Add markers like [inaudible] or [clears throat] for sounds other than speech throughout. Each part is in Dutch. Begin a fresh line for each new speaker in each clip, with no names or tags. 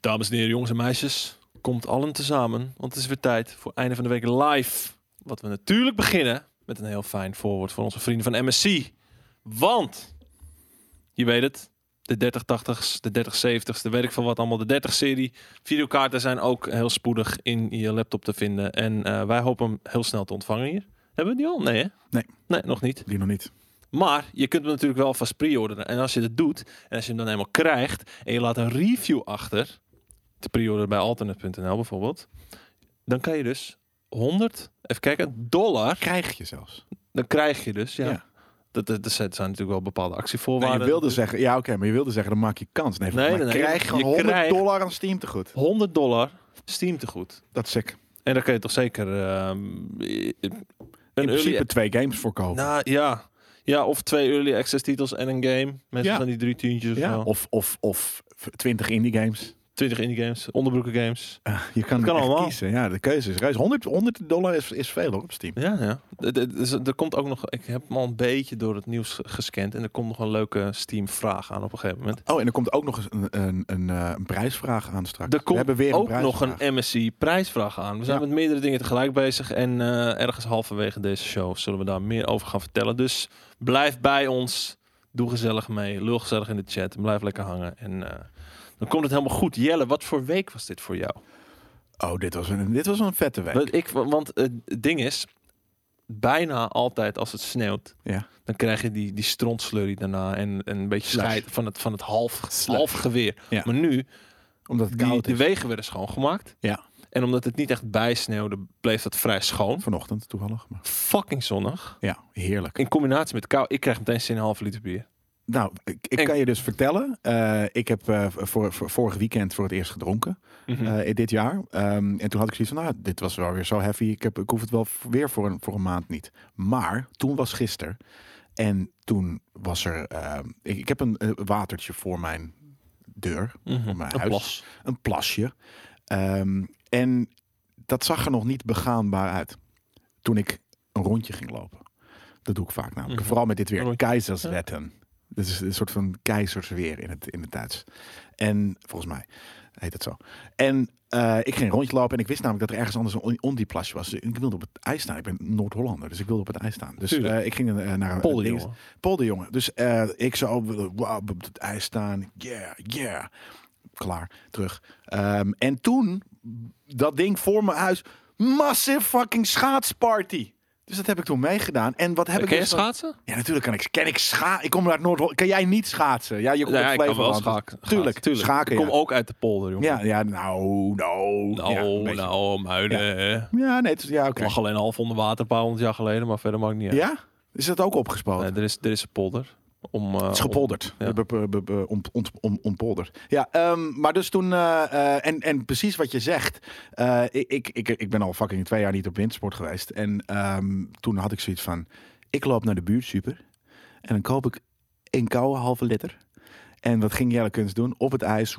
Dames en heren, jongens en meisjes, komt allen tezamen, want het is weer tijd voor einde van de week live. Wat we natuurlijk beginnen met een heel fijn voorwoord voor onze vrienden van MSC. Want, je weet het, de 3080's, de 3070's, de weet ik van wat allemaal, de 30-serie. Videokaarten zijn ook heel spoedig in je laptop te vinden. En eh, wij hopen hem heel snel te ontvangen hier. Hebben we die al? Nee, hè?
Nee.
Nee, nog niet.
Die nog niet.
Maar je kunt hem natuurlijk wel vast pre-orderen. En als je dat doet, en als je hem dan eenmaal krijgt, en je laat een review achter, te pre-orderen bij alternate.nl bijvoorbeeld, dan kan je dus 100, even kijken, dollar,
Krijg je zelfs.
dan krijg je dus, ja.
Ja.
Dat, dat, dat zijn natuurlijk wel bepaalde
Nee, je dus-
actievoorwaarden.
wilde zeggen, ja oké, maar je wilde zeggen, dan maak je kans. Nee,
Nee,
nee,
nee, nee.
krijg gewoon
Je
100
krijgt-
dollar aan Steam te goed.
100 Dus dollar Steam tegoed.
Dat is sick.
En dan kun je toch zeker ehm, een
In principe
early...
twee games voor kopen.
Nou, ja. ja, of twee early access titels en een game. Met
Ja.
van die drie tientjes of
ja.
zo.
Of, of, of 20 indie games.
20 indie games, onderbroeken games.
Eh, je kan,
kan
echt
allemaal.
kiezen. Ja, de keuze is reis. 100, 100 dollar is, is veel hoor, op Steam.
Ja, ja. D- d- dus Er komt ook nog, ik heb hem al een beetje door het nieuws ge- gescand en er komt nog een leuke Steam-vraag aan op een gegeven moment.
Oh, en er komt ook nog eens een, een, een, eh, een prijsvraag aan straks.
Er
We
komt
hebben weer
ook
een
nog
prijsvraag.
een MSC-prijsvraag aan. We zijn
Ja.
met meerdere dingen tegelijk bezig en eh, ergens halverwege deze show zullen we daar meer over gaan vertellen. Dus blijf bij ons, doe gezellig mee, lul gezellig in de chat, blijf lekker hangen en eh, dan komt het helemaal goed. Jelle, wat voor week was dit voor jou? e-
Oh, dit was een, dit was een vette week.
Want, ik, want eh, het ding is, bijna altijd als het sneeuwt,
Ja.
dan krijg je die, die strontslurry daarna en, en een beetje
Slush.
scheid van het, van het half,
Slush.
half geweer.
Ja.
Maar nu,
Omdat het
die,
koud
de
is.
wegen werden schoongemaakt.
Ja.
En omdat het niet echt bijsneeuwde, bleef dat vrij schoon.
Vanochtend toevallig. Maar...
Fucking zonnig.
Ja, heerlijk.
In combinatie met kou, ik krijg meteen zin in een halve liter bier.
Nou, ik, ik
En-
kan je dus vertellen. eh, ik heb eh, voor, voor, vorig weekend voor het eerst gedronken.
Hm.
eh, in dit jaar. Ehm, en toen had ik zoiets van, nou, dit was wel weer zo heavy. Ik, heb, ik hoef het wel f- weer voor een, voor een maand niet. Maar toen was gisteren. En toen was er... ehm, ik, ik heb een eh, watertje voor mijn deur.
Mhm.
Voor mijn
Een
huis.
plas.
Een plasje. Ehm, en dat zag er nog niet begaanbaar uit. Toen ik een rondje ging lopen. Dat doe ik vaak namelijk.
Mhm.
Vooral met dit
Een
weer.
rondje.
Keizerswetten. Dit is een soort van keizersweer in het, in het Duits. En volgens mij heet het zo. En eh, ik ging een rondje lopen en ik wist namelijk dat er ergens anders een on- ondieplasje was. Ik wilde op het ijs staan. Ik ben Noord-Hollander, dus ik wilde op het ijs staan. Dus
Tuurlijk.
eh, ik ging eh, naar een
Polder,
ding-
jongen.
Polderjongen. Dus eh, ik zou eh, wauw, op het ijs staan. Yeah, yeah. Klaar, terug. Ehm, en toen, dat ding voor mijn huis. Massive fucking schaatsparty. Dus dat heb ik toen meegedaan. En wat heb ik...
Eh, Ken je
dus dan-
schaatsen?
Ja, natuurlijk kan ik, ken ik schaatsen. Ik kom uit noord Kan jij niet schaatsen? Ja, je komt
Nou ja,
uit
ik kan wel
Flevoland.
schaken.
Tuurlijk,
tuurlijk.
schaken,
ik kom
ja.
ook uit de polder, jongen.
Ja, ja, nou, nou. ja, een
Nou,
beetje.
nou, muiden. hè.
Ja, nee, het is- ja, oké.
Ik lag alleen half onder water een paar honderd jaar geleden, maar verder maakt niet uit.
Ja? Is dat ook opgespoten?
Nee, er, is, er is een polder. Om, eh,
Het is gepolderd.
Ja.
Be- be- be- be- ont- ont- on- ontpolderd. Ja, ehm, maar dus toen... eh, eh, en, en precies wat je zegt. eh, ik, ik, ik, ik ben al fucking twee jaar niet op wintersport geweest. En ehm, toen had ik zoiets van... Ik loop naar de buurt, super. En dan koop ik een koude halve liter. En wat ging Jelle Kunst doen? Op het ijs.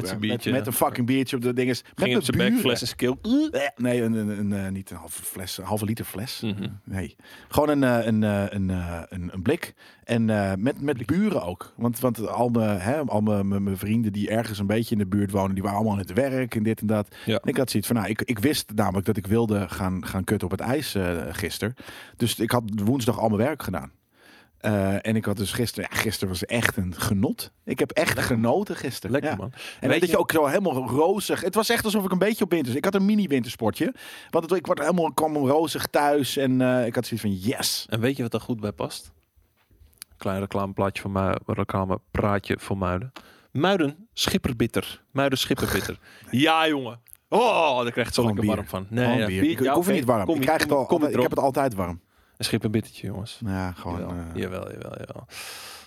Met,
biertje.
met een fucking biertje op de ding. Met
Om, ging
mijn
op zijn bek,
buren.
fles en skill.
Eh, Nee, een, een, een, eh, niet een halve fles, een halve liter fles.
Mhm.
Nee, gewoon een, eh, een, eh, een, eh, een, een blik. En eh, met, met buren ook. Want, want al, mijn, hè, al mijn, mijn, mijn vrienden die ergens een beetje in de buurt wonen, die waren allemaal aan het werk en dit en dat.
Ja.
En ik had zoiets van, nou, ik, ik wist namelijk dat ik wilde gaan, gaan kutten op het ijs eh gisteren. Dus ik had woensdag al mijn werk gedaan. Eh, en ik had dus gisteren, ja, gisteren was echt een genot. Ik heb echt genoten gisteren.
Lekker
ja.
man.
En weet dat je ook zo helemaal rozig. Het was echt alsof ik een beetje op winter. Ik had een mini wintersportje. Want het- ik word helemaal kwam rozig thuis en eh, ik had zoiets van yes.
En weet je wat daar goed bij past? Klein reclameplaatje van mij, reclamepraatje voor Muiden. Muiden schipperbitter. Muiden
[laughs]
schipperbitter. ja jongen. Oh, daar krijg je zo
Gewoon
lekker warm
bier.
van.
Nee,
Nee, ja, bier.
Ik, ik
Ja,
hoef het
oké.
niet warm.
Kom,
ik, krijg
kom,
het al,
kom
ik
erop.
heb het altijd warm.
Een schipperbittertje jongens.
Ja, gewoon.
Jawel,
eh,
jawel, jawel, jawel.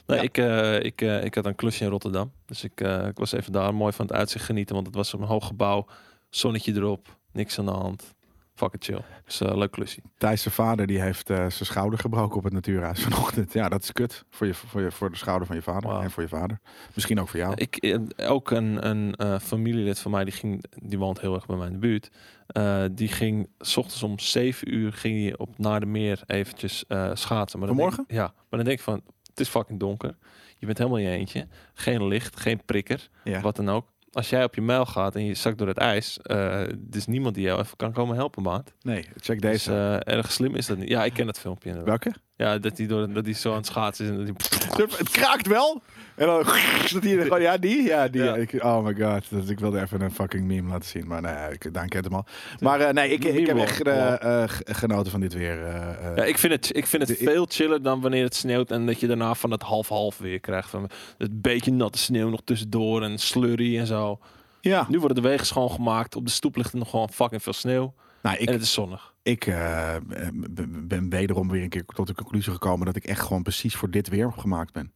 Nee,
Ja.
ik, eh, ik, eh, ik had een klusje in Rotterdam. Dus ik, eh, ik was even daar mooi van het uitzicht genieten. Want het was een hoog gebouw. Zonnetje erop. Niks aan de hand. Fucking chill. Dus eh, leuk klusje.
Thijs' zijn vader die heeft eh, zijn schouder gebroken op het natuurhuis [laughs] vanochtend. Ja, dat is kut. Voor, je, voor, je, voor de schouder van je vader
Wauw.
en voor je vader. Misschien ook voor jou.
Ik, eh, ook een, een eh, familielid van mij, die, ging, die woont heel erg bij mij in de buurt. eh, die ging s ochtends om 7 uur ging hij op naar de meer eventjes eh, schaatsen. Maar dan denk ik-
Vanmorgen?
ja, maar dan denk ik van, het is fucking donker. Je bent helemaal in je eentje. Geen licht, geen prikker,
ja.
wat dan ook. als jij op je muil gaat en je zakt door het ijs, eh er is niemand die jou even kan komen helpen, maat.
Nee, check
Dus
deze.
eh, erg slim is dat niet. Ja, ik ken dat filmpje inderdaad.
Welke?
Ja, dat hij door- dat die zo aan het schaatsen is en dat die...
Het kraakt wel. En dan [laughs] zit hier gewoon, ja, die, ja, die.
Ja.
Ik, oh my god, dat, ik wilde even een fucking meme laten zien, maar nee, ik, Daan kent hem al. Maar eh, nee, ik, ik heb
Meme
echt
wall.
eh, eh, g- genoten van dit weer. eh, eh.
Ja, ik vind het, ik vind het
De- ik-
veel chiller dan wanneer het sneeuwt en dat je daarna van het half-half weer krijgt. Van het beetje natte sneeuw nog tussendoor en slurry en zo.
ja.
Nu worden de wegen schoongemaakt. Op de stoep ligt er nog gewoon fucking veel sneeuw.
Nou, ik,
en het is zonnig.
Ik eh, ben- ben wederom weer een keer tot de conclusie gekomen dat ik echt gewoon precies voor dit weer gemaakt ben.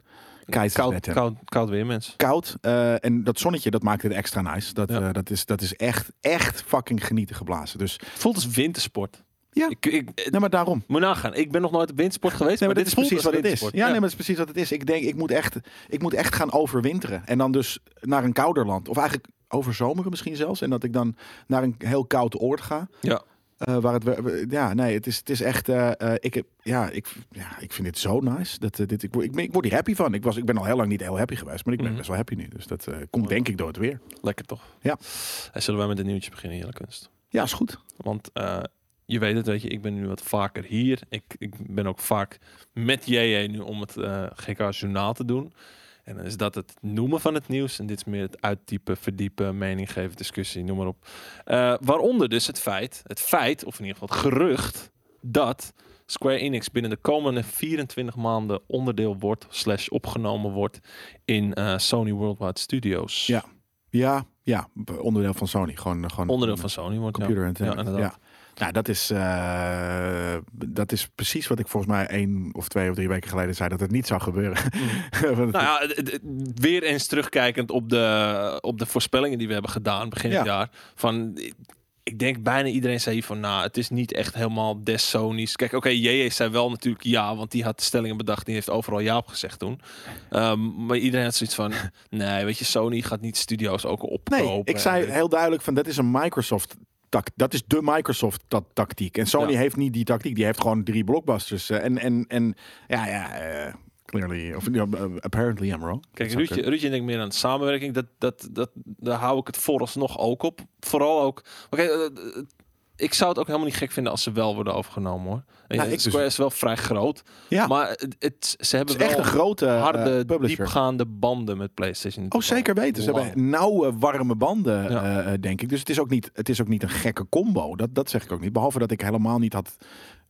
Kijk, het is
koud,
net, hè.
koud, koud weer, mensen.
Koud eh, en dat zonnetje, dat maakt het extra nice. Dat,
Ja.
eh, dat, is, dat is echt, echt fucking genieten geblazen. Dus
Het voelt als wintersport.
Ja.
Ik, ik, eh,
nee, maar daarom.
moet nagaan. Ik ben nog nooit op wintersport geweest.
Nee, maar, dit,
voelt
is precies
als
wat het is. Ja,
wintersport.
nee, maar dat is precies wat het is. Ik denk, ik moet, echt, ik moet echt gaan overwinteren. En dan dus naar een kouder land. Of eigenlijk overzomeren misschien zelfs. En dat ik dan naar een heel koud oord ga.
Ja.
Eh, waar het, we- we- ja, nee, het is, het is echt. eh, eh, ik, heb, ja, ik, ja, ik vind dit zo nice. Dat, eh, dit, ik, word- ik, ben- ik word hier happy van. Ik, was, ik ben al heel lang niet heel happy geweest, maar ik ben
Mhm.
best wel happy nu. Dus dat eh, komt denk ik door het weer.
Lekker toch?
Ja.
En zullen wij met een nieuwtje beginnen, Jelle Kunst?
Ja, is goed.
Want eh, je weet het, weet je, ik ben nu wat vaker hier. Ik, ik ben ook vaak met JJ nu om het eh GK Journaal te doen. En dan is dat het noemen van het nieuws. En dit is meer het uittypen, verdiepen, mening geven, discussie, noem maar op. Eh, waaronder dus het feit, het feit, of in ieder geval het gerucht, dat Square Enix binnen de komende 24 maanden onderdeel wordt, slash opgenomen wordt in eh, Sony Worldwide Studios.
Ja. Ja, ja, b- onderdeel van Sony. Gewoon, gewoon
Onderdeel van Sony wordt ja.
computer entertainment.
Ja,
Ja,
inderdaad.
Nou, dat is, eh, dat is precies wat ik volgens mij één of twee of drie weken geleden zei dat het niet zou gebeuren. [laughs] Want-
Nou ja, het- het- weer eens terugkijkend op de, op de voorspellingen die we hebben gedaan begin
Ja.
het jaar. Van, ik- ik denk bijna iedereen zei hier van, nou, het is niet echt helemaal des Sony's. Kijk, oké, JJ zei wel natuurlijk ja, want die had de stellingen bedacht. Die heeft overal ja op gezegd toen. Ehm, maar iedereen had zoiets van, [laughs] nee, weet je, Sony gaat niet studio's ook opkopen.
Nee, ik zei
En-
heel duidelijk van dat is een Microsoft tact. Dat is de Microsoft ta- tactiek. En Sony
Ja.
heeft niet die tactiek. Die heeft gewoon drie blockbusters. eh, En, en, en ja, ja, eh, clearly. Of, ja, eh, apparently I'm wrong.
Kijk,
Dat zou
Ruudje, Ruudje denkt meer aan samenwerking. Dat, dat, dat, daar hou ik het vooralsnog ook op. Vooral ook... Oké, eh, eh, ik zou het ook helemaal niet gek vinden als ze wel worden overgenomen, hoor. En
Nou, ik
Square is wel vrij groot.
Ja.
Maar het, het- ze
Het
hebben
is echt
wel
een grote eh,
harde,
publisher.
diepgaande banden met PlayStation.
Oh, zeker weten. Ze
Lang.
hebben nauwe, warme banden,
Ja.
eh, eh, denk ik. Dus het is, ook niet, het is ook niet een gekke combo. Dat, dat zeg ik ook niet. Behalve dat ik helemaal niet had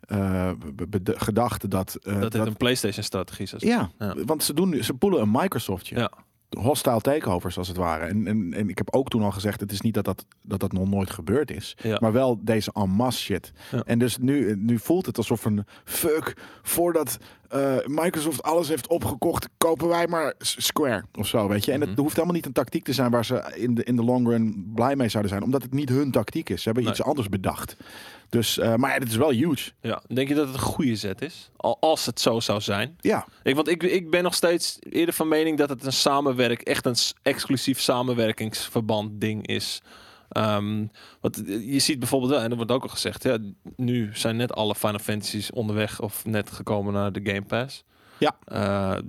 eh, be- be- de- gedacht dat... eh,
Dat het
dat-
een PlayStation-strategie is.
ja,
Ja.
want ze, doen, nu- ze poelen een Microsoftje.
Ja.
hostile takeovers als het ware. En, en, en ik heb ook toen al gezegd, het is niet dat dat, dat, dat nog nooit gebeurd is.
Ja.
Maar wel deze en masse shit.
Ja.
En dus nu, nu voelt het alsof een fuck, voordat eh, Microsoft alles heeft opgekocht, kopen wij maar S- Square of zo, weet je. En
Mhm.
het hoeft helemaal niet een tactiek te zijn waar ze in de, in de long run blij mee zouden zijn. Omdat het niet hun tactiek is. Ze hebben
Nee.
iets anders bedacht. Dus, eh, maar ja, dit is wel huge.
ja. Denk je dat het een goede zet is? Al als het zo zou zijn.
Ja,
Ik, want ik, ik ben nog steeds eerder van mening dat het een samenwerk, echt een s- exclusief samenwerkingsverband ding is. Ehm, want je ziet bijvoorbeeld, wel, en dat wordt ook al gezegd, ja, nu zijn net alle Final Fantasy's onderweg of net gekomen naar de Game Pass.
Ja.
Eh,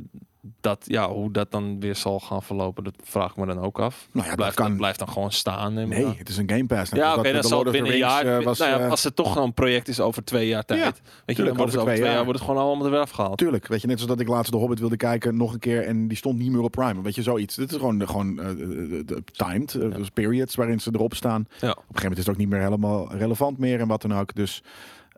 dat, ja, hoe dat dan weer zal gaan verlopen, dat vraag ik me dan ook af.
nou ja,
blijft,
dat
dat
kan...
blijft dan gewoon staan. neem ik
Nee,
aan.
het is een Game Pass. Net
Ja,
als
oké,
dat
dan
de
zal
Lord
het
of the
binnen een jaar.
Rings, eh, was,
nou ja,
eh,
als het toch een project is over twee jaar tijd,
Ja,
weet je, dan wordt
over
het over
twee
twee jaar,
jaar.
wordt het gewoon allemaal er weer afgehaald.
Tuurlijk, weet je, net zoals dat ik laatst de Hobbit wilde kijken, nog een keer en die stond niet meer op Prime. Weet je, zoiets. Dit is gewoon, gewoon eh, eh, eh, timed, eh, dus periods waarin ze erop staan. Op een
Ja.
gegeven moment is het ook niet meer helemaal relevant meer en wat dan ook. Dus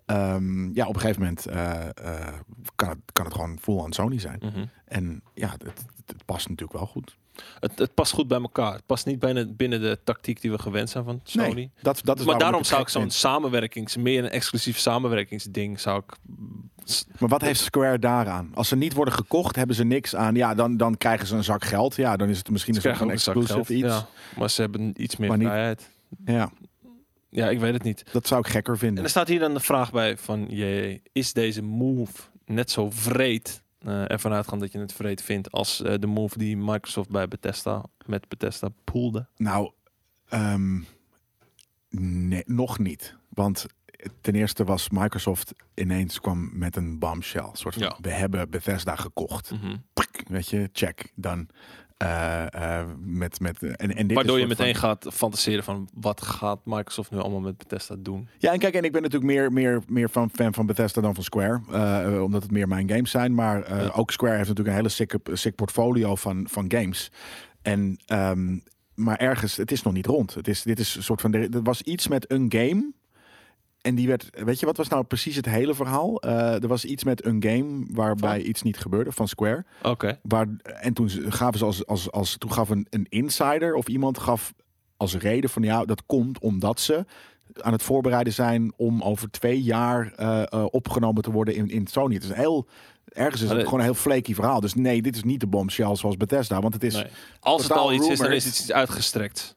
ehm, ja, op een gegeven moment eh, eh, kan, het, kan het gewoon full aan Sony zijn.
Mhm.
En ja, het, het, het past natuurlijk wel goed.
Het, het past goed bij elkaar. Het past niet binnen, binnen de tactiek die we gewend zijn van Sony.
Nee, dat, dat is
maar daarom
het
zou ik
gek
zo'n
vind.
samenwerkings, meer een exclusief samenwerkingsding, zou ik.
Maar wat heeft Square daaraan? Als ze niet worden gekocht, hebben ze niks aan. Ja, dan, dan krijgen ze een zak geld. Ja, dan is het misschien dus
Ze
een soort
krijgen ook
van
een zak geld,
exclusive iets.
Ja, maar ze hebben iets meer
Maar niet-
vrijheid.
ja,
Ja, ik weet het niet.
dat zou ik gekker
En
vinden.
er staat hier dan de vraag bij van, jee, is deze move net zo vreed? eh ervan uitgaan dat je het vreed vindt als eh, de move die Microsoft bij Bethesda met Bethesda poelde.
Nou, ehm, nee, nog niet. Want ten eerste was Microsoft ineens kwam met een bombshell. Soort van,
Ja.
Mhm. we hebben Bethesda gekocht. Weet je, check, dan. eh, eh, met, met, en, en dit is
Waardoor je
soort van-
meteen gaat fantaseren van wat gaat Microsoft nu allemaal met Bethesda doen.
Ja, en kijk, en ik ben natuurlijk meer, meer, meer van, fan van Bethesda dan van Square. eh, eh, omdat het meer mijn games zijn. Maar eh,
Ja.
ook Square heeft natuurlijk een hele sick, sick portfolio van, van games. En, ehm, maar ergens, het is nog niet rond. Het is, dit is een soort van. Er er was iets met een game. En die werd, weet je, wat was nou precies het hele verhaal? Eh, er was iets met een game waarbij iets niet gebeurde van Square.
Oké.
Waar, en toen ze- gaven ze als, als, als toen gaf een, een insider of iemand gaf als reden van ja, dat komt omdat ze aan het voorbereiden zijn om over twee jaar eh, eh, opgenomen te worden in, in Sony. Het is een heel ergens is
Maar
het
dit-
gewoon een heel flaky verhaal. Dus nee, dit is niet de bombshell zoals Bethesda, want het is.
Nee. Als het
totaal
al iets is, dan
rumored.
is het iets uitgestrekt.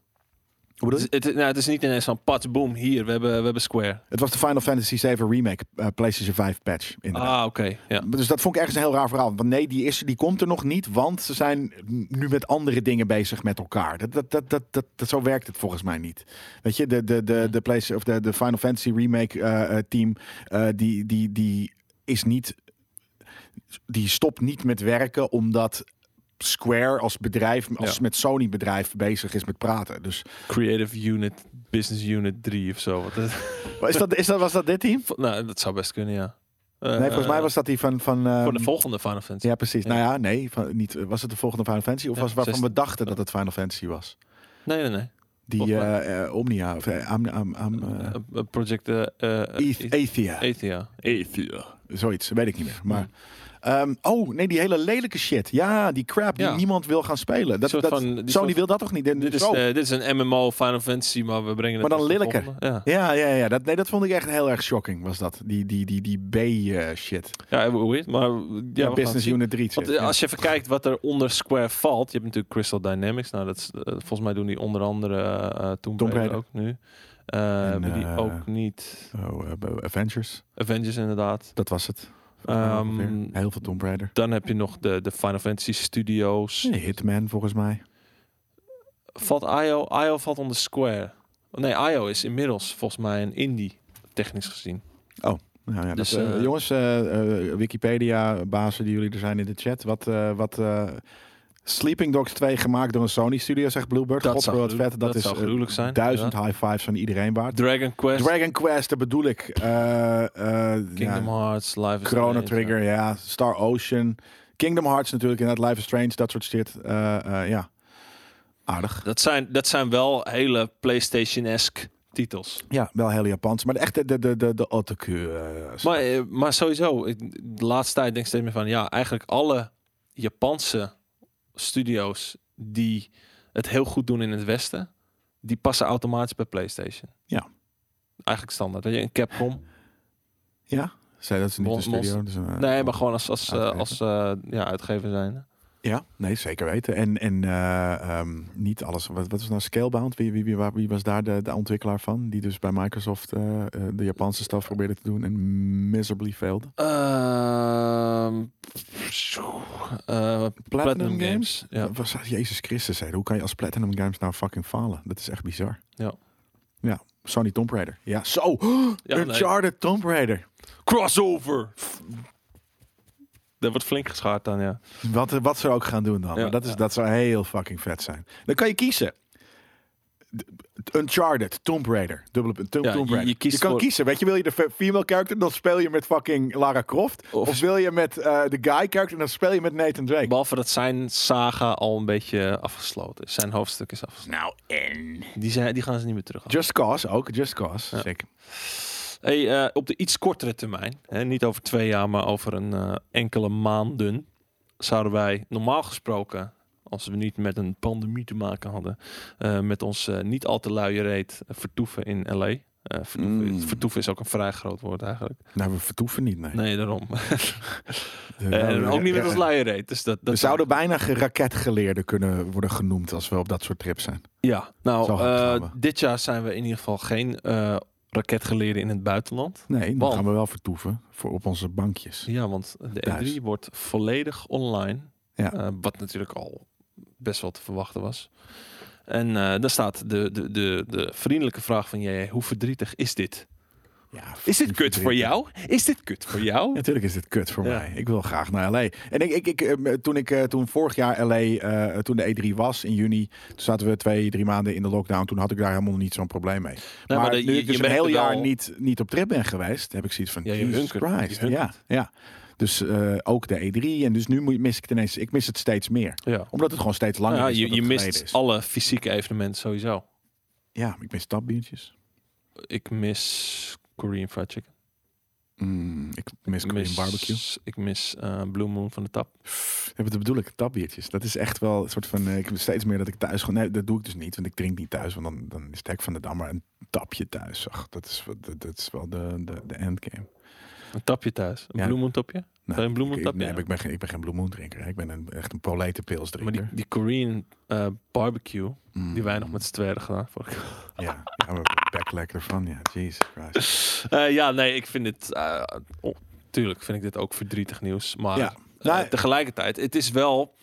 Hoe bedoel
Het,
je?
is- het, is- nou, het is niet ineens van pat, boom, hier, we hebben, we hebben Square.
Het was de Final Fantasy VII remake eh, PlayStation 5 patch inderdaad.
Ah, oké. Ja.
Dus dat vond ik ergens een heel raar verhaal. Want nee, die, is, die komt er nog niet, want ze zijn nu met andere dingen bezig met elkaar. Dat, dat, dat, dat, dat, dat- zo werkt het volgens mij niet. Weet je, de, de, de, de, place, of de, de Final Fantasy Remake eh, eh, team, eh, die, die, die is niet... Die stopt niet met werken omdat Square als bedrijf, als
Ja.
met Sony bedrijf bezig is met praten. Dus
Creative Unit, Business Unit 3 of zo. Wat [laughs] is-
is dat, is dat, was dat dit team?
nou, dat zou best kunnen, ja. Eh,
Nee, volgens mij
eh,
was dat die van... van
Voor
ehm,
de volgende Final Fantasy.
Ja, precies. Nou ja, nee, van, niet, was het de volgende Final Fantasy? Of
Ja,
was het waarvan we
16.
dachten dat het Final Fantasy was?
Nee, nee, nee.
Die
Volgens mij.
eh, eh, Omnia, of eh, Am, Am, Am, eh,
Eh, eh, Project eh, eh,
Aeth- Aethia,
Aethia. Aethia.
zoiets, weet ik niet meer. Maar, ehm, oh, nee, die hele lelijke shit. Ja, die crap die
Ja.
niemand wil gaan spelen. Dat,
soort
dat,
van- die
Sony
soort-
wil dat toch niet?
Dit is,
Zo.
eh, dit is een MMO Final Fantasy, maar we brengen het...
Maar
als
dan
de
lelijker.
volgende. Ja.
ja, ja, ja. Dat, nee, dat vond ik echt heel erg shocking, was dat. Die, die, die, die B-shit.
ja, hoe heet het? Maar eh, ja, we
Ja,
gaan het
Business
zien.
Unit 3 shit.
Want eh, als je even kijkt wat er onder Square valt, je hebt natuurlijk Crystal Dynamics. Nou, dat is, eh, volgens mij doen die onder andere eh eh, Tomb
Tomb
Raider
Raider.
ook nu. Eh,
En,
hebben die
eh,
ook niet.
ja. Oh, eh, Avengers,
Avengers inderdaad.
dat was het.
Ehm,
Ongeveer. heel veel Tomb Raider.
Dan heb je nog de, de Final Fantasy Studios.
Hitman, volgens mij.
Valt IO? IO valt onder Square. Nee, IO is inmiddels volgens mij een indie, technisch gezien.
Nou ja,
Dus,
dat, eh,
eh,
jongens, eh, eh, Wikipedia-bazen die jullie er zijn in de chat. Wat, eh, wat eh, Sleeping Dogs 2 gemaakt door een Sony studio, zegt Bluebird.
Dat
God,
zou
wat
gruwelijk-
vet. Dat,
dat
is
zou
eh,
gruwelijk zijn,
duizend high fives van iedereen waard.
Dragon Quest,
Dragon Quest, dat bedoel ik. Eh, eh,
Kingdom
ja,
Hearts, Live is
Chrono
Strange.
Trigger, ja. Star Ocean. Kingdom Hearts natuurlijk, inderdaad. Life is Strange, dat soort shit. Eh, eh, ja, aardig.
Dat zijn, dat zijn wel hele PlayStation-esque titels.
Ja, wel heel Japans. Maar echt de, de, de, de, de otaku. eh,
Maar, eh, maar sowieso, ik, de laatste tijd denk ik steeds meer van ja, eigenlijk alle Japanse studio's die het heel goed doen in het Westen, die passen automatisch bij PlayStation.
Ja.
Eigenlijk standaard. Weet je, Een Capcom.
ja, zei dat ze niet de
Mon-
studio. Dus, eh,
Nee, maar gewoon als, als, eh,
Uitgever.
als eh, ja, uitgever zijn.
Ja, nee, zeker weten. En, en eh, ehm, niet alles. Wat, wat was nou Scalebound? Wie, wie, wie, wa- wie was daar de, de ontwikkelaar van? Die dus bij Microsoft eh, eh, de Japanse staf probeerde te doen en miserably failed.
Ehm, eh, Platinum Games. Ja.
Dat Was, Jezus Christus, hè. hoe kan je als Platinum Games nou fucking falen? Dat is echt bizar.
Ja.
Ja, Sony Tomb Raider. Ja, zo!
Ja, nee.
Uncharted Tomb Raider.
Crossover! Dat wordt flink geschaard dan, ja.
Wat, wat ze ook gaan doen dan.
Ja,
maar dat, is,
ja.
dat zou heel fucking vet zijn. Dan kan je kiezen. D- Uncharted, Tomb Raider, dubbele punt, Tomb,
Ja,
Tomb
je-
Raider.
je kiest
kan
voor-
kiezen, weet je, wil je de fe- female character, dan speel je met fucking Lara Croft. Of,
Of-
wil je met eh, de guy character, dan speel je met Nathan Drake.
Behalve dat zijn saga al een beetje afgesloten is. Zijn hoofdstuk is afgesloten.
Nou, en...
Die, zijn, die gaan ze niet meer terug.
Just Cause ook, Just Cause. Sick.
Hey, eh, op de iets kortere termijn, hè, niet over twee jaar, maar over een eh, enkele maanden, zouden wij normaal gesproken, als we niet met een pandemie te maken hadden, eh, met ons eh, niet al te luie reet eh, vertoeven in LA. Eh, vertoeven,
Mm.
vertoeven is ook een vrij groot woord eigenlijk.
Nou, we vertoeven niet, nee.
Nee, [laughs] daarom.
Eh,
en
nou,
ook niet met
ja,
ons luie reet. Dus dat, dat
We zouden bijna raketgeleerden kunnen worden genoemd als we op dat soort trips zijn.
Ja,
Zo
nou,
hard gaan
eh, dit jaar zijn we in ieder geval geen eh raketgeleerden in het buitenland.
Nee, dan
Want-
gaan we wel vertoeven voor op onze bankjes.
Ja, want de
Thuis.
E3 wordt volledig online.
Ja.
Eh, wat natuurlijk al best wel te verwachten was. En eh, daar staat de, de, de, de vriendelijke vraag van jij, hoe verdrietig is dit?
Ja,
Is dit kut voor jou? Is dit kut voor
[laughs]
jou? Nou,
Natuurlijk is dit kut voor
Ja.
mij. Ik wil graag naar LA. En ik, ik, ik, eh, toen ik eh, toen vorig jaar LA, eh, toen de E3 was in juni, toen zaten we twee, drie maanden in de lockdown. Toen had ik daar helemaal nog niet zo'n probleem mee. maar
maar de-
nu
je-
ik dus
je
een
merkt
heel
het
jaar
wel.
niet, niet op trip ben geweest, heb ik zoiets van
Ja, je
Jesus
hunkert, je
Christ. Ja,
hunkert.
ja. Dus eh, ook de E3. En dus nu moet- mis ik het ineens. Ik mis het steeds meer.
Ja.
Omdat het gewoon steeds langer
Ja,
is. dan
je, je
het geleden
mist
is.
alle fysieke evenementen sowieso.
Ja, maar ik mis tapbiertjes.
Ik mis Korean Fried Chicken.
Mm, ik mis
Ik
Korean barbecue.
Ik mis eh, Blue Moon van de Tap.
Ja, maar dat bedoel ik, tapbiertjes. Dat is echt wel een soort van. eh, ik heb steeds meer dat ik thuis gewoon. Nee, dat doe ik dus niet, want ik drink niet thuis. Want dan, dan is het hek van de dam maar een tapje thuis. Zag. Dat, is, wat- dat, dat is wel de, de, de endgame.
Een tapje thuis. Een
Ja.
Blue Moon tapje. Zou je een Blue Moon
ik,
tapje?
nee, maar ik ben geen, ik ben geen Blue Moon drinker. hè. Ik ben een, echt een polete pils
Maar
drinker.
die, die Korean eh, barbecue,
Mm.
die wij nog met z'n tweeën hadden gedaan. vorige keer.
Ja, ja maar backlack ervan. Ja, Jesus Christ.
Eh, ja, nee, ik vind dit... eh, oh, tuurlijk vind ik dit ook verdrietig nieuws. Maar
Ja,
eh,
nou-
tegelijkertijd, het is wel...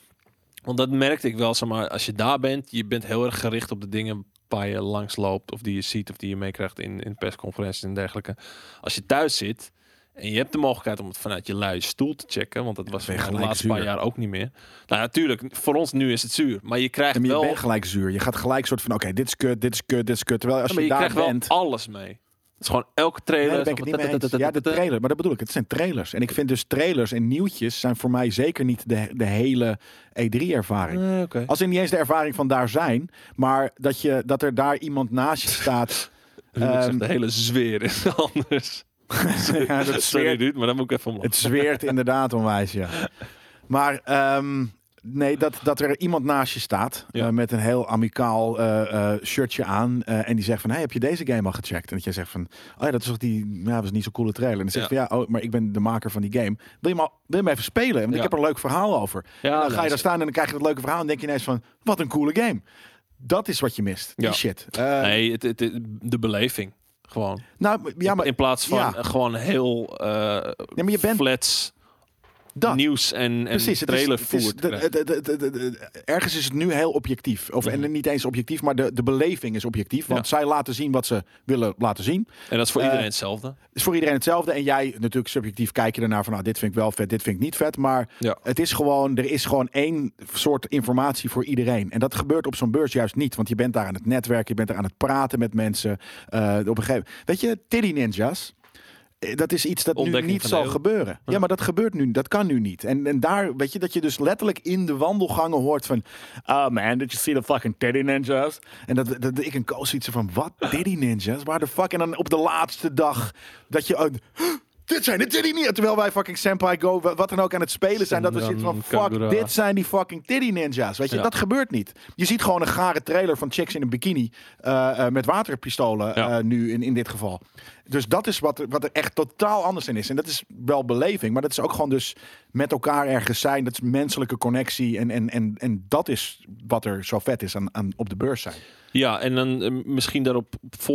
Want dat merkte ik wel, zeg maar, als je daar bent, je bent heel erg gericht op de dingen waar je langs loopt, of die je ziet, of die je meekrijgt in, in persconferenties en dergelijke. Als je thuis zit en je hebt de mogelijkheid om het vanuit je luie stoel te checken, want dat was
ben je
voor mij de
gelijk
laatste
zuur.
paar jaar ook niet meer. Nou, natuurlijk, voor ons nu is het zuur, maar je krijgt
En je
wel...
bent gelijk zuur. Je gaat gelijk soort van: oké, dit is kut, dit is kut, dit is kut. Terwijl als
Ja,
je,
maar je,
daar
krijgt
bent.
wel alles mee. Het is gewoon elke trailer.
Nee, daar ben
is
ik het
gewoon
niet mee eens. Ja, de trailer. Maar dat bedoel ik. Het zijn trailers. En ik vind dus trailers en nieuwtjes zijn voor mij zeker niet de, de hele E3-ervaring.
Nee, Eh, oké.
Als in niet eens de ervaring van daar zijn, maar dat, je, dat er daar iemand naast je
[laughs]
staat. [laughs]
Ruud zegt,
Ehm,
de hele zweer is anders.
ja, dat
[laughs] Sorry,
zweert,
Ruud, maar dan moet ik even omlaag.
het zweert inderdaad onwijs, ja. Maar ehm, nee, dat, dat er iemand naast je staat
Ja.
eh, met een heel amicaal eh, eh, shirtje aan. eh, en die zegt van, hey, heb je deze game al gecheckt? En dat jij zegt van, oh ja, dat is toch die, ja, dat is niet zo'n coole trailer. En dan zegt
Ja.
van, ja, oh, maar ik ben de maker van die game. Wil je hem, al- wil je hem even spelen? Want
Ja.
ik heb er een leuk verhaal over.
Ja,
En
nee,
dan ga je
dat-
daar staan en dan krijg je dat leuke verhaal. En denk je ineens van, wat een coole game. Dat is wat je mist. Die
Ja.
shit. Eh,
Nee, het, het, het- de beleving. Gewoon.
Nou, ja, maar
in plaats van
ja.
eh, gewoon heel eh
maar je bent-
flats
dat.
nieuws en, en
Precies, het is-
trailer
het is-
voert.
de- de- de- de- de- de- Ergens is het nu heel objectief. Of
Mhm.
en niet eens objectief, maar de, de beleving is objectief. Want zij laten zien wat ze willen laten zien.
en dat is voor
eh,
iedereen hetzelfde.
Is voor iedereen hetzelfde. En jij natuurlijk subjectief kijk je ernaar van nou, dit vind ik wel vet, dit vind ik niet vet. Maar
Ja.
het is gewoon, er is gewoon één soort informatie voor iedereen. En dat gebeurt op zo'n beurs juist niet. Want je bent daar aan het netwerken, je bent daar aan het praten met mensen. Eh, op een gegeven Weet je, Tiddy Ninjas. eh, Dat is iets dat nu
Ontdekking
niet
van
zal
de eeuw.
gebeuren. Ja, maar dat gebeurt nu. Dat kan nu niet. En, en daar, weet je, dat je dus letterlijk in de wandelgangen hoort van... Oh man, did you see the fucking Teddy Ninjas? En dat, dat, ik een koos iets van, wat? Teddy Ninjas? Waar de fuck? En dan op de laatste dag dat je... uit- dit zijn de Teddy Ninjas! Terwijl wij fucking Senpai Go, wa- wat dan ook aan het spelen zijn. Dat we zitten van, fuck,
Kagura.
dit zijn die fucking Teddy Ninjas. Weet je,
Ja.
dat gebeurt niet. Je ziet gewoon een gare trailer van chicks in een bikini... eh, eh, met waterpistolen
Ja.
eh, nu in, in dit geval. Dus dat is wat er, wat er echt totaal anders in is. En dat is wel beleving, maar dat is ook gewoon dus met elkaar ergens zijn. Dat is menselijke connectie. En, en, en, en dat is wat er zo vet is aan, aan, op de beurs zijn.
Ja, en dan eh, misschien daarop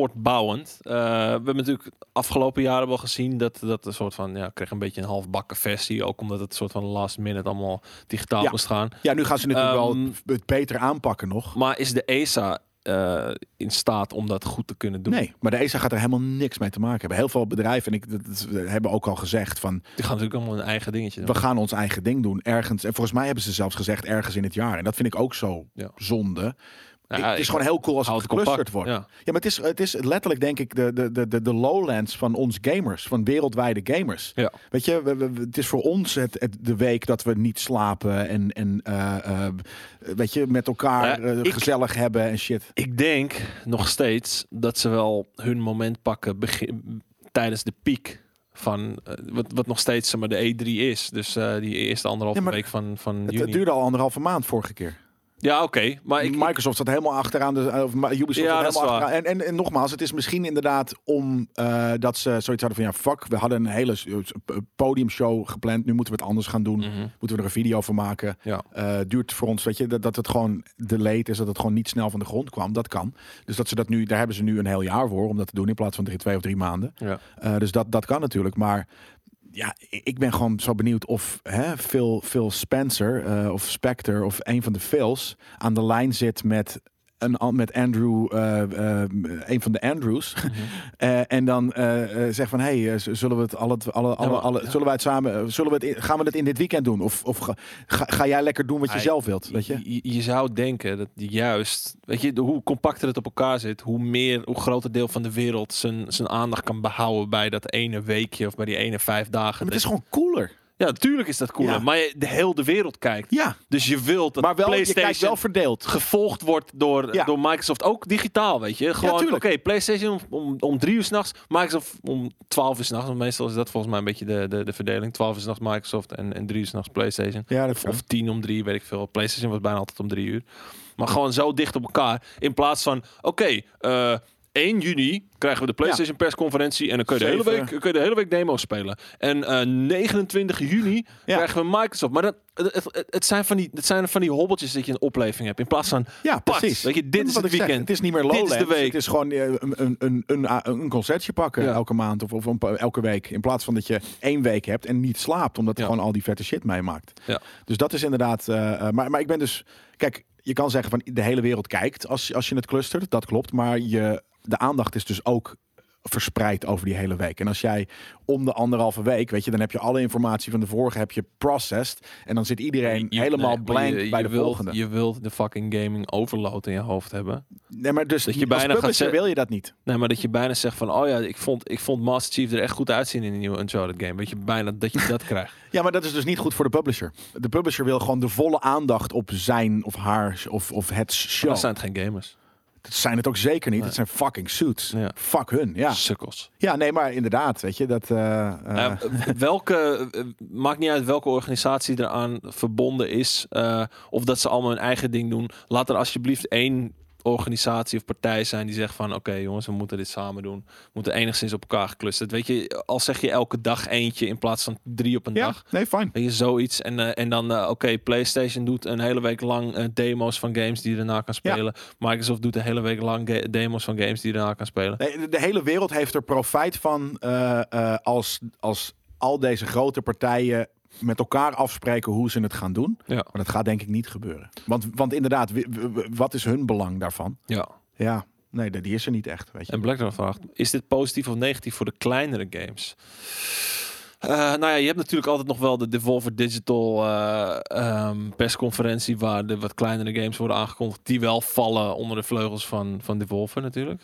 voortbouwend. Eh, we hebben natuurlijk afgelopen jaren wel gezien dat dat een soort van ja, ik kreeg een beetje een halfbakken versie, ook omdat het soort van last minute allemaal digitaal
Ja.
moest gaan.
Ja, nu gaan ze natuurlijk wel
Ehm,
het beter aanpakken nog.
Maar is de ESA eh, in staat om dat goed te kunnen doen?
Nee, maar de ESA gaat er helemaal niks mee te maken hebben. Heel veel bedrijven, en ik dat, dat hebben ook al gezegd van...
Die gaan natuurlijk allemaal hun eigen dingetje doen.
we gaan ons eigen ding doen ergens. En volgens mij hebben ze zelfs gezegd ergens in het jaar. En dat vind ik ook zo
Ja.
zonde.
Ja,
Ik- het
ik
is gewoon heel cool als het
houd het compact,
geclusterd wordt. Ja.
ja.
maar het is, het is letterlijk denk ik de, de, de, de, de lowlands van ons gamers. Van wereldwijde gamers.
Ja.
Weet je, we- we- we- het is voor ons het, het- de week dat we niet slapen. En, en eh, eh, weet je, met elkaar
Ja,
eh,
ik-
gezellig hebben en shit.
Ik denk nog steeds dat ze wel hun moment pakken begin, tijdens de piek van eh, wat, wat nog steeds zeg maar, de E3 is. Dus eh, die eerste anderhalve
Ja, maar
week van, van
Het,
juni.
het duurde al anderhalve maand vorige keer.
Ja, oké. Maar ik, ik-
Microsoft zat helemaal achteraan. Dus, of Ma- Ubisoft
Ja,
zat
dat is
helemaal
waar.
achteraan. En, en, en nogmaals, het is misschien inderdaad om eh, dat ze zoiets hadden van... ja, fuck, we hadden een hele eh, podiumshow gepland. Nu moeten we het anders gaan doen.
Mhm.
Moeten we er een video van maken.
Ja.
Eh, duurt voor ons, weet je, dat, dat het gewoon delayed is. Dat het gewoon niet snel van de grond kwam. Dat kan. Dus dat ze dat nu, daar hebben ze nu een heel jaar voor om dat te doen. In plaats van drie, twee of drie maanden.
Ja.
Eh, dus dat, dat kan natuurlijk. Maar ja, i- ik ben gewoon zo benieuwd of hè, Phil, Phil Spencer eh, of Spector of een van de Phils aan de lijn zit met een, an- met Andrew, eh, eh, een van de Andrews.
Mhm.
[laughs] Eh, en dan eh eh, zeg van, hey, eh, z- zullen we het alle, alle, alle,
maar-
alle- zullen wij het samen, eh, zullen we het, in- gaan we het in dit weekend doen? Of, of ga, ga- ga jij lekker doen wat je
Hij-
zelf wilt, weet je?
Je, je zou denken dat juist, weet je, de- hoe compacter het op elkaar zit, hoe meer, hoe groter deel van de wereld zijn, zijn aandacht kan behouden bij dat ene weekje of bij die ene vijf dagen.
Maar het is gewoon cooler.
Ja, natuurlijk is dat cooler,
Ja.
maar je, de heel de wereld kijkt.
Ja,
Dus je wilt dat
maar wel, je
PlayStation
kijkt wel verdeeld.
gevolgd wordt door,
Ja.
door Microsoft, ook digitaal, weet je. Gewoon, oké,
tuurlijk.
PlayStation om, om, om drie uur s'nachts, Microsoft om twaalf uur s'nachts, want meestal is dat volgens mij een beetje de, de, de verdeling. Twaalf uur s'nachts Microsoft en, en drie uur s'nachts PlayStation.
Ja, dat
Of, of tien om drie, weet ik veel. PlayStation was bijna altijd om drie uur. Maar gewoon zo dicht op elkaar. In plaats van, oké, eh 1 juni krijgen we de PlayStation persconferentie. En dan kun je, de hele week,
Zeven.
kun je de hele week demo's spelen. En eh, 29 juni
Ja.
krijgen we Microsoft. Maar dat, het, het, het zijn van die, het zijn van die hobbeltjes dat je een opleving hebt. In plaats van,
Ja,
Pat,
precies.
weet je, dit
Dat
is
wat
het
ik zeg.
weekend.
Het is niet meer
Dit is
Lowlands.
de week.
Het is gewoon eh, een, een, een, een, eh, een concertje pakken
Ja.
elke maand of, of een pa- elke week. In plaats van dat je één week hebt en niet slaapt. Omdat je
Ja.
gewoon al die vette shit meemaakt.
Ja.
Dus dat is inderdaad... eh, eh, maar, maar ik ben dus... Kijk, je kan zeggen van de hele wereld kijkt als, als je het clustert. Dat klopt. Maar je, de aandacht is dus ook verspreid over die hele week. En als jij om de anderhalve week, weet je, dan heb je alle informatie van de vorige, heb je processed. En dan zit iedereen
je-
helemaal
nee, maar
blank
je- je
bij de
wilt,
volgende.
Je wilt de fucking gaming overload in je hoofd hebben.
Nee, maar dus
Dat je
als
bijna gaat
publisher
zeggen-
wil je dat niet.
Nee, maar dat je bijna zegt van, oh ja, ik vond, ik vond Master Chief er echt goed uitzien in die nieuwe Uncharted game. Weet je, bijna dat je dat [laughs] krijgt.
Ja, maar dat is dus niet goed voor de publisher. De publisher wil gewoon de volle aandacht op zijn of haar of, of het show.
Dat zijn het geen gamers.
Dat zijn het ook zeker niet. Het zijn fucking suits.
Ja.
Fuck hun, ja.
Sukkels.
Ja, nee, maar inderdaad, weet je, dat... eh, eh,
Eh, welke, eh, maakt niet uit welke organisatie eraan verbonden is. eh, of dat ze allemaal hun eigen ding doen. Laat er alsjeblieft één organisatie of partij zijn die zegt van... oké jongens, we moeten dit samen doen. We moeten enigszins op elkaar geclusterd. Weet je, al zeg je elke dag eentje in plaats van drie op een
ja,
dag.
nee, fijn.
Weet je, zoiets. En, eh, en dan, eh, oké, PlayStation doet een hele week lang eh, demo's van games die je daarna kan
Ja.
spelen. Microsoft doet een hele week lang ga- demo's van games die je daarna kan spelen.
Nee, de- de hele wereld heeft er profijt van eh, eh, als, als al deze grote partijen met elkaar afspreken hoe ze het gaan doen.
Ja.
Maar dat gaat denk ik niet gebeuren. Want, want inderdaad, wi- w- w- wat is hun belang daarvan?
ja.
Ja, nee, die is er niet echt, weet je.
En Blackdown vraagt: is dit positief of negatief voor de kleinere games? Eh, nou ja, je hebt natuurlijk altijd nog wel de Devolver Digital eh, ehm, persconferentie waar de wat kleinere games worden aangekondigd die wel vallen onder de vleugels van, van Devolver natuurlijk.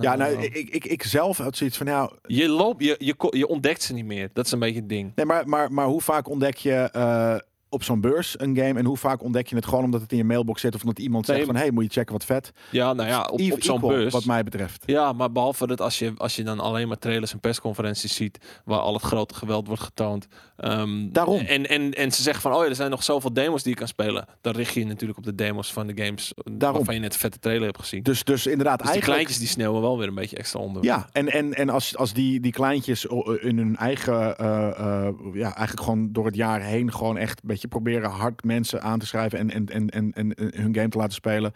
Ja,
Eh,
nou, ik, ik, ik zelf had zoiets van, nou,
je, loopt, je, je, ko- je ontdekt ze niet meer. Dat is een beetje het ding.
nee, maar, maar, maar hoe vaak ontdek je eh, op zo'n beurs een game en hoe vaak ontdek je het gewoon omdat het in je mailbox zit of omdat iemand
Nee,
zegt van, hey, moet je checken wat vet.
Ja, nou ja, op,
Eve
op zo'n
equal,
beurs.
Wat mij betreft.
Ja, maar behalve dat als je, als je dan alleen maar trailers en persconferenties ziet waar al het grote geweld wordt getoond. ehm,
Daarom.
En, en, en ze zeggen van, oh ja, er zijn nog zoveel demos die je kan spelen. Dan richt je je natuurlijk op de demos van de games
Daarom.
waarvan je net een vette trailer hebt gezien.
Dus, dus inderdaad,
dus die
eigenlijk...
kleintjes die sneeuwen wel weer een beetje extra onder.
Ja, en, en, en als, als die, die kleintjes o- in hun eigen, eh, eh, ja, eigenlijk gewoon door het jaar heen gewoon echt een beetje proberen hard mensen aan te schrijven en, en, en, en, en eh, hun game te laten spelen,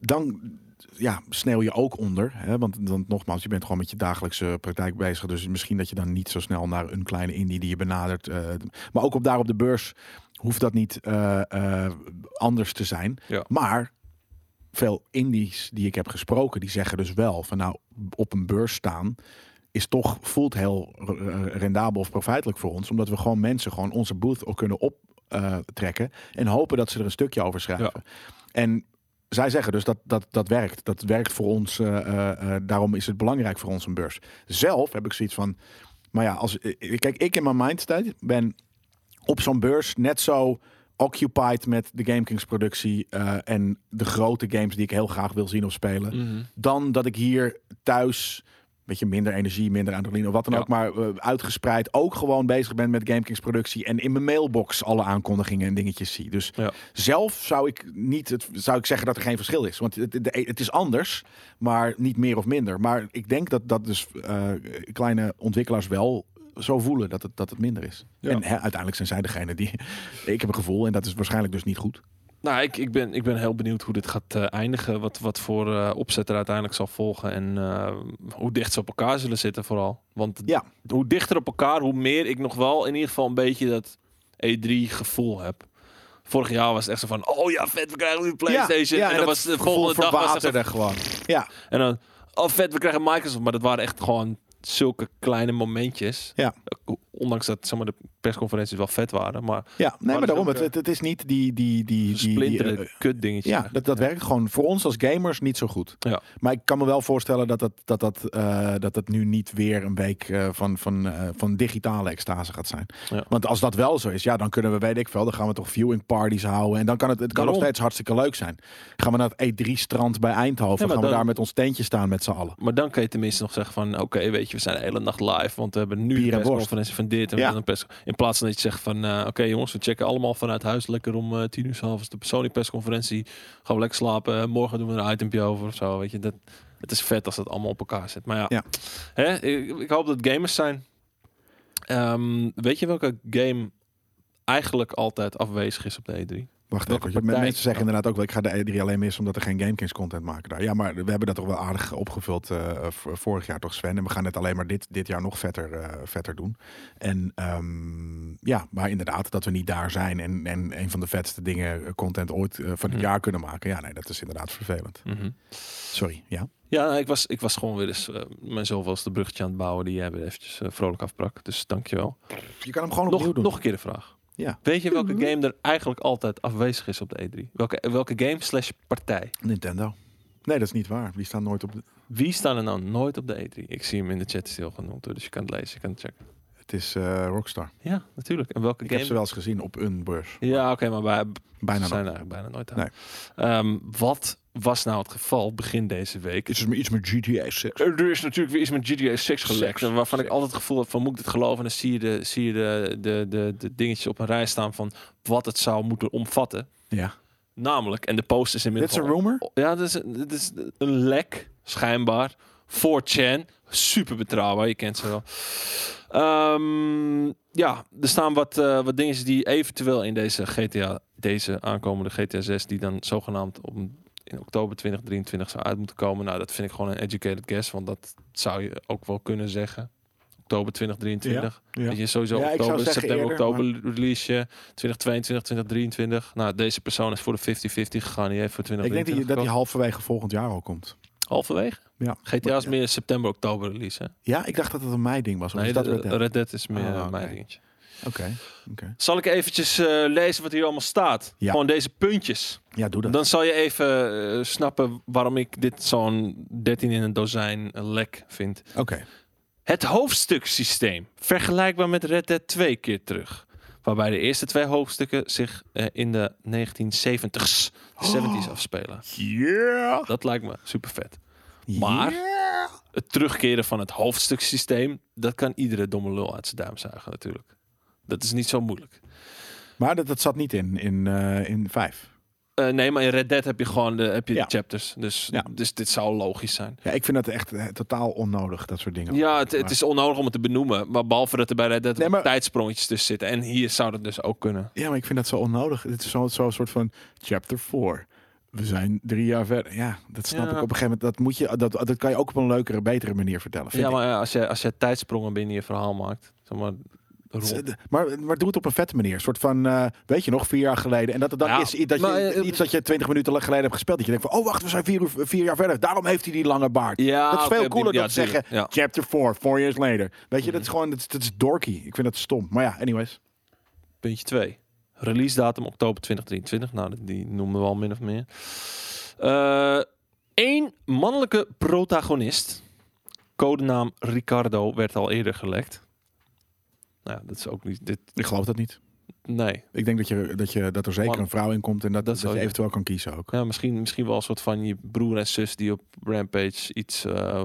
dan ja, sneeuw je ook onder. Hè? Want, dan nogmaals, je bent gewoon met je dagelijkse praktijk bezig, dus misschien dat je dan niet zo snel naar een kleine indie die je benadert. eh, maar ook op daar op de beurs hoeft dat niet eh, eh, anders te zijn.
Ja.
Maar veel indies die ik heb gesproken, die zeggen dus wel van nou, op een beurs staan is toch, voelt heel eh, rendabel of profijtelijk voor ons. Omdat we gewoon mensen gewoon onze booth ook kunnen optrekken en hopen dat ze er een stukje over schrijven. En zij zeggen dus dat dat, dat werkt. Dat werkt voor ons, eh, eh, eh, daarom is het belangrijk voor ons een beurs. Zelf heb ik zoiets van, maar ja, als, eh, kijk, ik in mijn mindset ben op zo'n beurs net zo occupied met de GameKings productie eh, en de grote games die ik heel graag wil zien of spelen,
Mhm.
dan dat ik hier thuis een beetje minder energie, minder adrenaline of wat dan
Ja.
ook, maar eh, uitgespreid ook gewoon bezig ben met GameKings productie en in mijn mailbox alle aankondigingen en dingetjes zie. Dus
Ja.
zelf zou ik niet, het, zou ik zeggen dat er geen verschil is, want het, het, het is anders, maar niet meer of minder. Maar ik denk dat dat dus eh, kleine ontwikkelaars wel zo voelen dat het, dat het minder is.
Ja.
En hè, uiteindelijk zijn zij degene die... [laughs] Ik heb een gevoel en dat is waarschijnlijk dus niet goed.
Nou, ik, ik, ben, ik ben heel benieuwd hoe dit gaat eh, eindigen. Wat, wat voor eh, opzet er uiteindelijk zal volgen. En eh, hoe dicht ze op elkaar zullen zitten vooral. Want
Ja.
hoe dichter op elkaar, hoe meer ik nog wel in ieder geval een beetje dat E3 E gevoel heb. Vorig jaar was het echt zo van, oh ja, vet, we krijgen nu een PlayStation. en, dan
dat
was de
gevoel
volgende dag was het
verwaterde
echt-
gewoon. Ja,
En dan, oh vet, we krijgen Microsoft. Maar dat waren echt gewoon zulke kleine momentjes.
Ja.
Ondanks dat zeg maar, de persconferenties wel vet waren. Maar
ja. nee,
dat
maar
is
daarom.
ook, eh,
Het, het, het is niet die... die, die, die, die
versplinterde
eh,
kut dingetjes.
ja, dat, dat werkt gewoon voor ons als gamers niet zo goed.
Ja.
Maar ik kan me wel voorstellen dat dat, dat, dat, eh, dat, dat nu niet weer een week eh, van, van, eh, van digitale extase gaat zijn.
Ja.
Want als dat wel zo is, ja, dan kunnen we, weet ik veel, dan gaan we toch viewing parties houden. En dan kan het, het kan nog
Daarom.
steeds hartstikke leuk zijn. Gaan we naar het E3-strand bij Eindhoven,
Ja, maar
gaan we
dan-
daar met ons tentje staan met z'n allen.
Maar dan kan je tenminste nog zeggen van... Oké, weet je, we zijn de hele nacht live. Want we hebben nu
Bier en
een
worst.
persconferentie van dit. En we
Ja.
hebben een pers in plaats van dat je zegt van... eh, Oké jongens, we checken allemaal vanuit huis. Lekker om eh, tien uur s'avonds de Sony persconferentie. Gaan we lekker slapen. eh, morgen doen we een itempje over of zo. Weet je, dat, het is vet als dat allemaal op elkaar zit. Maar ja,
Ja.
Hè? Ik, ik hoop dat gamers zijn. Ehm, weet je welke game eigenlijk altijd afwezig is op de E E3?
Wacht
Welke
even, want
partij-
mensen zeggen inderdaad ook, wel, ik ga de E3 alleen missen omdat er geen GameKings content maken daar. Ja, maar we hebben dat toch wel aardig opgevuld eh, v- vorig jaar toch Sven? En we gaan het alleen maar dit, dit jaar nog vetter, eh, vetter doen. En ehm, ja, maar inderdaad, dat we niet daar zijn en, en een van de vetste dingen eh, content ooit eh, van het
Mhm.
jaar kunnen maken. Ja, nee, dat is inderdaad vervelend. Sorry, ja.
Ja, nou, ik, was, ik was gewoon weer eens eh, mijn zoveelste bruggetje aan het bouwen die jij weer eventjes eh, vrolijk afbrak. Dus dankjewel.
Je kan hem gewoon opnieuw
Nog,
doen.
nog een keer de vraag.
Ja.
Weet je welke game er eigenlijk altijd afwezig is op de E3? Welke, welke game slash partij?
Nintendo. Nee, dat is niet waar. Die staan nooit op. de-
Wie staan er nou nooit op de E3? Ik zie hem in de chat stil genoemd, hoor, dus je kan het lezen, je kan het checken.
Het is eh, Rockstar.
Ja, natuurlijk. En welke
Ik
game?
heb ze wel eens gezien op een beurs.
Ja, oké, maar wij,
Bijna
Ze zijn
nooit.
er eigenlijk bijna nooit aan. Ehm, wat was nou het geval begin deze week?
Het is me iets met GTA 6.
Er is natuurlijk weer iets met GTA 6 gelekt.
Seks.
en Waarvan ik
Seks.
altijd het gevoel heb van moet ik dit geloven? En dan zie je de, zie je de, de, de, de dingetjes op een rij staan van wat het zou moeten omvatten.
Ja.
Namelijk, en de post is
Dit is
inmiddels...
een
al-
rumor.
Ja, dit is, dit is een lek, schijnbaar. 4chan, super betrouwbaar, je kent ze wel. Ehm, ja, er staan wat, eh, wat dingetjes die eventueel in deze GTA, deze aankomende GTA 6, die dan zogenaamd om, in oktober 2023 zou uit moeten komen. Nou, dat vind ik gewoon een educated guess, want dat zou je ook wel kunnen zeggen. Oktober 2023.
Ja.
Weet je, sowieso
Ja, ik zou
oktober,
zeggen
september,
eerder,
oktober release je. 2022, 2023. Nou, deze persoon is voor de 50-50 gegaan. Die heeft voor
Ik denk dat die,
2023
dat die
gekozen.
halverwege volgend jaar al komt.
Halverwege?
Ja.
GTA is meer september, oktober release, hè?
Ja, ik dacht dat het een mei-ding was. Of
Nee,
is dat
de-
Red Dead?
Red Dead is meer
Ah,
eh,
oké.
mijn dingetje.
Oké. oké.
Zal ik eventjes eh, lezen wat hier allemaal staat?
Ja.
Gewoon deze puntjes.
Ja, doe dat.
Dan zal je even eh, snappen waarom ik dit zo'n 13 in een dozijn eh, lek vind.
Oké.
Het hoofdstuksysteem, vergelijkbaar met Red Dead 2 keer terug. Waarbij de eerste twee hoofdstukken zich eh, in de 1970s, de
Oh.
70s afspelen.
Yeah!
Dat lijkt me super vet. Maar-
Yeah!
Het terugkeren van het hoofdstuksysteem, dat kan iedere domme lul uit zijn duim zuigen natuurlijk. Dat is niet zo moeilijk.
Maar dat, dat zat niet in, in, eh, in vijf.
Eh, nee, maar in Red Dead heb je gewoon de, heb je
Ja.
de chapters. Dus,
Ja.
dus dit zou logisch zijn.
Ja, ik vind dat echt eh, totaal onnodig, dat soort dingen.
Ja, het, het
Maar-
is onnodig om het te benoemen. Maar behalve dat er bij Red Dead
Nee, maar-
tijdssprongetjes tussen zitten. En hier zou dat dus ook kunnen.
Ja, maar ik vind dat zo onnodig. Het is zo'n zo soort van chapter 4. We zijn drie jaar verder. Ja, dat snap
Ja.
ik op een gegeven moment. Dat, moet je, dat, dat kan je ook op een leukere, betere manier vertellen. vind
ja,
ik.
maar ja, als je, als je tijdsprongen binnen je verhaal maakt. Zeg maar, rond.
Het is, eh, Maar, maar doe het op een vette manier. Een soort van, eh, weet je nog, vier jaar geleden. En dat het dan
Ja,
is i- dat
maar,
je,
eh,
iets dat je twintig minuten geleden hebt gespeeld. Dat je denkt van, oh wacht, we zijn vier, uur, vier jaar verder. Daarom heeft hij die lange baard.
ja,
dat is
oké,
veel
op die-
cooler
ja,
dan te zeggen,
tuurlijk. Ja. Mhm.
chapter 4, four years later. Weet je, dat is gewoon, dat is, dat is dorky. Ik vind dat stom. Maar ja, anyways.
Puntje 2. Release datum oktober 2023. Nou, dat- die noemden we al min of meer. Eén mannelijke protagonist. Codenaam Ricardo werd al eerder gelekt. Nou, ja, dat is ook niet. Dit,
Ik geloof dat niet.
nee.
Ik denk dat, je, dat, je, dat er zeker
Maar-
een vrouw in komt en dat,
Dat
dat,
zou
je
je-
eventueel kan kiezen ook.
Ja, misschien, misschien wel een soort van je broer en zus die op Rampage iets. eh,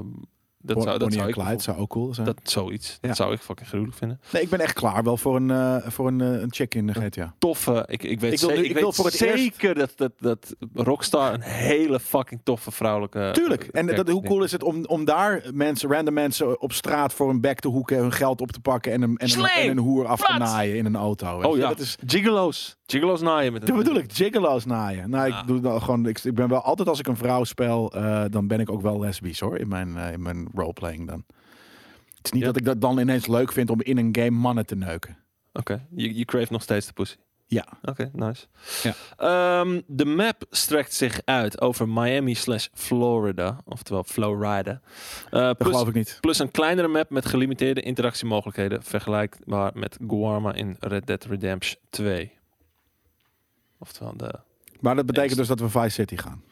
dat
Bon-
zou, dat
Bonnie
zou
en
ik
Clyde zou ook cool zijn.
Dat zoiets.
Ja.
Dat zou ik fucking gruwelijk vinden.
Nee, ik ben echt klaar wel voor een, eh, voor een, eh, een check in de GTA.
Toffe. Ik, ik weet,
Ik wil
ze-
nu- ik wil
weet
voor het eerst-
zeker dat, dat, dat Rockstar een hele fucking toffe vrouwelijke. eh,
Tuurlijk. En dat, hoe cool is het om, om daar mensen, random mensen op straat voor een bek te hoeken, hun geld op te pakken en een, en een,
Slim!
en een hoer af te
Plat!
naaien in een auto. weet
Oh
je?
ja,
Dat is,
gigolo's. Gigolo's naaien met
dat bedoel ik, gigolo's naaien. Nou,
Ja.
ik, doe dan gewoon, ik, ik ben wel altijd als ik een vrouw speel, eh, dan ben ik ook wel lesbisch hoor, in mijn, eh, in mijn roleplaying dan. Het is niet
Ja.
dat ik dat dan ineens leuk vind om in een game mannen te neuken.
Oké, je, je crave nog steeds de pussy.
Ja.
Oké, nice. Ehm, de map strekt zich uit over Miami slash Florida, oftewel Florida. Eh,
Dat
plus,
geloof ik niet.
plus een kleinere map met gelimiteerde interactiemogelijkheden, vergelijkbaar met Guarma in Red Dead Redemption 2. Oftewel, de,
Maar dat betekent
Next.
dus dat we Vice City gaan.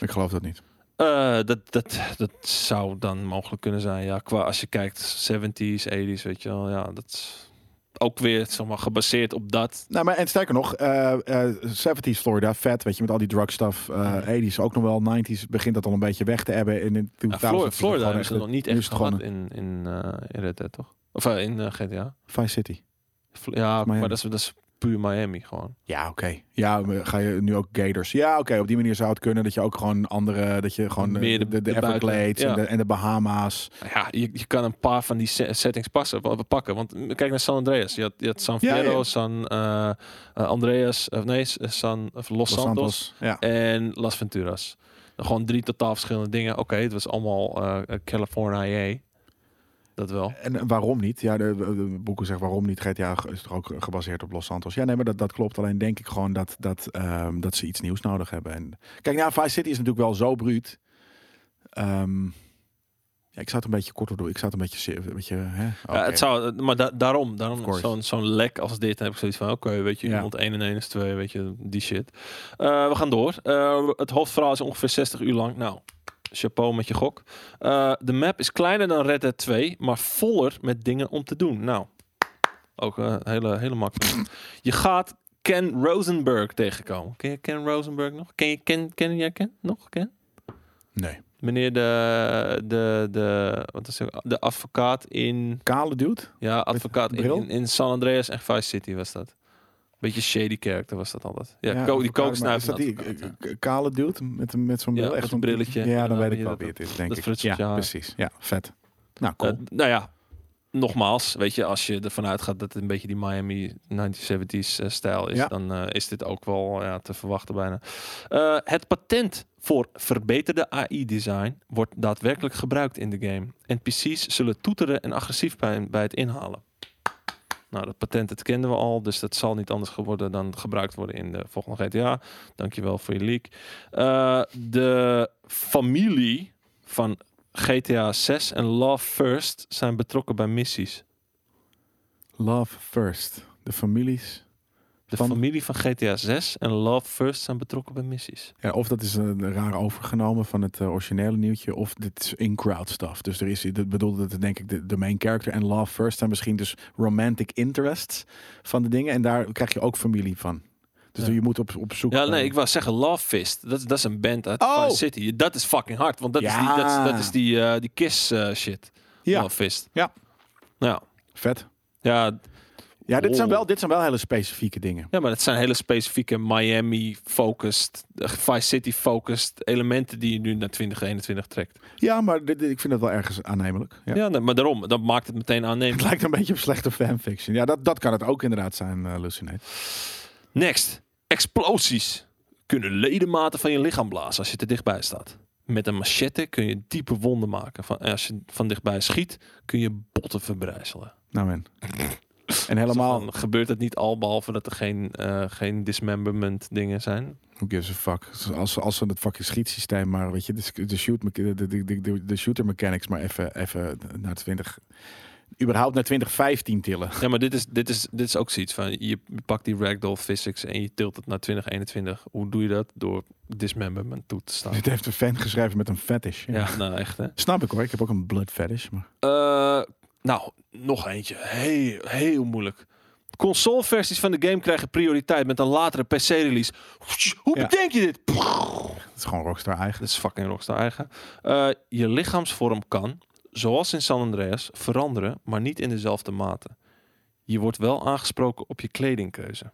Ik geloof dat niet.
Eh, dat, dat, dat zou dan mogelijk kunnen zijn. Ja, qua als je kijkt 70s, 80s, weet je wel. Ja, dat is ook weer zeg maar, gebaseerd op dat.
Nou, maar en sterker nog, eh eh 70s Florida, vet, weet je, met al die drugstuff. eh 80s ook nog wel, 90s begint dat al een beetje weg te hebben. En in
Ja,
2000
Flor-
is
Florida
het gewoon
hebben ze
echt
nog niet
nu
echt
is het gewoon
gehad in, in, eh, in Red Dead, toch? Of eh, in eh, GTA.
Vice City.
Fl- ja, maar
Miami.
dat is, dat is puur Miami gewoon.
Ja, oké. Ja, maar ga je nu ook Gators? Ja, oké. Op die manier zou het kunnen dat je ook gewoon andere, dat je gewoon eh,
Meer de-
de, de,
de buiten-
Everglades
ja.
en, de, en de Bahama's.
Ja, je, je kan een paar van die se- settings passen, wa- pakken. Want mm, kijk naar San Andreas. Je had, je had San
Ja, ja.
Fierro, San eh, eh, Andreas, of nee, S- eh, San, of Los, Santos.
Ja.
en Las Venturas. Gewoon drie totaal verschillende dingen. Oké, het was allemaal eh California. Dat wel.
En waarom niet? Ja, de, de boeken zeggen waarom niet. GTA is toch ook gebaseerd op Los Santos? Ja, nee, maar dat, dat klopt. Alleen denk ik gewoon dat, dat, ehm, dat ze iets nieuws nodig hebben. En, kijk, nou, Vice City is natuurlijk wel zo bruut. Ehm, ja, ik zou het een beetje korter doen. Ik zou het een beetje... se- Een beetje hè?
Ja, het zou, eh, maar da- daarom,
Of
daarom
course.
zo'n zo'n lek als dit, dan heb ik zoiets van, oké, weet je,
Ja.
iemand 1 en 1 is 2, weet je, die shit. Eh, we gaan door. Eh, het hoofdverhaal is ongeveer 60 uur lang. Nou, chapeau met je gok. Eh, de map is kleiner dan Red Dead 2, maar voller met dingen om te doen. Nou, ook eh hele, hele makkelijk. Je gaat Ken Rosenberg tegenkomen. Ken je Ken Rosenberg nog? Ken je Ken, ken jij Ken nog? Ken?
Nee.
Meneer de, de, de, wat is het? de advocaat in...
Kale dude?
Ja, advocaat in,
bril?
in, in San Andreas en Vice City was dat. Beetje shady character was dat altijd. Ja, ko- die
advocaat, maar
kooksnuif.
Is dat die eh, k- kale dude met, een- met zo'n
Ja,
bril?
met
Echt
een
zo'n
brilletje.
Ja, dan
Ja,
weet ik
ja,
wel
dat-
wie het is, denk
dat
ik.
frutseltje
ja,
haar.
precies. Ja, vet. Nou, cool.
nou ja, nogmaals, weet je, als je ervan uitgaat dat het een beetje die Miami 1970s eh, stijl is,
Ja.
dan eh, is dit ook wel ja, te verwachten bijna. Eh, het patent voor verbeterde AI-design wordt daadwerkelijk gebruikt in de game. NPC's zullen toeteren en agressief bij, bij het inhalen. Nou, dat patent dat kenden we al, dus dat zal niet anders geworden dan gebruikt worden in de volgende GTA. Dankjewel voor je leak. Eh, de familie van GTA 6 en Love First zijn betrokken bij missies.
Love first. De families.
De
Van-
familie van GTA 6 en Love First zijn betrokken bij missies.
Ja, of dat is een raar overgenomen van het eh, originele nieuwtje. Of dit is in-crowd stuff. Dus er is, dat bedoelde dat het, denk ik de, de main character en love first zijn misschien dus romantic interests van de dingen. En daar krijg je ook familie van. Dus
Ja.
je moet op, op zoek
Ja,
naar-
nee, ik wou zeggen Love Fist. Dat, is- dat is een band uit
Oh!
Vice City. Dat is fucking hard, want dat is die,
Ja.
dat is, dat is die, eh, die Kiss eh, shit.
ja,
Love Fist.
Ja.
Nou,
vet.
ja,
Ja, dit, zijn
Oh.
wel, dit zijn wel hele specifieke dingen.
ja, maar dat zijn hele specifieke Miami-focused, eh, Vice City-focused elementen die je nu naar 2021 trekt.
Ja, maar dit, dit- ik vind het wel ergens aannemelijk. Ja.
Ja, nee, maar daarom, dat maakt het meteen
[laughs] Het
aannemelijk.
lijkt een beetje op slechte fanfiction. Ja, dat, dat kan het ook inderdaad zijn, eh Lucinate.
Next. Explosies kunnen ledematen van je lichaam blazen als je te dichtbij staat. Met een machette kun je diepe wonden maken. Van, en als je van dichtbij schiet, kun je botten verbrijzelen.
Nou, man. En
Zo
helemaal,
van, gebeurt het niet al, behalve dat er geen, eh, geen dismemberment dingen zijn.
who gives a fuck? Als, ze- als ze het fucking schietsysteem maar, weet je, de, de, shoot, mecha- de, de, de- de, de shooter mechanics maar even, even naar 20... Überhaupt naar 2015 tillen.
Ja, maar dit is, dit is, dit is ook zoiets van, je pakt die ragdoll physics en je tilt het naar 2021. Hoe doe je dat? Door dismemberment toe te staan.
[laughs] Dit heeft een fan geschreven met een fetish.
Ja, nou echt hè.
Snap ik hoor, ik heb ook een blood fetish. Maar...
Eh, nou, nog eentje. Heel, heel moeilijk. Consoleversies van de game krijgen prioriteit met een latere PC-release. Hoe
Ja.
bedenk je dit? Pff,
Het is gewoon Rockstar eigen.
Dat is fucking Rockstar eigen. Eh, je lichaamsvorm kan, zoals in San Andreas, veranderen, maar niet in dezelfde mate. Je wordt wel aangesproken op je kledingkeuze.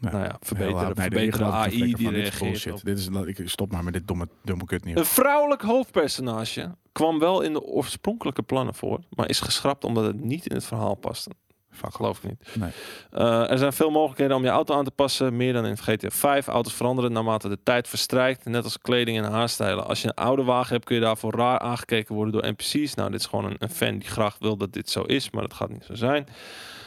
Ja,
nou ja,
Heel
verbeteren,
laat. Nee,
verbeteren
daar geloof ik geen
AI die
flikker van. Dit is
reageert op.
bullshit. Dit is, la- ik stop maar met dit domme, domme kut nieuws.
Een vrouwelijk hoofdpersonage kwam wel in de oorspronkelijke plannen voor, maar is geschrapt omdat het niet in het verhaal paste.
Fuck off.
Geloof ik niet.
Nee.
Eh, er zijn veel mogelijkheden om je auto aan te passen. Meer dan in GTA 5. Auto's veranderen naarmate de tijd verstrijkt. Net als kleding en haarstijlen. Als je een oude wagen hebt, kun je daarvoor raar aangekeken worden door NPC's. Nou, dit is gewoon een, een fan die graag wil dat dit zo is. Maar dat gaat niet zo zijn.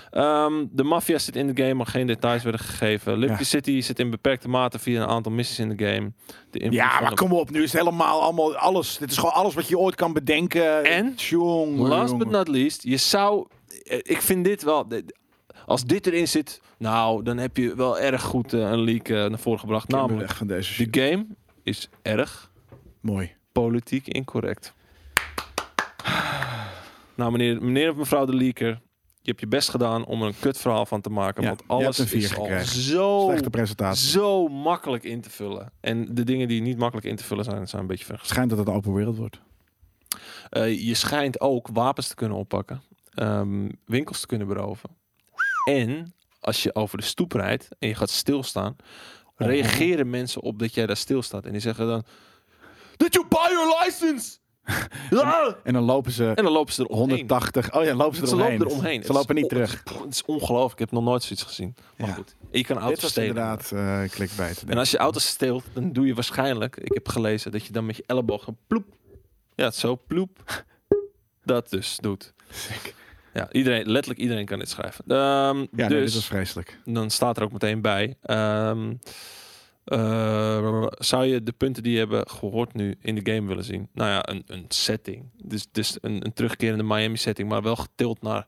Ehm, de maffia zit in de game, maar geen details werden gegeven. Liberty
Ja.
City zit in beperkte mate via een aantal missies in de game. De invloed
Ja,
van
maar
de-
kom op. Nu is het helemaal allemaal alles. Dit is gewoon alles wat je ooit kan bedenken.
En?
Tjonge,
Last
jonge.
but not least, je zou... eh, Ik vind dit wel... dit- Als dit erin zit, nou, dan heb je wel erg goed eh, een leak eh, naar voren gebracht.
Ik ben
Namelijk,
weg van deze
de
shit.
game is erg
Mooi.
politiek incorrect. Nou, meneer, meneer of mevrouw de leaker, je hebt je best gedaan om er een kut verhaal van te maken.
Ja,
want
je
alles
hebt een vier
is al
gekregen.
zo,
Slechte presentatie.
zo makkelijk in te vullen. En de dingen die niet makkelijk in te vullen zijn, zijn een beetje ver.
Het schijnt dat het een open wereld wordt.
Eh, je schijnt ook wapens te kunnen oppakken, ehm, winkels te kunnen beroven. En als je over de stoep rijdt en je gaat stilstaan,
Oh.
reageren mensen op dat jij daar stilstaat. En die zeggen dan: Did you buy your license?
[laughs]
Ja!
En dan lopen ze
En dan lopen ze er
180. Oh ja, lopen ze
Ze
eromheen.
lopen eromheen.
Ze lopen niet
Het is
terug.
on- Het is ongelooflijk. Ik heb nog nooit zoiets gezien. Maar
Ja.
goed, je kan
Dit
auto's
was
stelen.
inderdaad eh clickbait.
En als je auto's steelt, dan doe je waarschijnlijk, ik heb gelezen, dat je dan met je elleboog een ploep. Ja, zo ploep. Dat dus doet. Ja, iedereen, letterlijk iedereen kan dit schrijven. Ehm,
Ja, nee,
dus
dit was vreselijk.
dan staat er ook meteen bij. ehm, eh, zou je de punten die je hebben gehoord nu in de game willen zien? Nou ja, een, een setting. Dus, dus een, een terugkerende Miami setting, maar wel getild naar.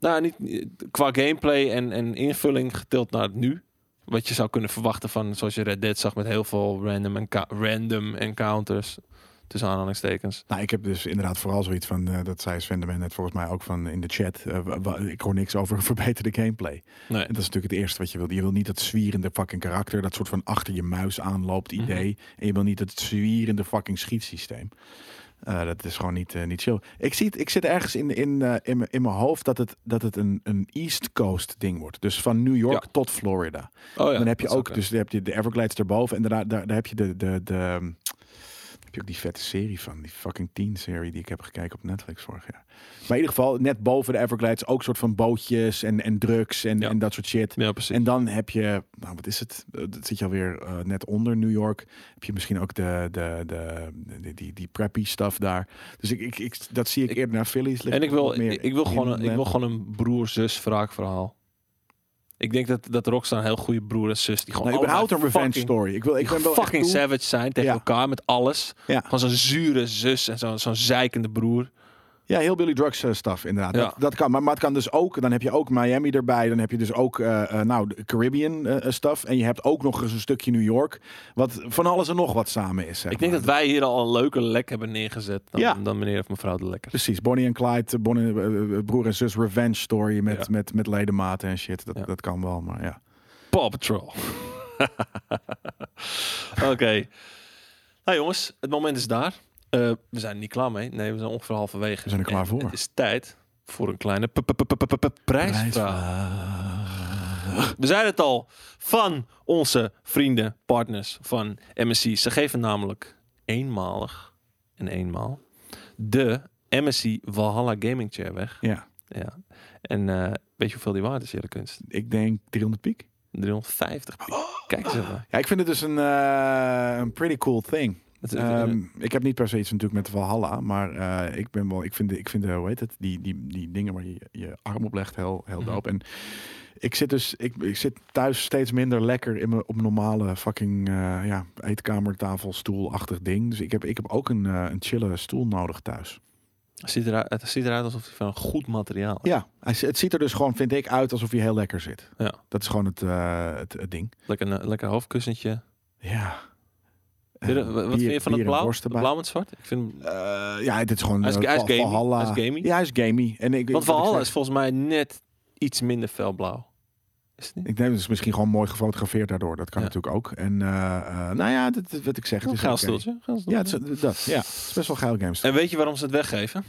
Nou, niet qua gameplay en, en invulling getild naar het nu. Wat je zou kunnen verwachten van zoals je Red Dead zag met heel veel random, enca- random encounters. Tussen aanhalingstekens.
Nou, ik heb dus inderdaad vooral zoiets van, eh, dat zei Sven de Man net volgens mij ook van in de chat. eh, wa- wa- ik hoor niks over [laughs] verbeterde gameplay.
Nee.
En eh, dat is natuurlijk het eerste wat je wil. Je wil niet dat zwierende fucking karakter, dat soort van achter je muis aanloopt idee. En je wil niet dat zwierende fucking schietsysteem. Eh, dat is gewoon niet, eh, niet chill. Ik, zie het, ik zit ergens in, in, eh, in, mijn- in mijn hoofd dat het, dat het een, een East Coast ding wordt. Dus van New York
Ja.
tot Florida.
Oh ja,
dan heb je
dat is
ook, dus dan heb je de Everglades erboven. En daarna daar, daar heb je de. de, de ehm, heb je ook die vette serie van, die fucking teen serie die ik heb gekeken op Netflix vorig jaar. Maar in ieder geval, net boven de Everglades ook soort van bootjes en, en drugs en,
Ja.
en dat soort shit.
Ja, precies.
En dan heb je, nou wat is het? Eh, Dat zit je alweer eh, net onder New York. Heb je misschien ook de, de, de, de- die, die preppy stuff daar. Dus ik, ik, ik, dat zie ik,
Ik-
eerder naar Phillies. liggen.
En ik wil,
Wat meer
ik, ik wil gewoon een, ik
inland.
wil gewoon een broer-zus wraakverhaal. Ik denk dat, dat Rockstar een heel goede broer en zus die gewoon
nou, überhaupt een
allebei
revenge
fucking,
story. Ik wil, ik
die
ben wel echt
fucking
cool.
savage zijn tegen
Ja.
elkaar met alles.
Ja.
Gewoon zo'n zure zus en zo'n zo'n zeikende broer.
Ja, heel Billy Drugs eh, stuff inderdaad.
Ja.
Dat, dat kan. Maar, maar het kan dus ook, dan heb je ook Miami erbij. Dan heb je dus ook, eh, eh, nou, de Caribbean eh, eh, stuff. En je hebt ook nog eens een stukje New York. Wat van alles en nog wat samen is. zeg
Ik denk
maar.
dat wij hier al een leuke lek hebben neergezet dan,
Ja.
dan meneer of mevrouw de lekker.
Precies, Bonnie en Clyde, eh, Bonnie, eh, eh, broer en zus revenge story met,
Ja.
met, met ledematen en shit. Dat,
Ja.
dat kan wel, maar ja.
Paw Patrol. [laughs] Oké. Nou jongens, het moment is daar. Eh, we zijn er niet klaar mee. Nee, we zijn ongeveer halverwege.
We zijn er klaar
En
voor.
Het is tijd voor een kleine p- p- p- p- p- prijsvraag. We zeiden het al, van onze vrienden, partners van MSC. Ze geven namelijk eenmalig en eenmaal de MSC Valhalla Gaming Chair weg.
Ja,
Ja. En eh, weet je hoeveel die waard is, Jelle Kunst?
ik denk 300 piek.
350 piek. Kijk eens even.
Ja, ik vind het dus een, eh, een pretty cool thing.
Dat is-
Ehm, ik heb niet per se iets natuurlijk met Valhalla, maar eh, ik ben wel, ik vind, de- ik vind de, hoe heet het, die, die, die dingen waar je je arm op legt, heel, heel
Mhm.
dope. En ik zit dus, ik, ik zit thuis steeds minder lekker in mijn op mijn normale fucking eh ja, eetkamertafel, stoelachtig ding. Dus ik heb, ik heb ook een, eh, een chille stoel nodig thuis.
Ziet eruit, het ziet eruit alsof hij van goed materiaal is.
Ja, hij, het ziet er dus gewoon, vind ik, uit alsof je heel lekker zit.
Ja.
Dat is gewoon het, eh, het, het ding.
Lekker, een, lekker hoofdkussentje.
Ja.
Vind je-
Eh,
wat
bier-
vind je van het
bier en
blauw?
worst
Het
erbij.
blauw met zwart? Ik vind,
Eh, ja, dit is gewoon
Hij is-
eh,
hij is
Val-
gamey.
Valhalla.
Hij is gamey.
Ja, hij is gamey. En ik,
want
wat ik
Valhalla
zeg-
is volgens mij net iets minder felblauw. Is het niet?
Ik neem het is misschien gewoon mooi gefotografeerd daardoor. Dat kan
Ja.
natuurlijk ook. En eh, eh, nou ja, dat, dat- wat ik zeg. Het
Een
is
geil
oké.
stoeltje. geil
Ja, het
stoeltje.
is, dat, ja, het is best wel geil games.
En weet je waarom ze het weggeven?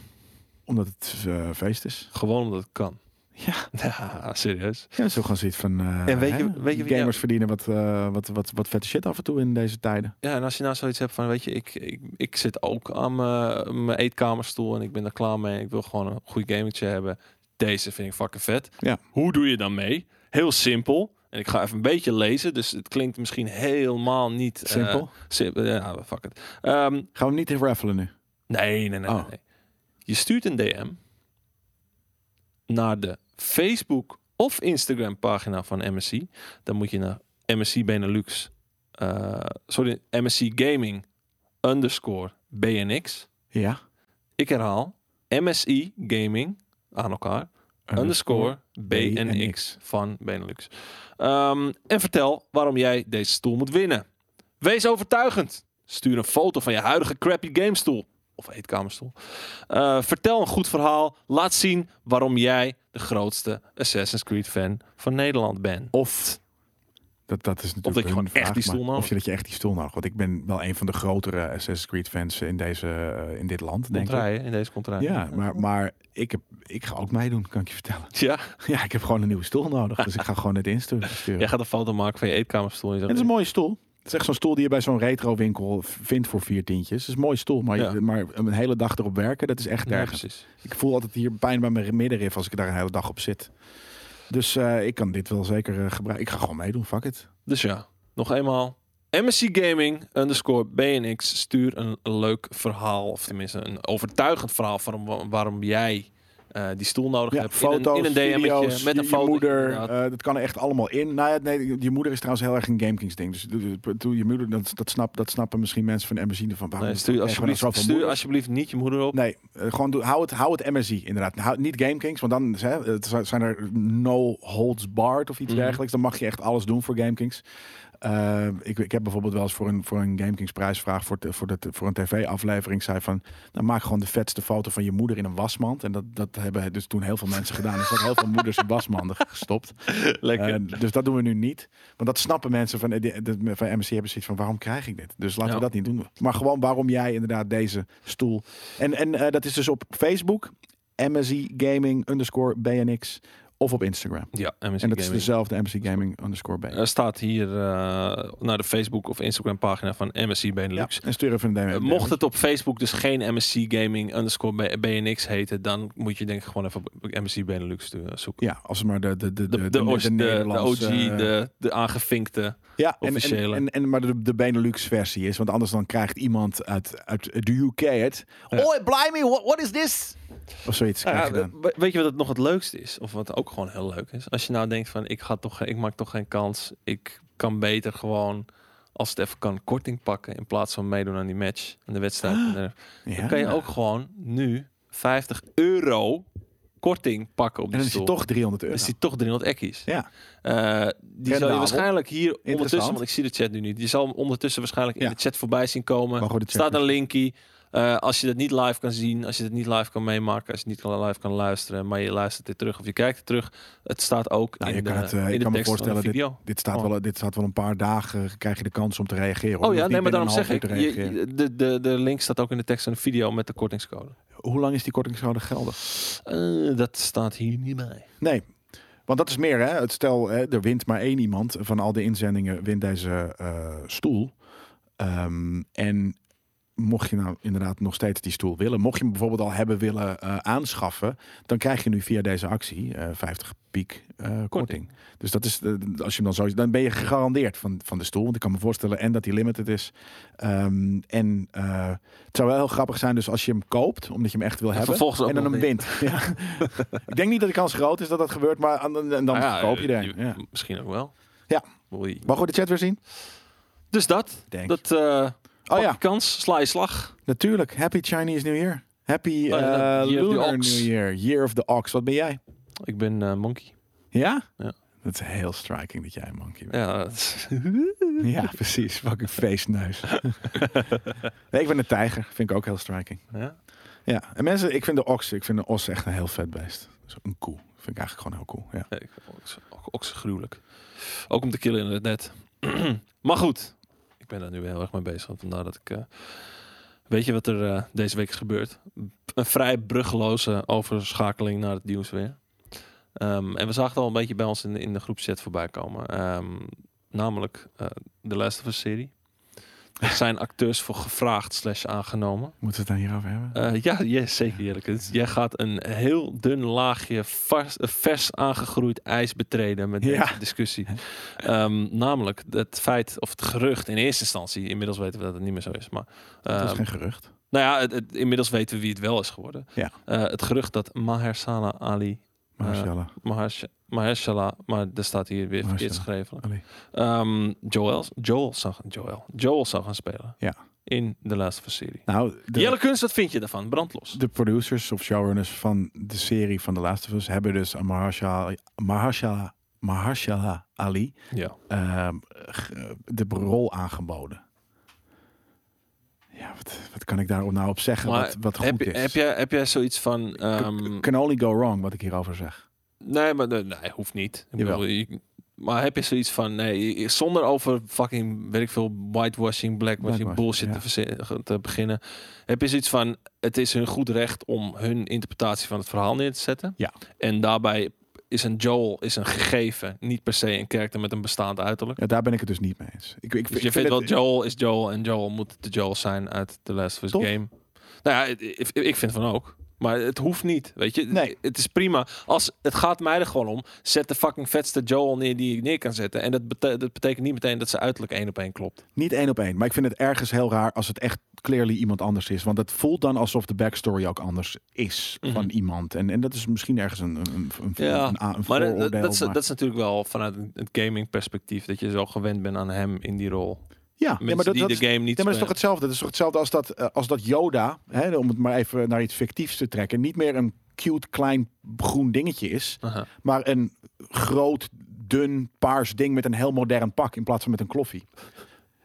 Omdat het eh, feest is.
Gewoon omdat het kan.
Ja.
[laughs] Ja, serieus.
Ja, dat is ook gewoon zoiets van. eh,
En weet je-
hè,
weet je wat
gamers
jou-
verdienen wat, eh, wat, wat, wat vette shit af en toe in deze tijden.
Ja, en als je nou zoiets hebt van, weet je, ik, ik, ik zit ook aan mijn mijn eetkamerstoel en ik ben er klaar mee. Ik wil gewoon een goed gamingtje hebben. Deze vind ik fucking vet.
Ja.
Hoe doe je dan mee? Heel simpel. En ik ga even een beetje lezen, dus het klinkt misschien helemaal niet... eh,
Simpel.
simpel. Ja, fuck het. Ehm,
Gaan we hem niet raffelen nu?
Nee, nee, nee, nee,
Oh.
nee. Je stuurt een DM naar de Facebook of Instagram pagina van MSC. Dan moet je naar MSC Benelux. eh, sorry, MSC Gaming underscore BNX.
Ja.
Ik herhaal, MSI Gaming aan elkaar underscore BNX van Benelux. Ehm, en vertel waarom jij deze stoel moet winnen. Wees overtuigend. Stuur een foto van je huidige crappy gamestoel. Of eetkamerstoel. Eh, vertel een goed verhaal. Laat zien waarom jij de grootste Assassin's Creed fan van Nederland bent.
Of dat, dat is natuurlijk
dat je
hun
gewoon echt
vraag,
die stoel
maar
nodig
Of je dat je echt die stoel nodig. Want ik ben wel een van de grotere Assassin's Creed fans in, deze, eh, in dit land, denk ik.
Contraien in deze contraien.
Ja, maar, maar ik, heb, ik ga ook meedoen, kan ik je vertellen. [laughs]
Ja,
Ja, ik heb gewoon een nieuwe stoel nodig. Dus ik ga gewoon het
[laughs]
insturen. sturen.
jij gaat een foto maken van je eetkamerstoel. En je
En het
zegt,
is een mooie stoel. Het is echt zo'n stoel die je bij zo'n retro winkel vindt voor vier tientjes. Het is een mooie stoel, maar, je-
Ja.
maar een hele dag erop werken, dat is echt
ja,
nergens.
precies.
ik voel altijd hier pijn bij mijn middenrif als ik daar een hele dag op zit. Dus eh, ik kan dit wel zeker eh, gebruiken. Ik ga gewoon meedoen, fuck it.
Dus ja, nog eenmaal. MSC Gaming underscore BNX. Stuur een leuk verhaal. Of tenminste een overtuigend verhaal waarom, waarom jij eh, die stoel nodig
Ja,
hebt.
foto's,
in een, in een DM'tje
video's,
met
je-
een
je,
foto.
moeder.
inderdaad.
eh, dat kan er echt allemaal in. Nou ja, nee, je moeder is trouwens heel erg een GameKings ding. Dus doe- doe- doe je moeder, dat, dat, snap, dat snappen misschien mensen van MSI van waarom
nee, stuur,
krijgen we nou
alsjeblieft,
zoveel
stuur
moeders?
alsjeblieft niet je moeder op.
Nee, eh, gewoon doe, hou, het, hou het MSI inderdaad. Hou, niet GameKings, want dan hè, het zi- zijn er no holds barred of iets
Mhm.
dergelijks. Dan mag je echt alles doen voor GameKings. Eh, ik, ik heb bijvoorbeeld wel eens voor een, voor een GameKings prijsvraag voor, te- voor, dat voor een tv-aflevering zei van... Dan maak gewoon de vetste foto van je moeder in een wasmand. En dat, dat hebben dus toen heel veel mensen gedaan. Er zijn heel veel moeders in wasmanden gestopt.
Lekker.
Eh, dus dat doen we nu niet. Want dat snappen mensen van, eh, die- de- van MSC hebben zoiets van waarom krijg ik dit? Dus laten
Ja.
we dat niet doen. Maar gewoon waarom jij inderdaad deze stoel. En, en eh, dat is dus op Facebook, MSI Gaming underscore BNX. Of op Instagram.
ja, MSC
en dat is dus-
Gaming.
dezelfde MSI Gaming underscore BNX.
Er staat hier eh, naar de Facebook of Instagram pagina van MSC
Ja,
Benelux.
en stuur even een DM.
Eh, Mocht het op Facebook dus geen MSC Gaming underscore B- BNX heten, dan moet je denk ik gewoon even op MSC Benelux eh, zoeken.
Ja, als het maar de, de, de,
De, de, OG, de, de, OG,
Nederlandse, eh,
de, de aangevinkte.
Ja, en, en,
Officiële.
en, en- maar de, de Benelux versie is. Want anders dan krijgt iemand uit, uit de UK het.
Ja.
Oh, blimey, what, what is this? Of zoiets krijg je dan.
Nou we- weet je wat het nog het leukste is? Of wat ook gewoon heel leuk is? Als je nou denkt van, ik, ga toch, ik maak toch geen kans. Ik kan beter gewoon, als het even kan, korting pakken. In plaats van meedoen aan die match, aan de wedstrijd. En er-
Ah, Ja.
Dan kan je ook gewoon nu 50 euro korting pakken op
En
die
dan is
stoel.
hij toch 300
Dan
euro.
is die toch 300 ekkies.
Ja.
Eh, die zal je
Rendabel.
waarschijnlijk hier ondertussen,
Interessant.
want ik zie de chat nu niet. Je zal hem ondertussen waarschijnlijk
Ja.
in de chat voorbij zien komen.
Maar goed, de
Er
chat
staat een linkie. Eh, als je dat niet live kan zien, als je dat niet live kan meemaken, als je niet live kan luisteren, maar je luistert dit terug of je kijkt het terug, het staat ook
Nou,
in
je
de,
kan het, eh,
in
ik
de
kan me
tekst van de
voorstellen,
video.
Dit staat,
Oh.
wel, dit staat wel een paar dagen, krijg je de kans om te reageren. hoor.
oh
Je
ja,
hoeft
nee, maar
niet
daarom
binnen
zeg
een
ik,
half uur
je-
te reageren.
je- de, de, de link staat ook in de tekst van de video met de kortingscode.
Hoe lang is die kortingscode geldig?
Eh, dat staat hier niet bij.
Nee, want dat is meer hè. Het stel, hè, er wint maar één iemand van al de inzendingen, wint deze eh, stoel. Ehm, en mocht je nou inderdaad nog steeds die stoel willen, mocht je hem bijvoorbeeld al hebben willen eh, aanschaffen, dan krijg je nu via deze actie eh, 50 piek eh, korting. Dus dat is, eh, als je hem dan zo, dan ben je gegarandeerd van, van de stoel. Want ik kan me voorstellen en dat die limited is. Ehm, en eh, het zou wel heel grappig zijn, dus als je hem koopt, omdat je hem echt wil
En
hebben,
vervolgens ook
en dan
nog
hem wint. Ja. [laughs] ik denk niet dat de kans groot is dat dat gebeurt, maar aan- en dan
Ah ja,
verkoop je er.
eh,
een. Ja.
Misschien ook wel.
Ja.
Oei.
Mag ik de chat weer zien?
Dus dat.
Denk.
Dat eh pak
oh
je
ja,
kans, sla je slag.
natuurlijk. Happy Chinese New Year. Happy
Oh ja,
eh,
Year of the
Lunar
Ox.
New Year. Year of the Ox. Wat ben jij?
Ik ben eh, monkey.
Ja?
Ja.
Dat is heel striking dat jij een monkey bent.
Ja, dat is-
Ja, precies. Fucking feestneus. [laughs] nee, ik ben een tijger. Vind ik ook heel striking.
[laughs] ja.
Ja. En mensen, ik vind de ox, ik vind de os echt een heel vet beest. Dus een koe. Vind ik eigenlijk gewoon heel cool. Ja.
Ja, ik vind Oks, ook- Oks gruwelijk. Ook om te killen in het net. [clears throat] maar goed, ik ben daar nu heel erg mee bezig. want Vandaar dat ik. eh, weet je wat er eh, deze week is gebeurd? Een vrij bruggeloze overschakeling naar het nieuws weer. Ehm, en we zagen het al een beetje bij ons in de, in de groepchat voorbij komen. Ehm, namelijk eh, de Last of Us serie. Er zijn acteurs voor gevraagd slash aangenomen.
Moeten we het dan hierover hebben?
Eh, ja, ja, zeker eerlijk. Het is- Jij gaat een heel dun laagje vars, eh, vers aangegroeid ijs betreden met
Ja.
deze discussie. Ehm, namelijk het feit, of het gerucht in eerste instantie, inmiddels weten we dat het niet meer zo is, maar
dat is
ehm,
geen gerucht.
nou ja, het, het- inmiddels weten we wie het wel is geworden.
Ja.
Eh, het gerucht dat Mahershala Ali
Marcella.
Mahersh Mahershala, maar daar staat hier weer verkeerd
Mahershala.
geschreven.
Allee.
Ehm, Joel, Joel, zou, gaan- Joel, Joel zou gaan spelen.
Ja.
In de Last of Us serie.
nou, de,
Jelle Kunst, wat vind je daarvan? Brandlos.
de producers of showrunners van de serie van The Last of Us hebben dus aan Mahershala, Mahershala, Mahershala Ali
Ja.
ehm, ge- de rol aangeboden. Ja, wat, wat kan ik daarop nou op zeggen
Maar
wat, wat goed
Heb, je-
is?
heb, jij, heb jij zoiets van... ehm,
Can only go wrong wat ik hierover zeg.
nee, maar nee, nee, hoeft niet. Ik
Jawel.
bedoel, je- maar heb je zoiets van... Nee, je- zonder over fucking, weet ik veel, whitewashing, blackwashing,
Blackwashing,
bullshit
ja.
te, verze- te beginnen. Heb je zoiets van... Het is hun goed recht om hun interpretatie van het verhaal neer te zetten.
Ja.
En daarbij is een Joel is een gegeven. Niet per se een karakter met een bestaand uiterlijk.
Ja, daar ben ik het dus niet mee eens. Ik, ik, ik
Dus je vindt wel
het-
Joel is Joel en Joel moet de Joel zijn uit The Last of Us
Toch?
game. Nou ja, ik- ik, ik vind van ook. Maar het hoeft niet, weet je.
Nee.
Het is prima. Als, het gaat mij er gewoon om. Zet de fucking vetste Joel neer die je neer kan zetten. En dat, bete- dat betekent niet meteen dat ze uiterlijk één op één klopt.
Niet één op één. Maar ik vind het ergens heel raar als het echt clearly iemand anders is. Want het voelt dan alsof de backstory ook anders is
Mhm.
van iemand. En, en dat is misschien ergens een, een, een, een,
Ja,
een, a- een
Maar dat,
vooroordeel.
dat, dat is,
maar-
dat is natuurlijk wel vanuit het gaming perspectief. Dat je zo gewend bent aan hem in die rol.
ja,
Mensen
ja, maar dat,
die
dat
de
is,
game niet
ja, maar dat is toch
spelen.
hetzelfde. Dat is toch hetzelfde als dat, eh, als dat Yoda, hè, om het maar even naar iets fictiefs te trekken, niet meer een cute klein groen dingetje is,
Aha.
maar een groot, dun, paars ding met een heel modern pak in plaats van met een kloffie.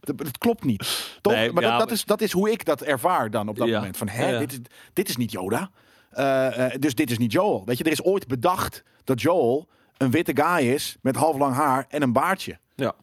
Dat, dat klopt niet. Toch?
Nee,
maar
ja,
dat, dat,
maar-
is, dat is hoe ik dat ervaar dan op dat
Ja.
moment. Van, hè,
Ja.
dit, is, dit is niet Yoda. Eh, eh, dus dit is niet Joel. Weet je, er is ooit bedacht dat Joel een witte guy is met half lang haar en een baardje.
Ja.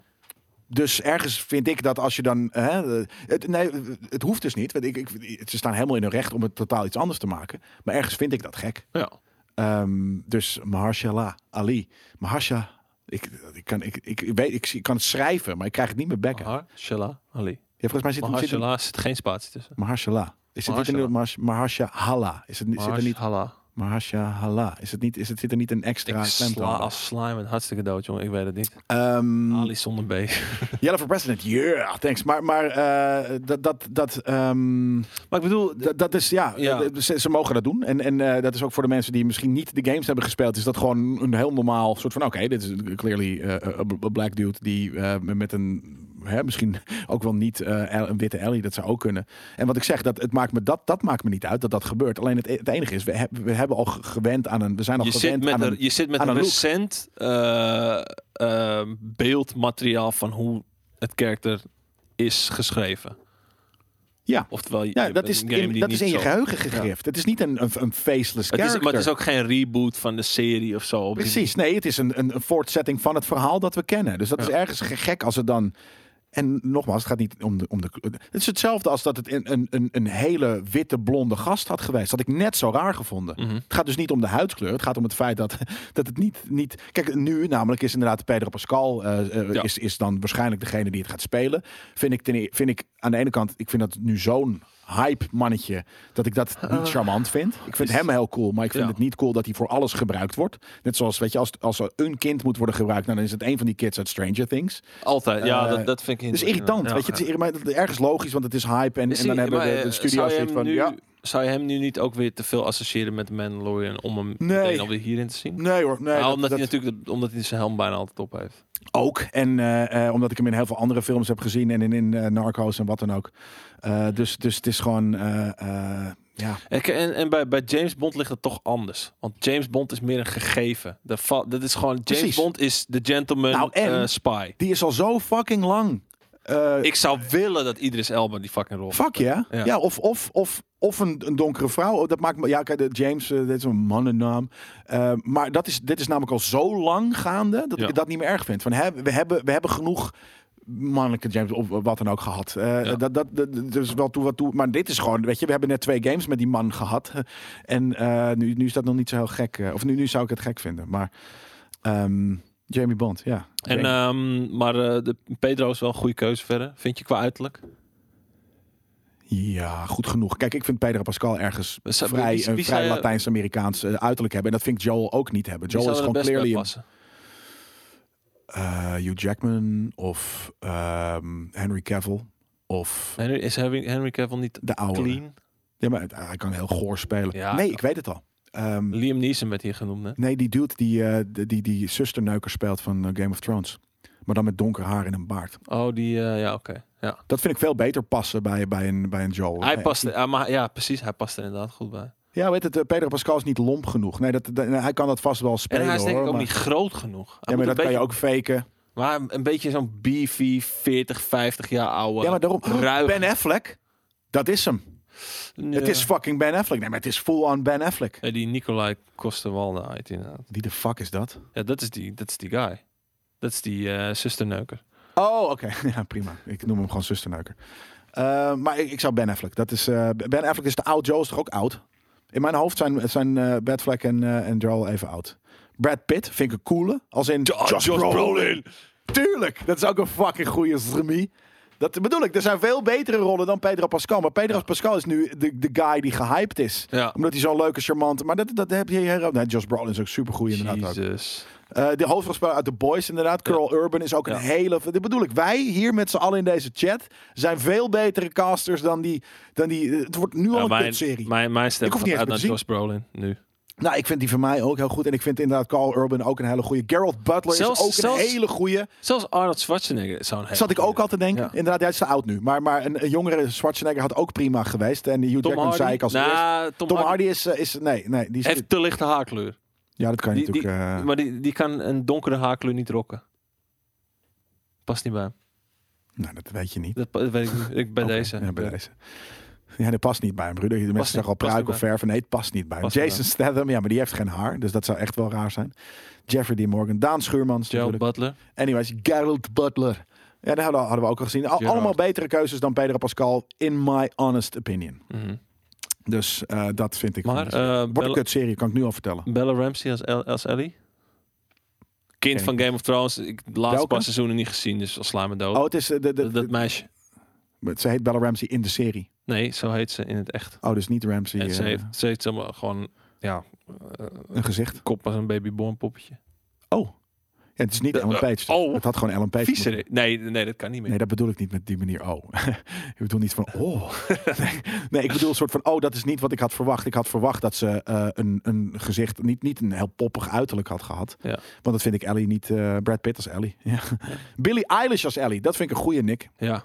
Dus ergens vind ik dat als je dan. Hè, eh, het, nee, het hoeft dus niet. Want ik, ik, ze staan helemaal in hun recht om het totaal iets anders te maken. Maar ergens vind ik dat gek.
ja.
Ehm, dus Mahershala Ali. Mahersha. Ik, ik, kan, ik, ik, weet, ik, zie- ik kan het schrijven, maar ik krijg het niet meer bekken.
Mahershala Ali.
Ja, volgens mij zit er zit een-
Mahershala zit geen spatie tussen.
Mahershala. Is het niet een Mahars- Mahershala? Is het, niet- zit er niet
Mahershala.
Mahershala? Is het niet? Is het zit er niet een extra
Ik sla
klemtoon?
als slime een hartstikke dood, jongen. Ik weet het niet.
Ehm,
Ali zonder B.
Jelle for president. Yeah, thanks. Maar, maar eh, dat dat dat. ehm,
[laughs] Maar ik bedoel,
D- Dat is, ja,
Ja.
eh, Ze, ze mogen dat doen. En, en eh, dat is ook voor de mensen die misschien niet de games hebben gespeeld, is dat gewoon een heel normaal soort van, oké, dit is clearly eh, a a black dude die eh, met een, hè, misschien [laughs] ook wel niet eh, al- een witte Ellie, dat zou ook kunnen. En wat ik zeg, dat, het maakt me, dat, dat maakt me niet uit dat dat gebeurt. Alleen het, het enige is, we, heb- we hebben al ge- gewend aan een, we zijn al
je zit,
gewend
met
aan
een,
een...
je zit met
aan
een
een look.
recent eh, eh, beeldmateriaal van hoe het karakter is geschreven.
Ja.
Oftewel, je
Ja,
hebt
dat is,
een game
in,
die
dat is
niet
in je
zo-
geheugen gegrift. Het is niet een, een, een faceless
Het is,
character.
maar het is ook geen reboot van de serie of zo. Op die-
Precies, nee, het is een, een, een voortzetting van het verhaal dat we kennen. Dus dat is ergens ge- gek als het dan. En nogmaals, het gaat niet om de, om de. Het is hetzelfde als dat het een- een, een, een hele witte blonde gast had geweest. Dat had ik net zo raar gevonden.
Mhm.
Het gaat dus niet om de huidskleur. Het gaat om het feit dat, [laughs] dat het niet, niet. Kijk, nu namelijk is inderdaad Pedro Pascal. eh, eh,
Ja.
is, is dan waarschijnlijk degene die het gaat spelen. Vind ik, ten, e- vind ik aan de ene kant. Ik vind dat nu zo'n hype mannetje. Dat ik dat
[laughs]
niet charmant vind. Ik vind hem heel cool. Maar ik vind
Ja.
het niet cool dat hij voor alles gebruikt wordt. Net zoals, weet je, als, als er een kind moet worden gebruikt. nou, dan is het een van die kids uit Stranger Things.
Altijd, ja,
Eh,
dat, dat vind ik
Dus irritant.
Ja,
weet je,
ja.
het is ir- maar ergens logisch, want het is hype. En,
Is
en dan
hij-
hebben
maar,
de, de
eh,
studio's
zou je
zoiets
hem
van.
nu-
ja,
Zou je hem nu niet ook weer te veel associëren met de Mandalorian om hem
Nee.
meteen alweer hierin te zien?
nee hoor. Nee,
Nou,
dat-
omdat
dat-
hij natuurlijk de- omdat hij zijn helm bijna altijd op heeft.
Ook. En eh, eh, omdat ik hem in heel veel andere films heb gezien. En in, in eh, Narcos en wat dan ook. Eh, dus, dus het is gewoon... eh, eh, ja.
En, k- en, en bij, bij James Bond ligt het toch anders. Want James Bond is meer een gegeven. De va- dat is gewoon, James
Precies.
Bond is de gentleman
Nou, en-
eh, spy.
Die is al zo fucking lang. Eh,
Ik zou willen dat Idris Elba die fucking rol
fuck ja.
Ja.
Ja, of, of, of, of een, een donkere vrouw. Oh, Dat maakt me... Ja, kijk, de James, eh, dit is een mannennaam. Eh, maar dat is, dit is namelijk al zo lang gaande... dat
Ja.
ik dat niet meer erg vind. Van, hè, we, hebben, we hebben genoeg mannelijke James of wat dan ook gehad. Eh,
Ja.
dat, dat, dat, dat is wel toe wat toe. Maar dit is gewoon, weet je, we hebben net twee games met die man gehad. [laughs] En eh, nu, nu is dat nog niet zo heel gek. eh, of nu, nu zou ik het gek vinden. Maar ehm, Jamie Bond, ja.
En,
Jamie-
ehm, maar eh, de, Pedro is wel een goede keuze verder. Vind je qua uiterlijk?
ja, goed genoeg. Kijk, ik vind Pedro Pascal ergens
Maar zou- wie-
vrij,
wie
een vrij
zou-
Latijns-Amerikaans eh, uiterlijk hebben. En dat vind ik Joel ook niet hebben.
Die
Joel
zou er
is
het
gewoon
best bij
clearly een-
passen.
eh, Hugh Jackman of ehm, Henry Cavill of
Henry, is Henry, Henry Cavill niet
de oude.
clean?
Ja, maar ah, hij kan heel goor spelen.
Ja,
nee,
ja.
ik weet het al. Eh, ehm,
Liam Neeson werd hier genoemd, hè?
nee, die dude die, eh, die, die, die zusterneuker speelt van eh, Game of Thrones. Maar dan met donker haar en een baard.
Oh, die, eh, ja, oké. Ja.
Dat vind ik veel beter passen bij, bij, een, bij een Joel.
Hij
Oh, Nee,
paste, ah, maar, ja, precies, hij past er inderdaad goed bij.
Ja, weet het, eh, Pedro Pascal is niet lomp genoeg. Nee, dat, dat- hij kan dat vast wel
En
spelen.
hij is denk
hoor,
ik ook
maar-
niet groot genoeg. Hij
Ja, maar
moet
dat
een
kan je
beetje-
ook faken.
Maar een beetje zo'n beefy, 40, 50 jaar oude.
Ja, maar daarom...
ruig.
Ben Affleck, dat is hem.
Ja.
Het is fucking Ben Affleck. Nee, maar het is full-on Ben Affleck.
Ja, die Nicolai Coster-Waldau heet die inderdaad.
Wie de fuck is dat?
Ja, dat is die, dat is die guy. Dat is die eh zusterneuker.
Oh, oké. [laughs] Ja, prima. Ik noem hem gewoon zusterneuker. Eh, maar ik, ik zou Ben Affleck. Dat is, eh, ben Affleck is de oud. Joe is toch ook oud? In mijn hoofd zijn, zijn eh, Ben Affleck en, eh, en Joel even oud. Brad Pitt vind ik een coole. Als in Josh, Brolin. Tuurlijk. Dat is ook een fucking goede Remy. Dat bedoel ik. Er zijn veel betere rollen dan Pedro Pascal. Maar Pedro Pascal is nu de, de guy die gehyped is.
Ja.
Omdat hij zo'n leuke, charmante... Maar dat, dat heb je hier ook. Nee, Josh Brolin is ook supergoed inderdaad. ook.
Jezus.
Eh, de hoofdrolspeler uit The Boys inderdaad. Carl Urban is ook een
Ja.
hele... Dit bedoel ik, wij hier met z'n allen in deze chat... zijn veel betere casters dan die... Dan die het wordt nu al
Ja,
een
mijn,
kutserie.
mijn, mijn stem
Ik hoef
gaat
niet
uit
eens
naar
meer te
Josh Brolin nu.
Nou, ik vind die van mij ook heel goed. En ik vind inderdaad Carl Urban ook een hele goede. Gerald Butler
Zelfs-
is ook
zelfs-
een hele goede.
Zelfs Arnold Schwarzenegger zou een hele
Zat ik ook
goeie-
al te denken.
Ja.
Inderdaad, hij is te oud nu. Maar, maar een, een jongere Schwarzenegger had ook prima geweest. En Hugh Jackman
Hardy?
zei ik als eerst.
Nou, Tom,
Tom
Hardy
Hardy is... eh, is nee, nee. Die is,
heeft te lichte haarkleur.
ja, dat kan je
Die, die,
natuurlijk... eh,
Maar die, die kan een donkere haarkleur niet rocken. Past niet bij hem.
nou, dat weet je niet.
Dat, pa- dat weet ik niet. Ik bij
Oké,
deze.
Ja, bij deze. Ja, dat past niet bij hem, Bruder. De mensen
niet,
zeggen al
past
pruik
niet
of verf. Nee, het past niet bij hem.
Past niet
Jason Statham, ja, maar die heeft geen haar. Dus dat zou echt wel raar zijn. Jeffrey D. Morgan, Daan Schuurmans.
Joe
natuurlijk.
Butler.
Anyways, Gerald Butler. Ja, dat hadden we- hadden we ook al gezien. Al-
Gerard.
allemaal betere keuzes dan Pedro Pascal, in my honest opinion.
Mhm.
Dus eh, dat vind ik.
Maar eh,
Wordt een
Bella,
kutserie, kan ik nu al vertellen.
Bella Ramsey als, El- als Ellie? Kind
Ken
van Game of Thrones. Ik heb de laatste
Welke?
paar seizoenen niet gezien, dus al sla me dood.
Oh, het is, eh, de, de,
dat, dat meisje.
ze heet Bella Ramsey in de serie.
Nee, zo heet ze in het echt.
Oh, dus niet Ramsey.
en ze
eh,
heeft, ze heeft zomaar gewoon ja, eh,
een gezicht.
kop als een babyborn poppetje.
Oh. Ja, het is niet
De-
Ellen Page. dus.
oh.
Het had gewoon Ellen Page. moeten
Viezerik. Nee, nee, dat kan niet meer.
Nee, dat bedoel ik niet met die manier. Oh, [laughs] ik bedoel niet van
[laughs]
oh. Nee, nee, ik bedoel een soort van oh, dat is niet wat ik had verwacht. Ik had verwacht dat ze eh, een, een gezicht, niet, niet een heel poppig uiterlijk had gehad.
Ja.
Want dat vind ik Ellie niet. eh, Brad Pitt als Ellie. Ja. [laughs] Billie Eilish als Ellie. Dat vind ik een goede Nick.
Ja,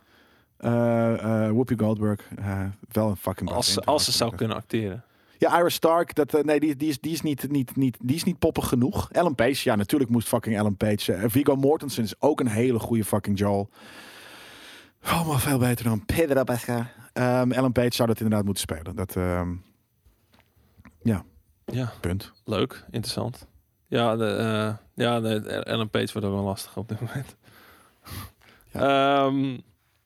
Eh, eh, Whoopi Goldberg. eh, wel een fucking. bad
als, ze-
intro,
als ze
vind
zou
ik.
kunnen acteren.
Ja, Iris Stark, dat, eh, nee, die, die, is, die, is niet, niet, niet, die is niet poppig genoeg. Ellen Page, ja, natuurlijk moest fucking Ellen Page. eh, Viggo Mortensen is ook een hele goede fucking Joel. Allemaal veel beter dan Pedro Pascal. Ehm, Ellen Page zou dat inderdaad moeten spelen. Dat, ehm,
Ja,
punt.
leuk, interessant. Ja, de, eh, ja de, Ellen Page wordt ook wel lastig op dit moment. Ja,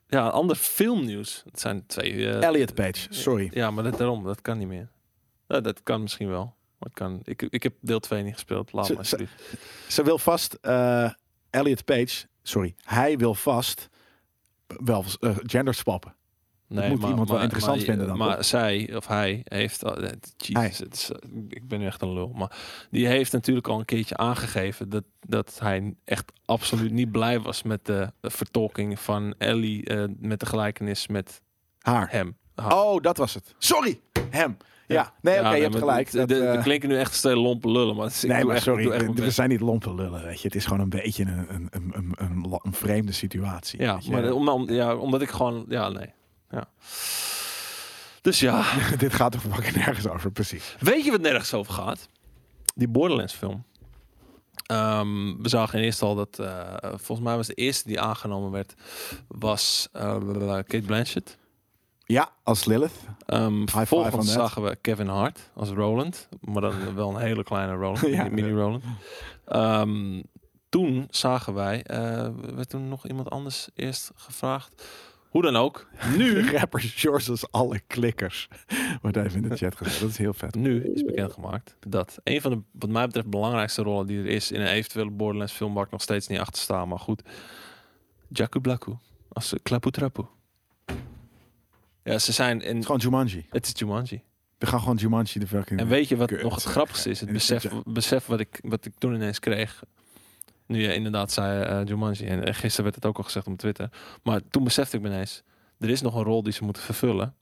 ja ander filmnieuws. Het zijn twee... eh,
Elliot Page, sorry.
Ja, maar dat, daarom, dat kan niet meer. Nou, dat kan misschien wel. Maar het kan, ik, ik heb deel 2 niet gespeeld. Laat
Ze-
maar
ze-
alsjeblieft.
Ze wil vast, eh, Elliot Page, sorry, hij wil vast wel eh, gender swappen.
Nee,
moet iemand wel interessant
maar-
vinden dan,
Maar zij of hij heeft... al- eh, Jezus, het is, eh, ik ben nu echt een lul. Maar die heeft natuurlijk al een keertje aangegeven... dat, dat hij echt absoluut niet blij was met de vertolking van Ellie... eh, met de gelijkenis met
Haar.
hem. Haar.
Oh, dat was het. Sorry, hem. Ja, nee,
Ja,
Eh, oké, je hebt
maar
gelijk.
het-
Dat,
de-
eh,
er klinken nu echt steeds lompe lullen. Maar het is- ik
nee,
doe
maar
echt, ik
sorry,
doe echt mijn
we
best.
zijn niet lompe lullen, weet je. Het is gewoon een beetje een, een, een, een, een, la- een vreemde situatie.
Ja,
weet je.
maar om, om- ja, omdat ik gewoon... Ja, nee. Ja. Dus ja.
[laughs] dit gaat er fucking nergens over, precies.
Weet je wat nergens over gaat? Die Borderlands film. Ehm, we zagen in eerste al dat... eh, volgens mij was de eerste die aangenomen werd... was eh, Kate Blanchett.
Ja, als Lilith.
Ehm,
five on
vervolgens
that.
zagen we Kevin Hart als Roland. Maar dan wel een hele kleine
[laughs]
Roland.
Ja.
mini- mini Roland. Ehm, toen zagen wij... eh werd toen nog iemand anders eerst gevraagd. Hoe dan ook. Nu...
[laughs] De rapper George als alle klikkers. Wordt even in de chat gezet. Dat is heel vet.
Nu is bekendgemaakt dat een van de, wat mij betreft, belangrijkste rollen die er is in een eventuele Borderlands film waar ik nog steeds niet achter sta, maar goed. Jakku Blaku als eh, Klapu Trapu. Ja, ze zijn
Het
in.
is gewoon Jumanji.
Het is Jumanji.
We gaan gewoon Jumanji de fucking...
En weet je wat
Kut.
nog het grappigste is? Het
En ik
besef,
vind
besef wat, ik, wat ik toen ineens kreeg. Nu je inderdaad zei eh, Jumanji. En eh, gisteren werd het ook al gezegd op Twitter. Maar toen besefte ik me ineens. Er is nog een rol die ze moeten vervullen.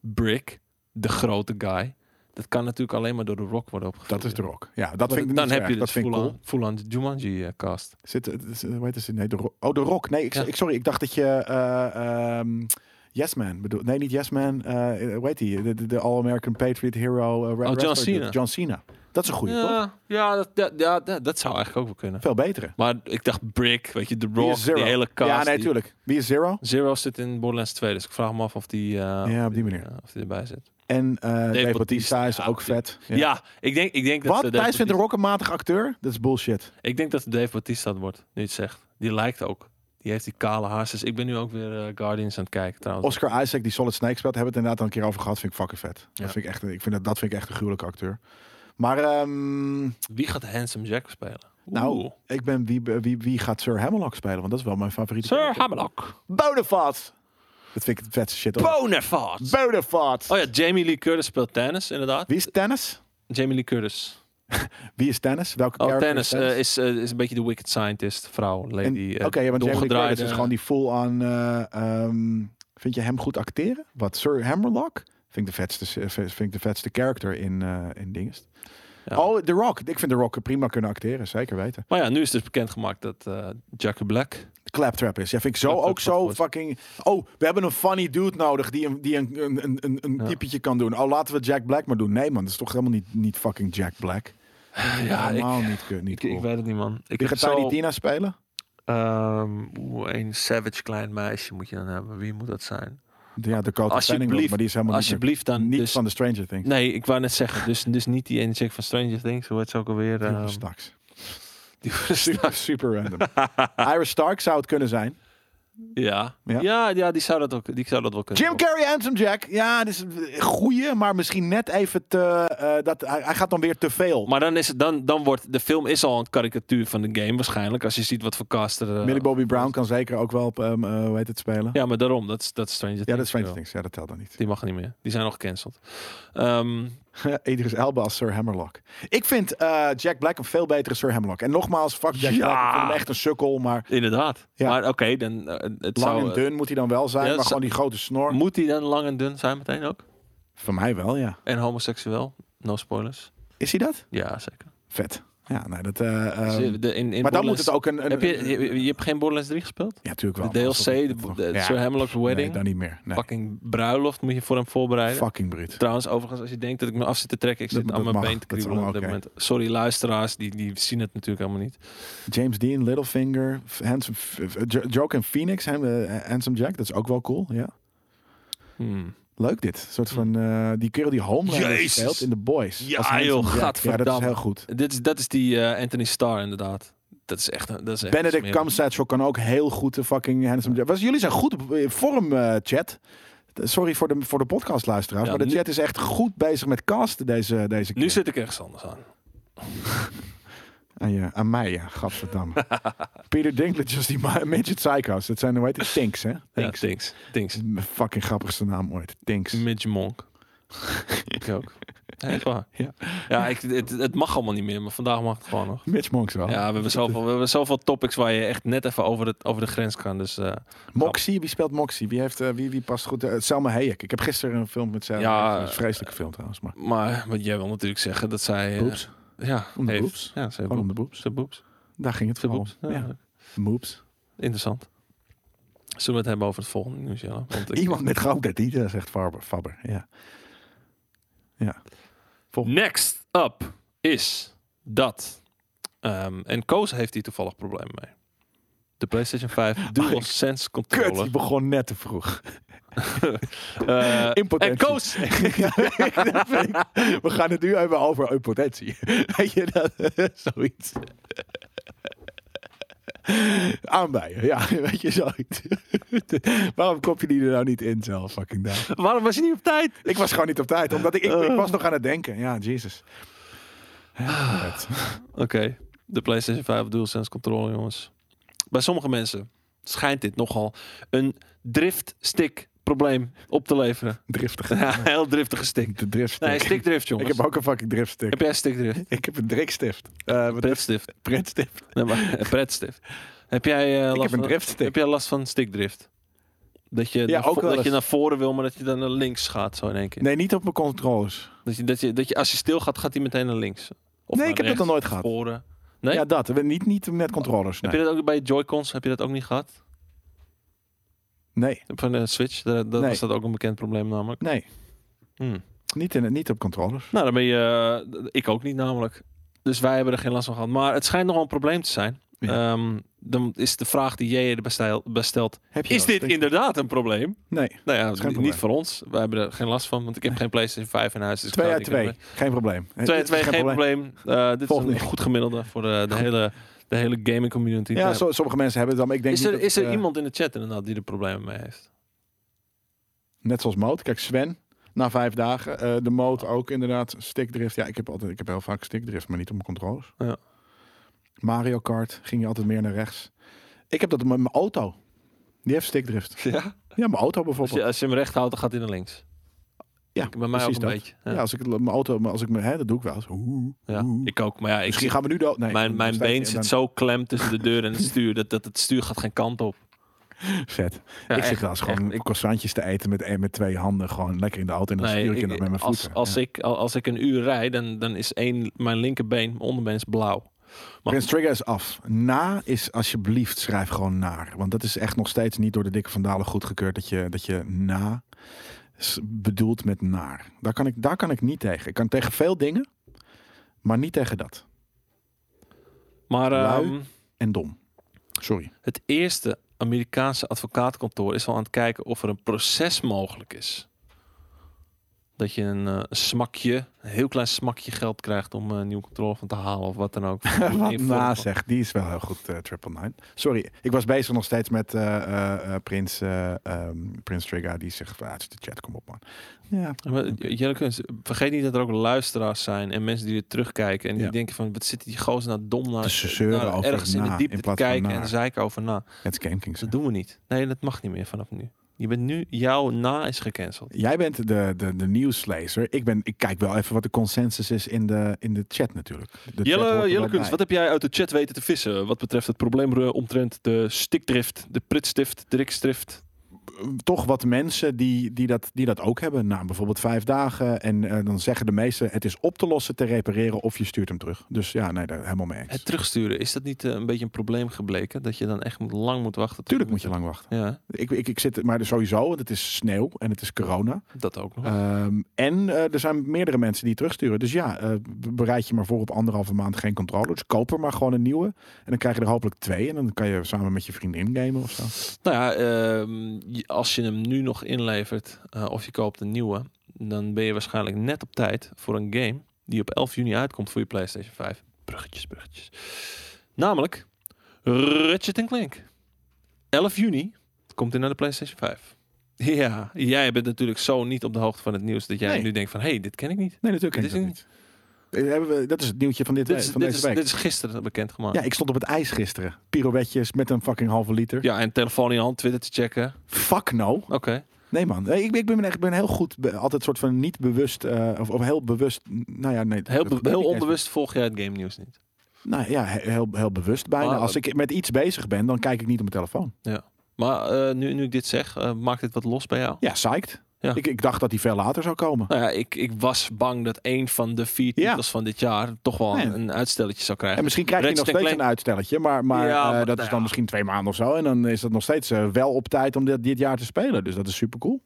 Brick, de grote guy. Dat kan natuurlijk alleen maar door de rock worden opgevoerd.
Dat is de rock. Ja, dat
Maar
vind ik
dan
niet zo
heb je de
erg. dat vind ik
full-on
cool.
full-on Jumanji-cast.
Zit, eh, is, eh, hoe heet het? Nee, de Ro- oh, de Rock. Nee, ik,
Ja.
ik- sorry, ik dacht dat je eh, ehm, Yes Man bedoel. Nee, niet Yes Man. eh hoe heet die? De, de, de All-American Patriot Hero. eh, ra-
Oh, John
wrestler dude.
Cena.
John Cena. Dat is een goede, toch?
ja, ja, dat, ja, ja, dat, dat zou eigenlijk ook wel kunnen.
Veel betere.
Maar ik dacht Brick, weet je, de
Wie
rock,
is Zero?
die hele cast.
ja, nee,
die-
natuurlijk. Wie is Zero?
Zero zit in Borderlands 2, dus ik vraag me af of die, eh,
ja, op die manier.
eh, of die erbij zit.
En eh Dave Bautista
Bautista,
is
ja,
ook
die-
vet.
Ja, ik denk, ik denk dat
Wat?
ze
Thijs vindt de
Bautista-
Rock een matig acteur? Dat is bullshit.
Ik denk dat Dave Bautista het wordt, nu je het zegt. Die lijkt ook. Die heeft die kale haarsjes. Ik ben nu ook weer eh, Guardians aan het kijken trouwens.
Oscar Isaac, die Solid Snake speelt, hebben we het inderdaad al een keer over gehad. Vind ik fucking vet.
Ja.
Dat, vind ik echt, een- ik vind dat, dat vind ik echt een gruwelijke acteur. Maar ehm,
Wie gaat Handsome Jack spelen?
nou,
Oeh.
ik ben wie, wie, wie gaat Sir Hammerlock spelen? Want dat is wel mijn favoriete.
Sir
character.
Hammerlock.
Bonafide. Dat vind ik het vetste shit. ooit.
Bonafide.
Bonafide.
Oh ja, Jamie Lee Curtis speelt tennis, inderdaad.
Wie is tennis?
Jamie Lee Curtis.
Wie is tennis? Welke
Oh,
character
tennis
is
eh, is, eh, is een beetje de wicked scientist, vrouw, lady.
En-
eh,
Oké, ja, want Jamie Lee
doorgedraaide-
Curtis is gewoon die full-on... eh, ehm, vind je hem goed acteren? Wat, Sir Hammerlock? Vind ik de vetste, eh, vind ik de vetste character in, eh in Dingest.
Ja.
Oh, The Rock. Ik vind The Rock prima kunnen acteren, zeker weten.
Maar ja, nu is dus bekendgemaakt dat eh Jack Black...
Claptrap is. Ja, vind ik zo
Claptrap
ook
is
zo
goed.
fucking... Oh, we hebben een funny dude nodig die een, die een, een, een, een- een
Ja.
typetje kan doen. Oh, laten we Jack Black maar doen. Nee man, dat is toch helemaal niet, niet fucking Jack Black.
Ja, ik,
Helemaal niet, ke- niet
ik,
cool.
ik weet het niet, man. Ik
Wie
heb
gaat
zo...
Tiny Tina spelen?
ehm, oeh, een savage klein meisje moet je dan hebben. Wie moet dat zijn?
Ja, Dakota Fanning, wel,
Alsjeblieft.
maar die is helemaal niet, meer-
Alsjeblieft dan.
niet
dus,
van de Stranger Things.
Nee, ik wou net zeggen. Dus, dus niet die ene chick van Stranger Things. Hoe heet ze ook alweer?
Super
ehm, [laughs] dus-
Starks.
die
Super,
[laughs]
super random. Iris Stark zou het kunnen zijn.
ja.
Ja.
Ja. Ja, die zou dat ook die zou dat wel kunnen.
Jim Carrey, Handsome Jack. Ja, dat is een goeie, maar misschien net even te... eh, dat, hij, hij gaat dan weer te veel.
Maar dan, is het, dan, dan wordt de film is al een karikatuur van de game waarschijnlijk. Als je ziet wat voor cast er... eh,
Millie Bobby Brown kan zeker ook wel, op, ehm, eh, hoe heet het, spelen. Ja,
Ja, maar daarom. Dat is, dat is Stranger Things.
dat is Stranger
wel.
Things. Ja, dat telt dan niet. [laughs]
Die mag niet meer. Die zijn nog gecanceld. Ehm,
Idris Elba als Sir Hammerlock. Ik vind eh, Jack Black een veel betere Sir Hammerlock. En nogmaals, fuck Jack
Ja.
Black. Ik vind hem echt een sukkel, maar
inderdaad.
Ja.
Maar oké, dan... eh, het
lang
zou,
en dun moet hij dan wel zijn.
Ja,
maar
dat
gewoon die grote snor.
Moet hij dan lang en dun zijn meteen ook?
Van mij wel, ja.
En homoseksueel? No spoilers.
Is hij dat?
Ja, zeker.
Vet. Ja, nee, dat... eh, ehm,
Dus, eh, de- in, in
maar dan
Borderlands-
moet het ook een... een
Heb je, je, je hebt geen Borderlands 3 gespeeld?
ja, natuurlijk
De
wel.
DLC, de,
Dat-
de-
ja.
Sir Hamlock's Wedding.
Nee, dan niet meer. Nee.
Fucking bruiloft moet je voor hem voorbereiden.
Fucking Brit.
Trouwens, overigens, als je denkt dat ik me af zit te trekken, ik
Dat-
zit
dat
aan mijn
mag.
been te
Dat is
kriebelen op dit
allemaal
moment. Sorry, luisteraars, die, die zien het natuurlijk allemaal niet.
James Dean, Littlefinger, F- Handsome, F- F- Jo- Joke en Phoenix, hem, eh, Handsome Jack. Dat is ook wel cool, ja.
Hmm.
Leuk dit. Een soort van, eh, die kerel die Homelander
Jezus.
speelt in The Boys.
Ja,
Als Handsome
joh,
Jack. Ja, dat is
gadverdamme.
heel goed.
Dit is, dat is die eh, Anthony Starr inderdaad. Dat is echt... een- Dat is echt
Benedict
smerig.
Cumberbatch kan ook heel goed de fucking Handsome Jack. Was, jullie zijn goed op in vorm, eh, chat. Sorry voor de, voor de podcastluisteraars,
Ja,
maar de
nu-
chat is echt goed bezig met casten deze, deze keer.
Nu zit ik ergens anders aan.
Aan, je, aan mij, ja.
[laughs]
Gadverdamme. Peter Dinklage als die ma- midget psycho's. Dat zijn, hoe heet het? Tinks, hè?
Ja,
Tinks.
Tinks. Tinks.
Mijn fucking grappigste naam ooit. Tinks.
Midge [laughs] Monk. ik ook. Nee, echt waar.
Ja.
Ja, ik, het, het mag allemaal niet meer, maar vandaag mag het gewoon nog.
Mitch Monks wel.
Ja, we hebben, zoveel, we hebben zoveel topics waar je echt net even over de, over de grens kan. Dus eh,
Moxie, wie speelt Moxie? Wie, heeft, eh, wie, wie past goed? eh, Selma Hayek. Ik heb gisteren een film met Selma.
Ja, eh,
Ja, een vreselijke film trouwens, maar.
Maar wat jij wil natuurlijk zeggen dat zij. eh,
Boobs.
Ja,
Om de
heeft-
boobs.
Ja, ze heeft
Gewoon om Oh, de
boobs.
boobs.
Ze heeft boobs.
Daar ging het
Ze heeft
vooral om.
boobs. Ja,
Ja.
leuk.
Moobs.
Interessant. Zullen we het hebben over het volgende nieuws, Jelle? Want ik-
Iemand met grote tieten, zegt Faber. Faber. Ja.
Next up is dat. ehm, en Koos heeft hier toevallig problemen mee. De PlayStation 5 DualSense
Kut, die
controller.
begon net te vroeg. [laughs]
Eh, en
Impotentie.
Koos,
Dat vind ik- We gaan het nu even over impotentie. [laughs] Weet je dat? [laughs] Zoiets. Aanbijen, ja, [laughs] weet je zoiets. Waarom kop je die er nou niet in zelf, fucking daar?
waarom was je niet op tijd?
Ik was gewoon niet op tijd, omdat ik, ik, ik
Oh.
was nog aan het denken. Ja, Jesus. Ja,
Ah.
vet.
Oké, de PlayStation 5 DualSense controller, jongens. Bij sommige mensen schijnt dit nogal een driftstick probleem op te leveren.
[laughs] Driftig.
Ja, heel driftige stick.
De driftstick.
Nee,
[laughs]
stickdrift,
ik
jongens.
heb ook een fucking driftstick.
heb jij stickdrift?
Ik heb een drikstift. Eh wat
Pretstift.
pretstift.
Nee, maar, eh, pretstift. Heb jij, eh, last
Ik heb een
van,
driftstick.
heb jij last van stickdrift? Dat je,
Ja,
naar,
ook
vo-
wel
dat je
eens.
naar voren wil, maar dat je dan naar links gaat zo in één keer.
Nee, niet op mijn controllers.
Dat, je, dat, je, dat je als je stil gaat, gaat hij meteen naar links. Of
nee,
naar
ik heb dat
rechts,
nog nooit gehad.
voren. Nee? Oh,
Ja, dat. We- Niet, niet met controllers.
Heb
nee.
je dat ook bij Joy-Cons? Heb je dat ook niet gehad?
Nee,
Van de Switch? Daar, daar
Nee.
was dat ook een bekend probleem namelijk.
nee.
Hmm.
Niet, in, niet op controllers.
Nou, dan ben je... eh, ik ook niet namelijk. Dus wij hebben er geen last van gehad. Maar het schijnt nogal een probleem te zijn.
Ja.
Ehm, dan is de vraag die jij erbij stel- bij stelt...
Heb je
Is
dat?
dit inderdaad een probleem?
Nee,
Nou ja,
geen
niet
probleem.
voor ons. Wij hebben er geen last van, want ik heb geen PlayStation 5 in huis. Dus ik
twee
kan
uit
het niet
twee. Geen probleem.
hebben. Twee uit twee, geen probleem. Eh, dit
Volgende.
is een goed gemiddelde voor de, de, hele, de hele gaming community.
Ja, zo- sommige mensen hebben het dan. maar Ik denk
is er,
niet dat,
is er
eh,
iemand in de chat inderdaad die er problemen mee heeft?
Net zoals Moot. Kijk, Sven. Na vijf dagen. eh, de Moot ook inderdaad. Stickdrift. Ja, ik heb, altijd, ik heb heel vaak stickdrift, maar niet op mijn controllers.
Ja.
Mario Kart ging je altijd meer naar rechts. Ik heb dat met mijn auto. Die heeft stickdrift.
Ja?
Ja, mijn auto
Als
bijvoorbeeld.
je, als je hem recht houdt, dan gaat hij naar links.
Ja,
bij mij ook
precies
een
dat.
beetje. Ja.
Ja, als ik het- mijn auto, maar als ik me, hè, dat doe ik wel eens. Oeh,
Ja,
oeh.
ik ook. Maar ja, ik,
Misschien gaan we nu dood. Nee,
mijn,
dan
mijn
sta je-
been
dan-
zit zo klem tussen de deur en het stuur dat, dat het stuur gaat geen kant op.
Vet.
Ja,
ik
echt.
zit wel eens gewoon
echt. Ik-
croissantjes te eten met, met twee handen. Gewoon lekker in de auto en dan
Nee,
stuur ik,
ik-
in dat met mijn
als,
voeten.
als,
ja.
ik, al- als ik een uur rijd, dan, dan is één, mijn linkerbeen, mijn onderbeen is blauw. mag-
Prins Trigger is af. Na is alsjeblieft schrijf gewoon naar. Want dat is echt nog steeds niet door de dikke vandalen goedgekeurd. Dat je, dat je na s- bedoelt met naar. Daar kan, ik, daar kan ik niet tegen. Ik kan tegen veel dingen, maar niet tegen dat.
Maar
Lui.
ehm,
En dom. Sorry.
het eerste Amerikaanse advocaatkantoor is al aan het kijken of er een proces mogelijk is. Dat je een, eh, een smakje, een heel klein smakje geld krijgt om eh, een nieuwe controle van te halen of wat dan
[laughs]
ook.
Wat
In vorm
na
van-
zegt, die is wel heel goed, eh, Triple Nine. Sorry, ik was bezig nog steeds met eh, eh, eh, Prins, eh, ehm, Prins Trigger. Die zegt, ah, het is de chat, kom op man. Ja,
Maar, Jelle Kunst, vergeet niet dat er ook luisteraars zijn en mensen die dit terugkijken en die
Ja.
denken van wat zit die gozer nou dom naar,
Dus ze zeuren
naar
over
ergens in
na,
de diepte
in
te
plaats van
kijken
naar.
en zeiken over na.
het is Game Kings. hè.
Dat doen we niet. Nee, dat mag niet meer vanaf nu. Je bent nu, jouw na is gecanceld.
Jij bent de, de, de nieuwslezer. Ik, ben, ik kijk wel even wat de consensus is in de, in de chat natuurlijk. De chat hoort er wel
Jelle, Jelle Kunst,
bij.
wat heb jij uit de chat weten te vissen wat betreft het probleem eh, omtrent de stikdrift, de pritstift, de rikstift?
Eh, Toch wat mensen die, die, dat, die dat ook hebben. Nou, bijvoorbeeld vijf dagen. En eh, dan zeggen de meesten het is op te lossen, te repareren of je stuurt hem terug. Dus ja, nee, daar helemaal mee eens.
Het terugsturen, is dat niet eh, een beetje een probleem gebleken? Dat je dan echt moet- lang moet wachten? tot-
Tuurlijk moet je lang wachten.
Ja,
Ik, ik, ik zit, maar sowieso, want het is sneeuw en het is corona.
dat ook nog.
Ehm, en eh, er zijn meerdere mensen die het terugsturen. Dus ja, eh, bereid je maar voor op anderhalve maand geen controllers. Koop er maar gewoon een nieuwe. En dan krijg je er hopelijk twee. En dan kan je samen met je vriendin gamen of zo.
Nou ja, ehm, je- als je hem nu nog inlevert eh, of je koopt een nieuwe, dan ben je waarschijnlijk net op tijd voor een game die op 11 juni uitkomt voor je PlayStation 5. Bruggetjes, bruggetjes. Namelijk Ratchet Clank. 11 juni komt hij naar de PlayStation 5. Ja, jij bent natuurlijk zo niet op de hoogte van het nieuws dat jij
Nee.
nu denkt van, hé, hey, dit ken ik niet.
Nee, natuurlijk ken
Dit
ik
is
dat niet. Eh, hebben we- Dat is het nieuwtje van, dit
Dit
we-
is,
van
dit
deze
is,
week.
dit is gisteren bekendgemaakt.
Ja,
Ja,
ik stond op het ijs gisteren. Pirouetjes met een fucking halve liter.
ja, en telefoon in je hand, Twitter te checken.
Fuck no.
Oké.
Nee man, Nee, ik, ben- ik ben, echt, ik ben heel goed, be- altijd soort van niet bewust, eh, of, of heel bewust, nou ja, nee.
Heel,
dat
be-
gebeurt
heel
niet eens.
onbewust volg jij het game nieuws niet.
Nou ja, he- heel, heel bewust bijna.
Ah,
Als ik met iets bezig ben, dan kijk ik niet op mijn telefoon.
Maar eh, nu, nu ik dit zeg, eh, maakt dit wat los bij jou?
Ja, psyched.
Ja.
Ik, ik dacht dat die veel later zou komen.
Nou ja, ik, ik was bang dat een van de vier
Ja.
titels van dit jaar toch wel
Nee.
een uitstelletje zou
En
krijgen.
misschien krijg je nog
Ratchet
steeds
Clank-
een uitstelletje, maar, maar
Ja,
eh,
maar
dat
nou
is dan
ja.
misschien twee maanden of zo. En dan is dat nog steeds eh, wel op tijd om dit, dit jaar te spelen. Dus dat is super cool.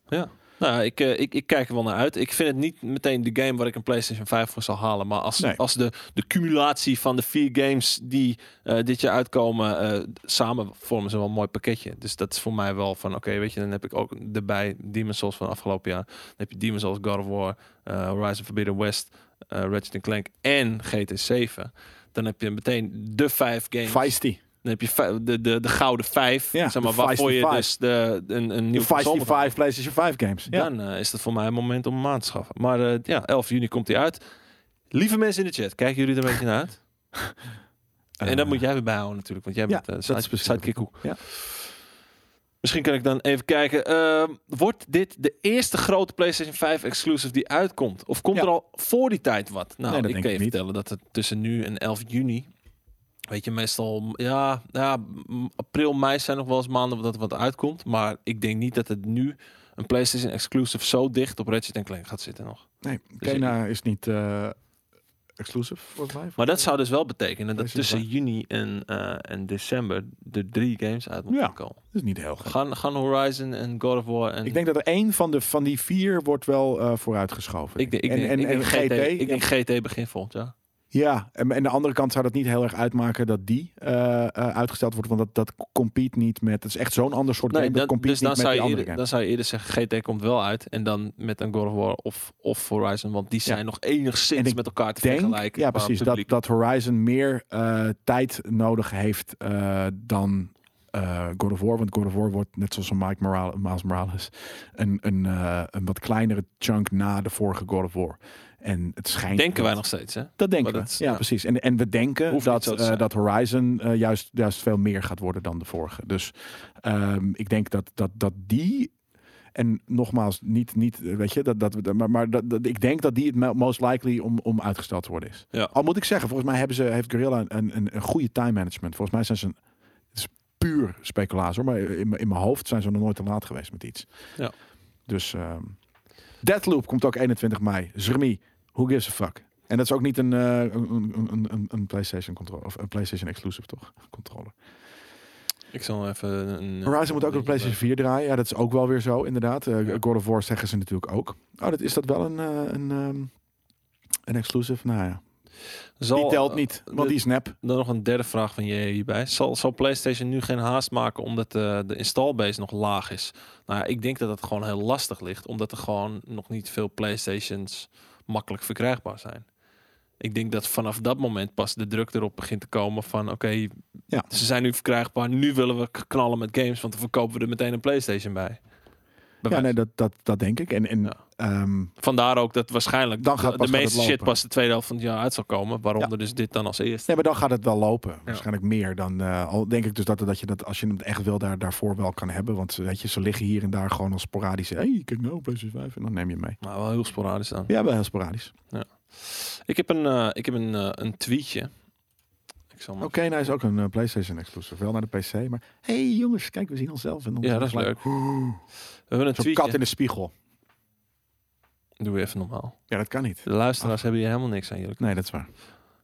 Nou ja, ik, eh, ik, ik kijk er wel naar uit. Ik vind het niet meteen de game waar ik een PlayStation 5 voor zal halen. Maar als,
Nee.
als de, de cumulatie van de vier games die eh, dit jaar uitkomen, eh, samen vormen ze wel een mooi pakketje. Dus dat is voor mij wel van, oké, weet je, dan heb ik ook erbij Demon's Souls van afgelopen jaar. Dan heb je Demon's Souls, God of War, eh Horizon Forbidden West, eh Ratchet Clank en GT7. Dan heb je meteen de vijf games.
Feisty.
Dan heb je vij- de, de, de gouden vijf,
Ja,
zeg
de
maar, waarvoor
feisty
je
five.
dus de, een, een
De
nieuwe console
Feisty
van-
5 PlayStation 5 games. Ja.
Dan eh, is dat voor mij een moment om hem aan te schaffen. Maar eh, ja, 11 juni komt hij uit. Lieve mensen in de chat, kijken jullie er een beetje naar uit? en dat
Eh,
moet jij weer bijhouden natuurlijk, want jij
ja,
bent eh,
dat
side-
is precies
sidekick hoe.
Ja.
Misschien kan ik dan even kijken. ehm, wordt dit de eerste grote PlayStation 5 exclusive die uitkomt? Of komt
Ja.
er al voor die tijd wat? Nou,
Nee, dat
ik
denk
kan
ik
je
niet.
vertellen dat het tussen nu en 11 juni Weet je, meestal, ja, ja, m- april, mei zijn nog wel eens maanden dat er wat uitkomt. Maar ik denk niet dat het nu een PlayStation exclusive zo dicht op Ratchet Clank gaat zitten nog.
Nee,
Dus
Kena is niet eh, exclusive, volgens mij.
Maar dat zou dus wel betekenen dat
Deze is
tussen juni en, eh, en december de drie games uit moeten
Ja.
komen.
Dat is niet heel gek.
Gaan, gaan Horizon en God of War en...
Ik denk dat er één van, de, van die vier wordt wel eh vooruitgeschoven.
ik denk, ik
en,
denk,
en,
ik
en
denk
GT.
Ik denk GT begin volgend jaar.
Ja, en en aan de andere kant zou dat niet heel erg uitmaken dat die eh, eh, uitgesteld wordt. Want dat, dat compete niet met... Het is echt zo'n ander soort
Nee,
game. dat
dan,
compete
dus dan
niet met
zou,
die
je
andere
eerder, dan
game.
zou je eerder zeggen GT komt wel uit. En dan met een God of War of, of Horizon. Want die
Ja.
zijn nog enigszins
En ik
met elkaar te
denk,
vergelijken.
ja
qua
precies, dat,
publiek.
dat Horizon meer eh, tijd nodig heeft eh, dan eh, God of War. Want God of War wordt, net zoals een Mike Morales, Miles Morales, een, een, eh, een wat kleinere chunk na de vorige God of War. En het schijnt...
Denken wij
dat-
nog steeds, hè?
Dat denken
Maar
we,
dat-
ja,
ja.
precies. En, en we denken
Hoeft niet
dat,
zo te
eh,
zijn.
dat Horizon eh, juist, juist veel meer gaat worden dan de vorige. Dus ehm, ik denk dat, dat, dat die... En nogmaals, niet, niet eh, weet je, dat, dat, we- maar, maar dat, dat, ik denk dat die het mo- most likely om, om uitgesteld te worden is.
Ja.
Al moet ik zeggen, volgens mij hebben ze, heeft Guerrilla een, een- een, een goede time management. Volgens mij zijn ze een, het is puur speculaas hoor, maar in, mijn- in mijn hoofd zijn ze nog nooit te laat geweest met iets.
Ja.
Dus ehm Deathloop komt ook 21 mei. Zrmi, who gives a fuck? En dat is ook niet een, eh, een, een, een- een, een PlayStation controller of een PlayStation exclusive toch? Controller.
Ik zal even... Een,
Horizon moet ook op de PlayStation 4 draaien. Ja, dat is ook wel weer zo inderdaad. Eh,
Ja.
God of War zeggen ze natuurlijk ook. Oh, dat is dat wel een eh, een, ehm, een exclusive? Nou ja.
Zal,
die telt niet,
eh,
want die is nep.
Dan nog een derde vraag van je hierbij. Zal, zal PlayStation nu geen haast maken omdat eh, de installbase nog laag is? Nou ja, ik denk dat dat gewoon heel lastig ligt, omdat er gewoon nog niet veel PlayStations makkelijk verkrijgbaar zijn. Ik denk dat vanaf dat moment pas de druk erop begint te komen van oké,
Ja.
ze zijn nu verkrijgbaar, nu willen we k- knallen met games, want dan verkopen we er meteen een PlayStation bij. Bij
Ja,
wijze.
nee, dat, dat, dat denk ik. En, en
Ja.
ehm,
Vandaar ook dat waarschijnlijk
Dan gaat
de,
pas
de
gaat
meeste
het
shit
lopen.
pas de tweede helft van het jaar uit zal komen, waaronder dus dit dan als eerste.
nee, maar dan gaat het wel lopen. Waarschijnlijk meer dan. eh, al denk ik dus dat, dat je dat als je het echt wil, daar, daarvoor wel kan hebben. Want weet je, ze liggen hier en daar gewoon als sporadisch. Hé, hey, kijk nou, PlayStation 5. En dan neem je hem mee.
Maar wel heel sporadisch dan.
Ja, wel heel sporadisch.
Ik heb een, eh, ik heb een, eh, een tweetje. Ik zal maar...
Oké, nou is ook een eh, PlayStation exclusive. Wel naar de PC. Maar hé hey, jongens, kijk, we zien onszelf. En dan
Ja, dat is
gelijk-
leuk. We hebben een
Zo'n kat
tweetje.
in de spiegel.
Doe even normaal.
Ja, dat kan niet.
De
Ah.
luisteraars hebben hier helemaal niks aan jullie.
Nee, dat is waar.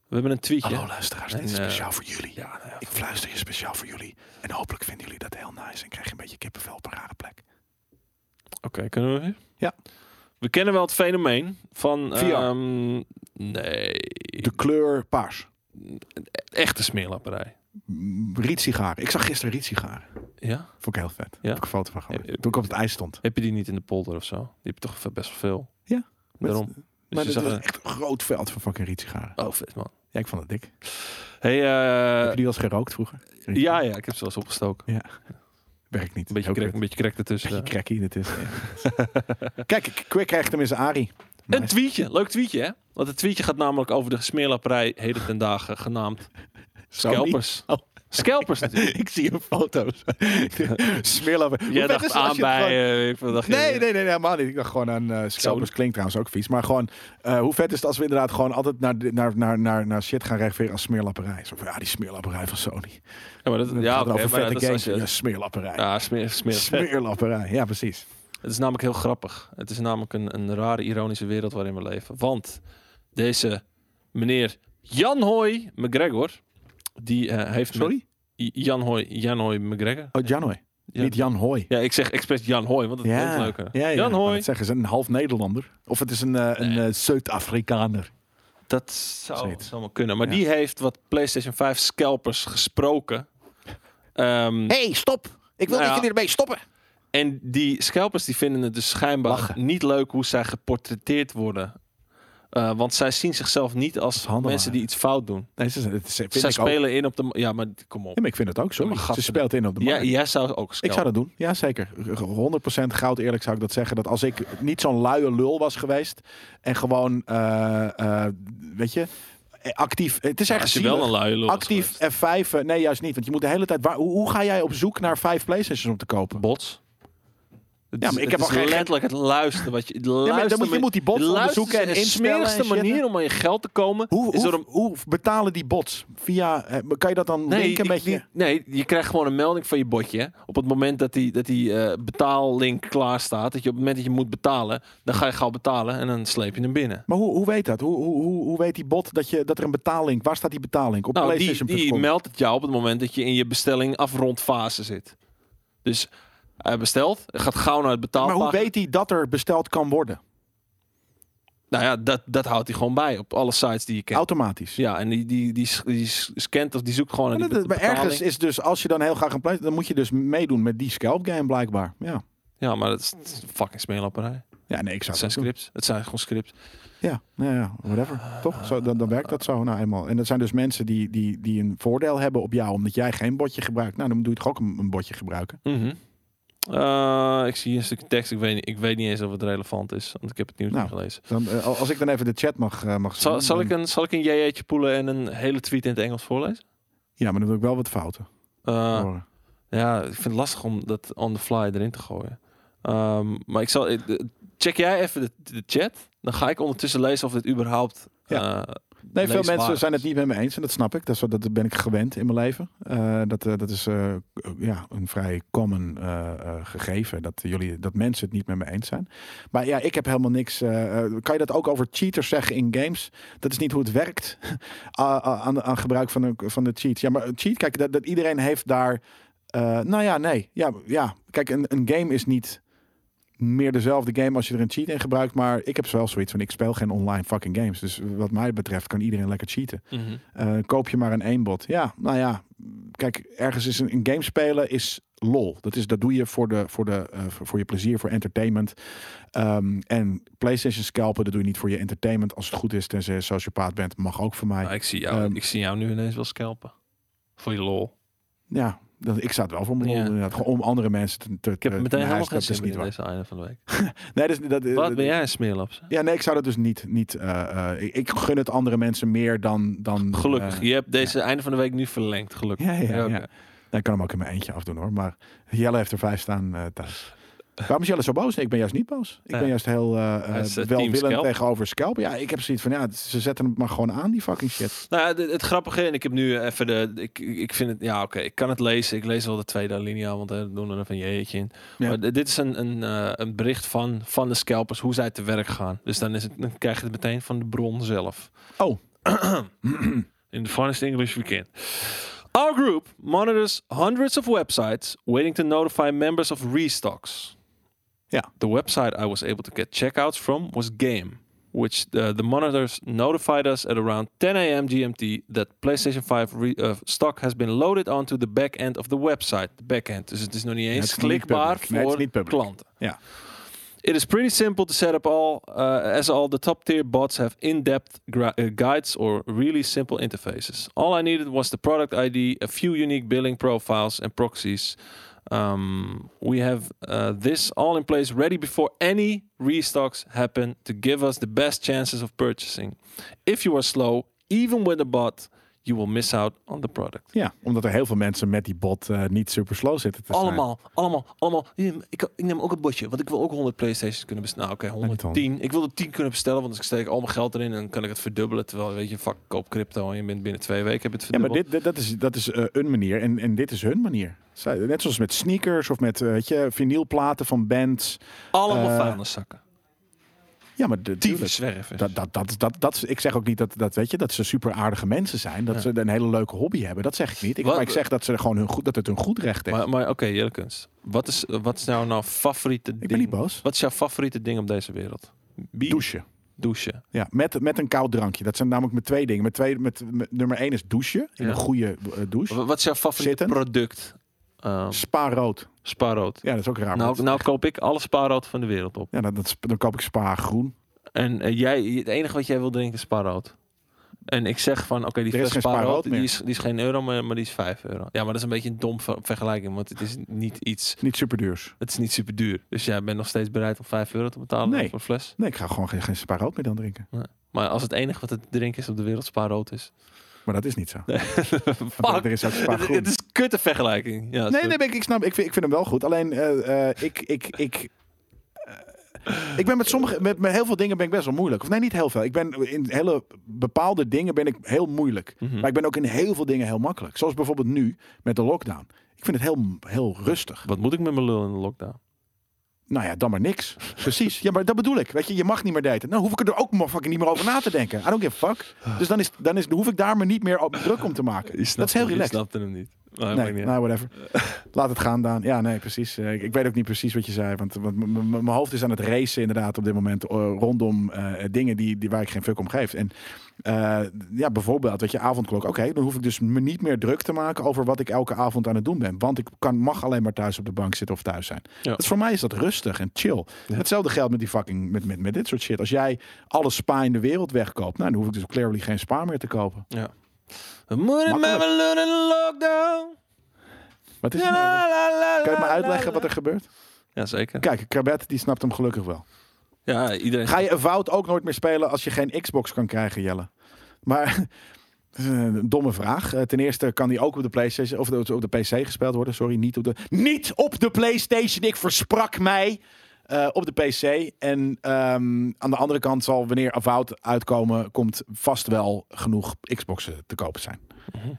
We hebben een tweetje.
Hallo luisteraars, dit
En,
is
eh,
speciaal voor jullie.
Ja, nou ja.
Ik fluister je speciaal voor jullie. En hopelijk vinden jullie dat heel nice. En krijg je een beetje kippenvel op een rare plek.
Oké, kunnen we weer?
Ja.
We kennen wel het fenomeen van...
VR.
ehm, nee.
De kleur paars.
Echte smeerlapperij.
Mm, rietsigaren. Ik zag gisteren rietsigaren.
Ja?
Vond ik heel vet.
Ja? Eh, dus
Heb ik een foto van gemaakt.
Ja, ja.
Toen ik op het ijs stond.
Heb je die niet in de polder of zo? Die heb je toch best wel veel?
Ja, met-
Daarom. Dus
maar
je
dat
zag
was
een-
echt een groot veld van fucking rietsigaren.
Oh, vet man.
Ja, ik vond het dik.
Hey, eh,
heb je die als gerookt vroeger?
ja, ja, ik heb ze wel eens opgestoken.
Werkt niet.
Een beetje
Heel
krek,
kut.
een beetje krek ertussen.
Beetje cracky dit is.
[laughs]
Ja. Kijk, ik- Quick krijgt hem in zijn Ari.
Een tweetje. Leuk tweetje, hè? Want het tweetje gaat namelijk over de smeerlapperij heden ten dagen genaamd [laughs] scalpers.
Oh.
Scalpers natuurlijk.
Ik zie een [laughs] foto's. Smeerlappen. [laughs] Hoe
Jij
vet is
dacht
het als
aan
je het
bij...
gewoon-
eh, ik dacht,
Nee, nee, nee, nee, helemaal niet. Ik dacht gewoon aan eh scalpers. Klinkt trouwens ook vies. Maar gewoon, eh, hoe vet is het als we inderdaad gewoon altijd naar, de- naar, naar, naar, naar shit gaan reageren als smeerlapperij. Zo van, ja, die smeerlapperij van Sony.
Ja, maar dat,
Ja,
ja,
gaat
oké,
over
maar dat is
vette
als
games.
je-
Ja, smeerlapperij.
Ja, smeer, smeer.
Smeerlapperij, ja precies.
Het is namelijk heel grappig. Het is namelijk een, een rare, ironische wereld waarin we leven. Want deze meneer Jan Hoy McGregor, die eh, heeft... met-
Sorry?
I- Jan Hoy, Jan Hoy McGregor.
Oh, Jan Hoy.
Ja.
Niet Jan Hoy.
Ja, ik zeg expres Jan Hoy, want dat is klinkt leuker.
ja, ja,
Jan
ik wou
Hoy.
net zeggen, ze is een half Nederlander. Of het is een, eh, een eh, Zuid-Afrikaner.
Dat zou
Zoiets.
zou allemaal kunnen. Maar
Ja.
die heeft wat PlayStation 5 scalpers gesproken. Ehm,
Hé, hey, stop! Ik
wil Nou dat ja. jullie
ermee stoppen.
En die scalpers die vinden het dus schijnbaar
Lachen.
niet leuk hoe zij geportretteerd worden. Eh, want zij zien zichzelf niet als
Handelaren.
mensen die iets fout doen.
Nee, ze, het is- vind
zij
ik ook.
spelen in op de... ma- Ja, maar kom op.
Ja, maar ik vind het ook zo.
Ja, maar
ze
gasten,
speelt in op de markt.
Ja, jij zou ook
Ik
scalpen.
zou dat doen, ja zeker. 100% goud eerlijk zou ik dat zeggen. Dat als ik niet zo'n luie lul was geweest en gewoon, eh, eh, weet je, eh, actief. Het is
Ja,
echt
als je wel een luie lul was
Actief
geweest.
F5, eh, nee juist niet. Want je moet de hele tijd, waar, hoe, hoe ga jij op zoek naar vijf Playstations om te kopen?
Bots. Het
Ja,
is-
maar ik
het
heb
is
al geen-
letterlijk het luisteren. Wat je, het
Ja, maar
luisteren
dan moet je,
met-
je moet die bots
luisteren
onderzoeken en
is de
instellen. en
smerigste
shit.
manier om aan je geld te komen.
Hoe,
is
hoe,
door een
hoe betalen die bots? Via, eh, kan je dat dan
Nee,
linken
die-
met je?
die- nee, je krijgt gewoon een melding van je botje. hè. Op het moment dat die, dat die eh, betaallink klaar staat, dat je op het moment dat je moet betalen, dan ga je gauw betalen en dan sleep je hem binnen.
Maar hoe, hoe weet dat? Hoe, hoe, hoe, hoe weet die bot dat, je, dat er een betaling... Waar staat die betaling? Op
Nou, die,
PlayStation.com?
die meldt het jou op het moment dat je in je bestelling afrondfase zit. Dus hij bestelt, gaat gauw naar het
maar
betaalpagina.
hoe weet hij dat er besteld kan worden?
Nou ja, dat, dat houdt hij gewoon bij op alle sites die je kent.
Automatisch.
Ja, en die, die, die, die scant of die zoekt gewoon naar
Maar,
die
dat-
be-
maar
betaling.
ergens is dus, als je dan heel graag een pleit, dan moet je dus meedoen met die scalp game blijkbaar. Ja,
Ja, maar dat is, dat is fucking smeerlapperij.
ja nee, ik zou
Het zijn
het ook doen.
scripts. Het zijn gewoon scripts.
Ja, nou ja, whatever. Toch? Zo, dan, dan werkt dat zo nou eenmaal. En dat zijn dus mensen die, die, die een voordeel hebben op jou, omdat jij geen botje gebruikt. Nou, dan doe je toch ook een, een botje gebruiken.
Mhm. Eh, ik zie een stuk tekst. Ik weet, niet, ik weet niet eens of het relevant is, want ik heb het nieuws
Nou.
niet gelezen.
Dan, eh, als ik dan even de chat mag, eh, mag
Zal,
zien,
zal,
dan-
ik een, zal ik een JJ'tje poelen en een hele tweet in het Engels voorlezen?
Ja, maar dan doe ik wel wat fouten.
Eh,
Hoor.
Ja, ik vind het lastig om dat on the fly erin te gooien. Ehm, maar ik zal. ik- eh, Check jij even de, de chat. Dan ga ik ondertussen lezen of dit überhaupt.
Ja.
eh,
Nee, veel
leesbaar
mensen
is.
zijn het niet met me eens en dat snap ik. Dat, is, wat- dat ben ik gewend in mijn leven. Eh, dat, eh, dat is eh, ja, een vrij common eh, eh, gegeven dat, jullie, dat mensen het niet met me eens zijn. Maar ja, ik heb helemaal niks. eh, eh, kan je dat ook over cheaters zeggen in games? Dat is niet hoe het werkt [laughs] Ah, ah, aan, aan gebruik van de, van de cheat. Ja, maar een cheat, kijk, dat, dat iedereen heeft daar. eh, nou ja, nee. Ja, ja. Kijk, een, een game is niet meer dezelfde game als je er een cheat in gebruikt. Maar ik heb wel zoiets van, ik speel geen online fucking games. Dus wat mij betreft kan iedereen lekker cheaten.
Mhm.
Eh, koop je maar een eenbot. Ja, nou ja. Kijk, ergens is een, een game spelen is lol. Dat, is, dat doe je voor, de, voor, de, eh, voor, voor je plezier, voor entertainment. Ehm, en PlayStation scalpen, dat doe je niet voor je entertainment. Als het goed is, tenzij je sociopaat bent, mag ook voor mij.
Nou, ik, zie jou,
Ehm. Eh,
ik zie jou nu ineens wel scalpen. Voor je lol.
Ja, dat, ik sta het wel voor mijn lol.
Ja.
inderdaad. Gewoon om andere mensen te... te
Ik heb
te-
meteen
nee,
helemaal
dat
geen
is
zin meer
niet
in
waar.
deze einde van de week.
Nee, dat is, dat,
Wat ben jij een smeerlaps?
Ja, nee, ik zou dat dus niet. niet eh, eh, ik, ik gun het andere mensen meer dan. dan
Gelukkig.
eh,
je hebt deze einde van de week nu verlengd. Gelukkig.
ja, ja, ja.
oké.
Nou, ik kan hem ook in mijn eentje afdoen hoor. Maar Jelle heeft er vijf staan eh, thuis. Waarom is Jelle zo boos? Nee, ik ben juist niet boos. Ik
Ja.
ben juist heel eh, eh,
Hij is, eh, team
welwillend
scalp.
tegenover Scalp. Ja, ik heb zoiets van, ja, ze zetten hem maar gewoon aan, die fucking shit.
Nou, ja, het, het grappige, en ik heb nu even de. Ik, ik vind het. Ja, oké, ik kan het lezen. Ik lees wel de tweede alinea, want hè, we doen er even een jeetje in.
Ja.
Maar d- dit is een, een, eh, een bericht van, van de scalpers, hoe zij te werk gaan. Dus dan, is het, dan krijg je het meteen van de bron zelf.
Oh.
in the finest English we can. Our group monitors hundreds of websites waiting to notify members of restocks.
Ja.
The website I was able to get checkouts from was Game. which uh, the monitors notified us at around 10 a.m. GMT that PlayStation 5 re- uh, stock has been loaded onto the back end of the website. The back end. Dus het is nog niet
het
eens
is niet
klikbaar
public. Nee, het is
voor
niet public.
klanten.
Ja.
It is pretty simple to set up all, uh, as all the top tier bots have in depth gra- uh, guides or really simple interfaces. All I needed was the product ID, a few unique billing profiles, and proxies. Um, we have uh, this all in place ready before any restocks happen to give us the best chances of purchasing. If you are slow, even with a bot, you will miss out on the product.
Ja, omdat er heel veel mensen met die bot eh, niet super slow zitten te zijn.
Allemaal, allemaal, allemaal. Ik, ik, ik neem ook een botje, want ik wil ook 100 PlayStations kunnen bestellen. Nou, oké,
niet
110. Ik wil er 10 kunnen bestellen, want ik steek al mijn geld erin en dan kan ik het verdubbelen. Terwijl, weet je, fuck, ik koop crypto en je bent binnen twee weken heb je het
Ja, maar
verdubbeld.
dit, dit- dat is, dat is eh, een manier en, en dit is hun manier. Zij- Net zoals met sneakers of met eh, weet je, vinylplaten van bands.
allemaal
eh,
vuilniszakken.
Ja, maar de,
Tieve
tuurlijk.
zwerven.
dat, dat, dat, dat, dat, ik zeg ook niet dat, dat, weet je, dat ze super aardige mensen zijn. Dat
Ja.
ze een hele leuke hobby hebben. Dat zeg ik niet. Ik,
Wat-
maar ik zeg dat, ze gewoon hun goed, dat het hun goed recht is.
Maar, maar oké, Jellekens. Wat is, wat is nou nou favoriete
ik ben
ding?
niet boos.
Wat is jouw favoriete ding op deze wereld? Bier,
Douchen.
douchen.
Ja, met, met een koud drankje. Dat zijn namelijk mijn twee dingen. Mijn twee, met, met- nummer één is douchen. In
Ja.
een goede eh, douche.
Wa- Wat is jouw favoriete
Zittend.
product? Ehm
Spa rood.
spaarrood.
Ja, dat is ook raar.
Nou,
Nou,
nou koop ik alle spaarrood van de wereld op.
ja, dan, dat, dan koop ik spa groen.
En eh, jij, het enige wat jij wil drinken is spaarrood. En ik zeg van, oké, die
Er is
fles
geen
spaarrood,
spaarrood
die
meer.
is, die is geen euro, maar, maar die is 5 euro. Ja, maar dat is een beetje een dom ver- vergelijking, want het is niet iets,
Niet super duurs.
het is niet super duur. Dus jij bent nog steeds bereid om 5 euro te betalen
Nee.
voor een fles.
Nee, ik ga gewoon geen, geen spa rood meer dan drinken.
Maar als het enige wat het drinken is op de wereld spaarrood
[laughs]
is.
Maar dat is niet zo.
Fuck.
Er is ook spa
Het,
groen.
het is kutte vergelijking. Ja,
Nee,
sorry.
nee, ik, ik snap. Ik vind, ik vind hem wel goed. Alleen eh, eh, ik, ik, ik ik ben met sommige, met, met heel veel dingen ben ik best wel moeilijk. Of nee, niet heel veel. Ik ben in hele bepaalde dingen ben ik heel moeilijk.
Mhm.
Maar ik ben ook in heel veel dingen heel makkelijk. Zoals bijvoorbeeld nu met de lockdown. Ik vind het heel, heel rustig.
Wat moet ik met mijn lul in de lockdown?
Nou ja, dan maar niks. Precies. Ja, maar dat bedoel ik. Weet je, je mag niet meer daten. Nou, hoef ik er ook maar fucking niet meer over na te denken. I don't give a fuck. Dus dan, is, dan is, hoef ik daar me niet meer op druk om te maken.
Je snapt
Dat is heel
hem-
relaxed.
Je snapte hem niet. Maar
Nee,
maakt niet uit.
nou,
[laughs]
whatever. Laat het gaan, Daan. Ja, nee, precies. Eh, ik, ik weet ook niet precies wat je zei. Want, want m- m- mijn hoofd is aan het racen inderdaad op dit moment. eh, rondom eh, dingen die, die, waar ik geen fuck om geef. En eh, ja, bijvoorbeeld, weet je, avondklok. Oké, dan hoef ik dus me niet meer druk te maken over wat ik elke avond aan het doen ben. Want ik kan, mag alleen maar thuis op de bank zitten of thuis zijn.
Ja.
Dat, voor mij is dat rustig en chill. Hetzelfde geldt met die fucking, met, met, met dit soort shit. Als jij alle spa in de wereld wegkoopt, nou, dan hoef ik dus clearly geen spa meer te kopen.
Ja. We moeten met
Makkelijk.
mijn lul in de lockdown.
Wat is het nou?
La, la, la,
Kan je me
la,
uitleggen
la,
wat er gebeurt?
la. Ja, zeker.
Kijk, Krabet die snapt hem gelukkig wel.
Ja, iedereen...
Ga je Avowed ook nooit meer spelen als je geen Xbox kan krijgen, Jelle? Maar [laughs] dat is een domme vraag. Eh, Ten eerste kan die ook op de PlayStation of op de PC gespeeld worden. Sorry, niet op de niet op de PlayStation. Ik versprak mij. eh, op de PC. En ehm, aan de andere kant zal wanneer Avowed uitkomen, komt vast wel genoeg Xboxen te kopen zijn. Ja.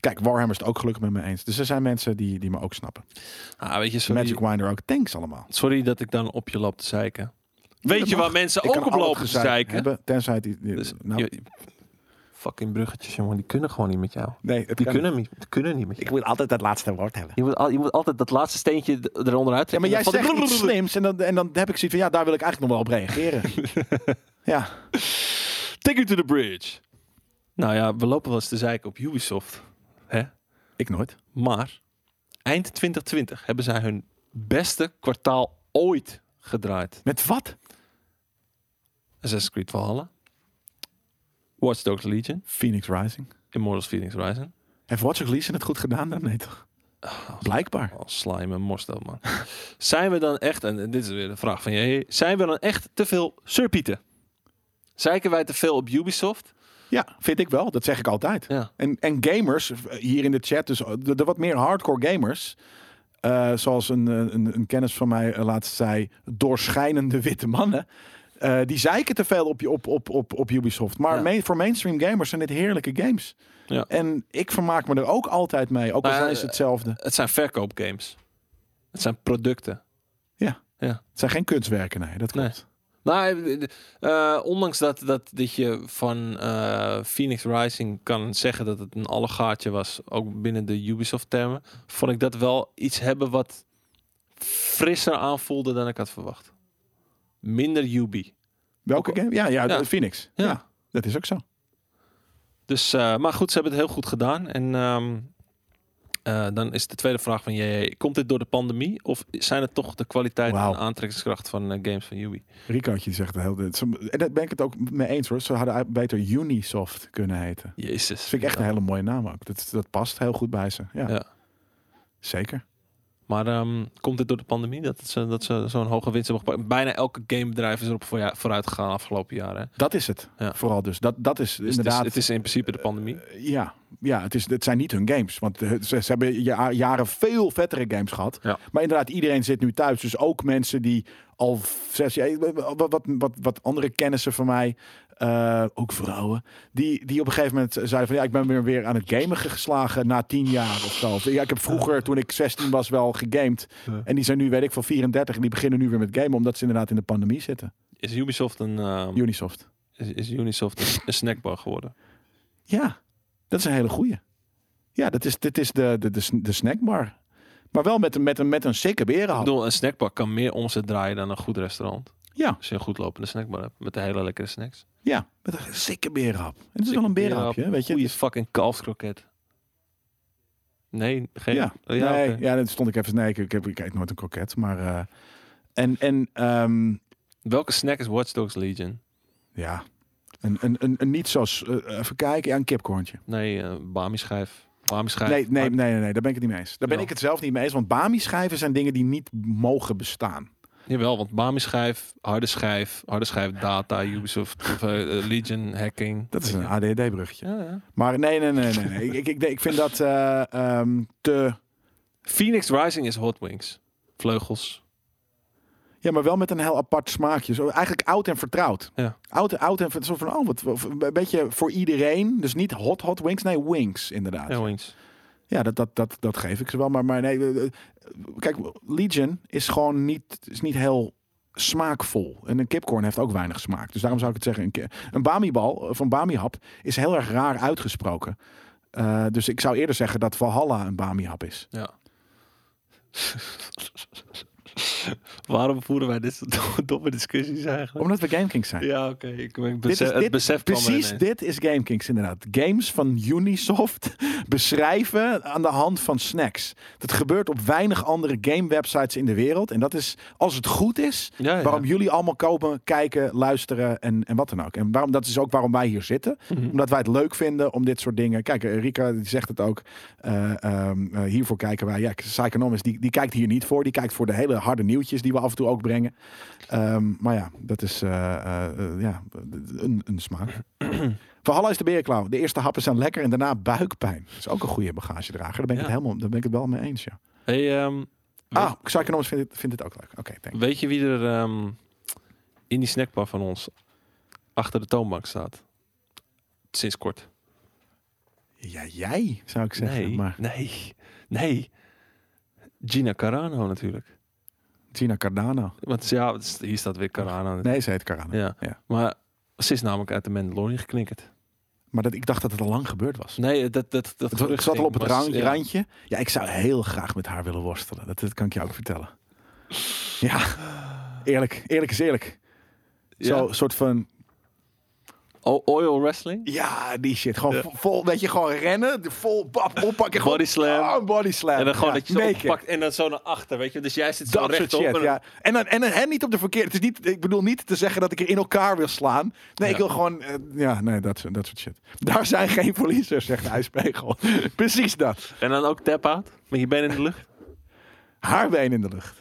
Kijk, Warhammer is het ook gelukkig met me eens. Dus er zijn mensen die, die me ook snappen.
Ah, weet je, sorry,
Magic Winder ook. Thanks allemaal.
sorry dat ik dan op je lap te zeiken.
dat
Weet je
mag.
waar mensen
Ik
ook
kan
op
al
lopen te
gezeik
zeiken?
Hebben, tenzij die, die-
Dus,
nou,
je- fucking bruggetjes, jongen, die kunnen gewoon niet met jou.
nee, het
Die
kan
kunnen, niet- die kunnen niet met jou.
wil altijd dat laatste woord hebben.
Je moet, al- je moet altijd dat laatste steentje d- eronder uit
Ja, maar jij zegt iets
slim.
slims en dan, en dan heb ik zoiets van, ja, daar wil ik eigenlijk nog wel op [laughs] reageren. ja,
Take you to the bridge. Nou ja, we lopen wel eens te zeiken op Ubisoft. Hè?
ik nooit.
Maar eind 2020 hebben zij hun beste kwartaal ooit gedraaid.
Met wat?
Assassin's Creed Valhalla. Watch Dogs Legion.
Phoenix Rising.
Immortals Phoenix Rising.
Heeft Watch Dogs Legion het goed gedaan dan? Nee, toch? Oh, Blijkbaar.
Al slime en morsto, man. [laughs] zijn we dan echt, en dit is weer de vraag van je, zijn we dan echt te veel surpieten? Zeiken wij te veel op Ubisoft?
Ja, vind ik wel. Dat zeg ik altijd.
Ja.
En, en gamers, eh, hier in de chat, dus de, de wat meer hardcore gamers... eh, zoals een, eh, een, een kennis van mij eh, laatst zei, doorschijnende witte mannen... eh, die zeiken te veel op, je- op, op, op, op Ubisoft. Maar
Ja.
main- voor mainstream gamers zijn dit heerlijke games.
Ja.
En ik vermaak me er ook altijd mee. Ook al
Nou ja,
zijn ze hetzelfde.
Het zijn verkoopgames. Het zijn producten.
Het zijn geen kunstwerken, nee. Dat klopt.
Nou, eh, eh, ondanks dat, dat, dat je van eh, Phoenix Rising kan zeggen dat het een allegaartje was, ook binnen de Ubisoft-termen, vond ik dat wel iets hebben wat frisser aanvoelde dan ik had verwacht. Minder Ubi.
Welke game? Ja, ja,
Ja.
Phoenix.
Ja.
ja, dat is ook zo.
Dus, eh, maar goed, ze hebben het heel goed gedaan. En ehm, eh, dan is de tweede vraag van JJ, komt dit door de pandemie? Of zijn het toch de kwaliteit
Wauw.
en aantrekkingskracht van eh, games van Ubi?
Ricootje die zegt de hele tijd. ze- En daar ben ik het ook mee eens hoor. Ze hadden eigenlijk beter Unisoft kunnen heten.
Jezus.
Dat vind ik echt een hele mooie naam ook. Dat, dat past heel goed bij ze. Ja.
Ja.
Zeker.
Maar ehm, komt dit door de pandemie dat ze, dat ze zo'n hoge winst hebben gepakt? Bijna elke gamebedrijf is erop voorja- vooruit gegaan afgelopen jaar. Hè? Dus
Dat is het.
Ja.
Vooral dus. Dat, dat is
het is-
inderdaad.
het is in principe de pandemie.
Ja, ja het, is, het zijn niet hun games. Want eh, ze, ze hebben ja- jaren veel vettere games gehad.
Ja.
Maar inderdaad, iedereen zit nu thuis. Dus ook mensen die al zes jaar... Eh, Wat, wat, wat, wat andere kennissen van mij, eh, ook vrouwen... Die, die op een gegeven moment zeiden van... Ja, ik ben weer, weer aan het gamen geslagen na tien jaar of zo. Of, Ja, ik heb vroeger, toen ik 16 was, wel gegamed.
Ja.
En die zijn nu, weet ik, van 34. En die beginnen nu weer met gamen. Omdat ze inderdaad in de pandemie zitten.
Is Ubisoft een, ehm,
Unisoft.
is, is Ubisoft een, een snackbar
Oh.
geworden?
Ja, dat is een hele goeie. Ja, dat is, dit is de, de, de, sn- de snackbar. Maar wel met een, met een, met een sikke
Ik
berenhap.
bedoel, een snackbar kan meer omzet draaien dan een goed restaurant.
Ja,
Als je een goed lopende snackbar hebt met de hele lekkere snacks.
ja, met een sikke berenhap. En het is wel
Sikke
een berenhapje,
berenhap,
weet je.
Goeie fucking kalfskroket. Nee, geen.
Ja,
Oh,
ja, nee,
oké.
ja, dat stond ik even. Nee, ik, ik, heb, ik eet nooit een kroket, maar... eh, en en ehm,
Welke snack is Watch Dogs Legion?
ja, een, een, een, een niet zo... s- eh, even kijken, ja, een kipkorntje.
Nee, eh Bami schijf. Bami schijf.
Nee, nee, nee, nee, nee, daar ben ik het niet mee eens. Daar ben
Ja.
ik het zelf niet mee eens, want bami-schijven zijn dingen die niet mogen bestaan.
Jawel, want Bami-schijf, harde schijf, harde schijf data, Ubisoft, of, eh, eh, Legion, hacking.
Dat is een ADD-bruggetje.
Ja, ja.
Maar nee, nee, nee, nee. nee. ik, ik, ik vind dat eh, ehm, te...
Phoenix Rising is Hot Wings. Vleugels,
Ja, maar wel met een heel apart smaakje. Zo, eigenlijk oud en vertrouwd.
Ja.
Oud, oud en vertrouwd. Zo van, oh, wat, wat- een beetje voor iedereen. Dus niet hot, hot wings. Nee, wings inderdaad.
Ja, wings.
Ja, dat, dat, dat, dat geef ik ze wel. Maar, maar nee, eh, eh, kijk, Legion is gewoon niet, is niet heel smaakvol. En een kipcorn heeft ook weinig smaak. Dus daarom zou ik het zeggen. Een, ki- een bamibal eh, van bamihap is heel erg raar uitgesproken. Eh, dus ik zou eerder zeggen dat Valhalla een bamihap is.
Ja. [laughs] Waarom voeren wij dit [laughs] soort do- domme discussies eigenlijk?
Omdat we GameKings zijn.
Ja, oké. Ik, ik
Dit
besef,
is-
het
dit-
besef kwam er
Precies
ineens.
dit is GameKings inderdaad. Games van Unisoft [laughs] beschrijven aan de hand van snacks. Dat gebeurt op weinig andere gamewebsites in de wereld. En dat is, als het goed is,
Ja, ja.
Waarom jullie allemaal komen, kijken, luisteren en, en wat dan ook. En waarom, dat is ook waarom wij hier zitten.
[laughs]
Omdat wij het leuk vinden om dit soort dingen. Kijk, eh, Rika die zegt het ook. eh, ehm, eh, hiervoor kijken wij. Ja, Psychonomist, die, die kijkt hier niet voor. Die kijkt voor de hele harde nieuwtjes die we af en toe ook brengen. Ehm, maar ja, dat is eh, eh, eh, ja, een, een
[clears throat]
smaak. Valhalla is de berenklauw. De eerste happen zijn lekker en daarna buikpijn. Dat is ook een goede bagagedrager. Daar ben ik,
Ja.
het, helemaal, daar ben ik het wel mee eens, ja.
Hey, ehm,
Ah, Psychonomist vindt het, vindt het ook leuk. Oké, thank you.
weet je wie er ehm, in die snackbar van ons achter de toonbank staat? Sinds kort.
Ja, jij zou ik zeggen.
nee,
Maar
nee, nee. Gina Carano natuurlijk.
Gina Cardano.
Want ja, het is- hier staat weer Carano.
Nee, ze heet Cardano.
Ja.
Ja.
Maar ze is namelijk uit de Mandalorian geknikkerd.
Maar dat, ik dacht dat het al lang gebeurd was.
Nee, dat, dat, dat
Het wa-
gerucht
zat al
ging,
op het
was-
rand-
ja.
randje. Ja, ik zou heel graag met haar willen worstelen. Dat, dat kan ik je ook vertellen. Ja, eerlijk. Eerlijk is eerlijk.
Ja.
Zo'n soort van...
O- oil wrestling?
Ja, die shit. Gewoon
Ja.
vo- vol, weet je, gewoon rennen. de Vol bap, oppakken. gewoon-
Body slam.
Oh, body slam.
En dan gewoon
Ja,
dat je zo
naked.
pakt en dan zo naar achter, weet je. Dus jij zit zo
Dat soort
rechtop.
shit,
en dan-
ja. En, dan, en, dan, en niet op de verkeerde. Het is niet, ik bedoel niet te zeggen dat ik er in elkaar wil slaan. Nee,
Ja.
ik wil gewoon... eh, ja, nee, dat, soort- dat soort shit. Daar zijn geen verliezers, zegt de ijspegel. [laughs] Precies dat.
En dan ook tap out met je benen in de lucht.
Haar been in de lucht.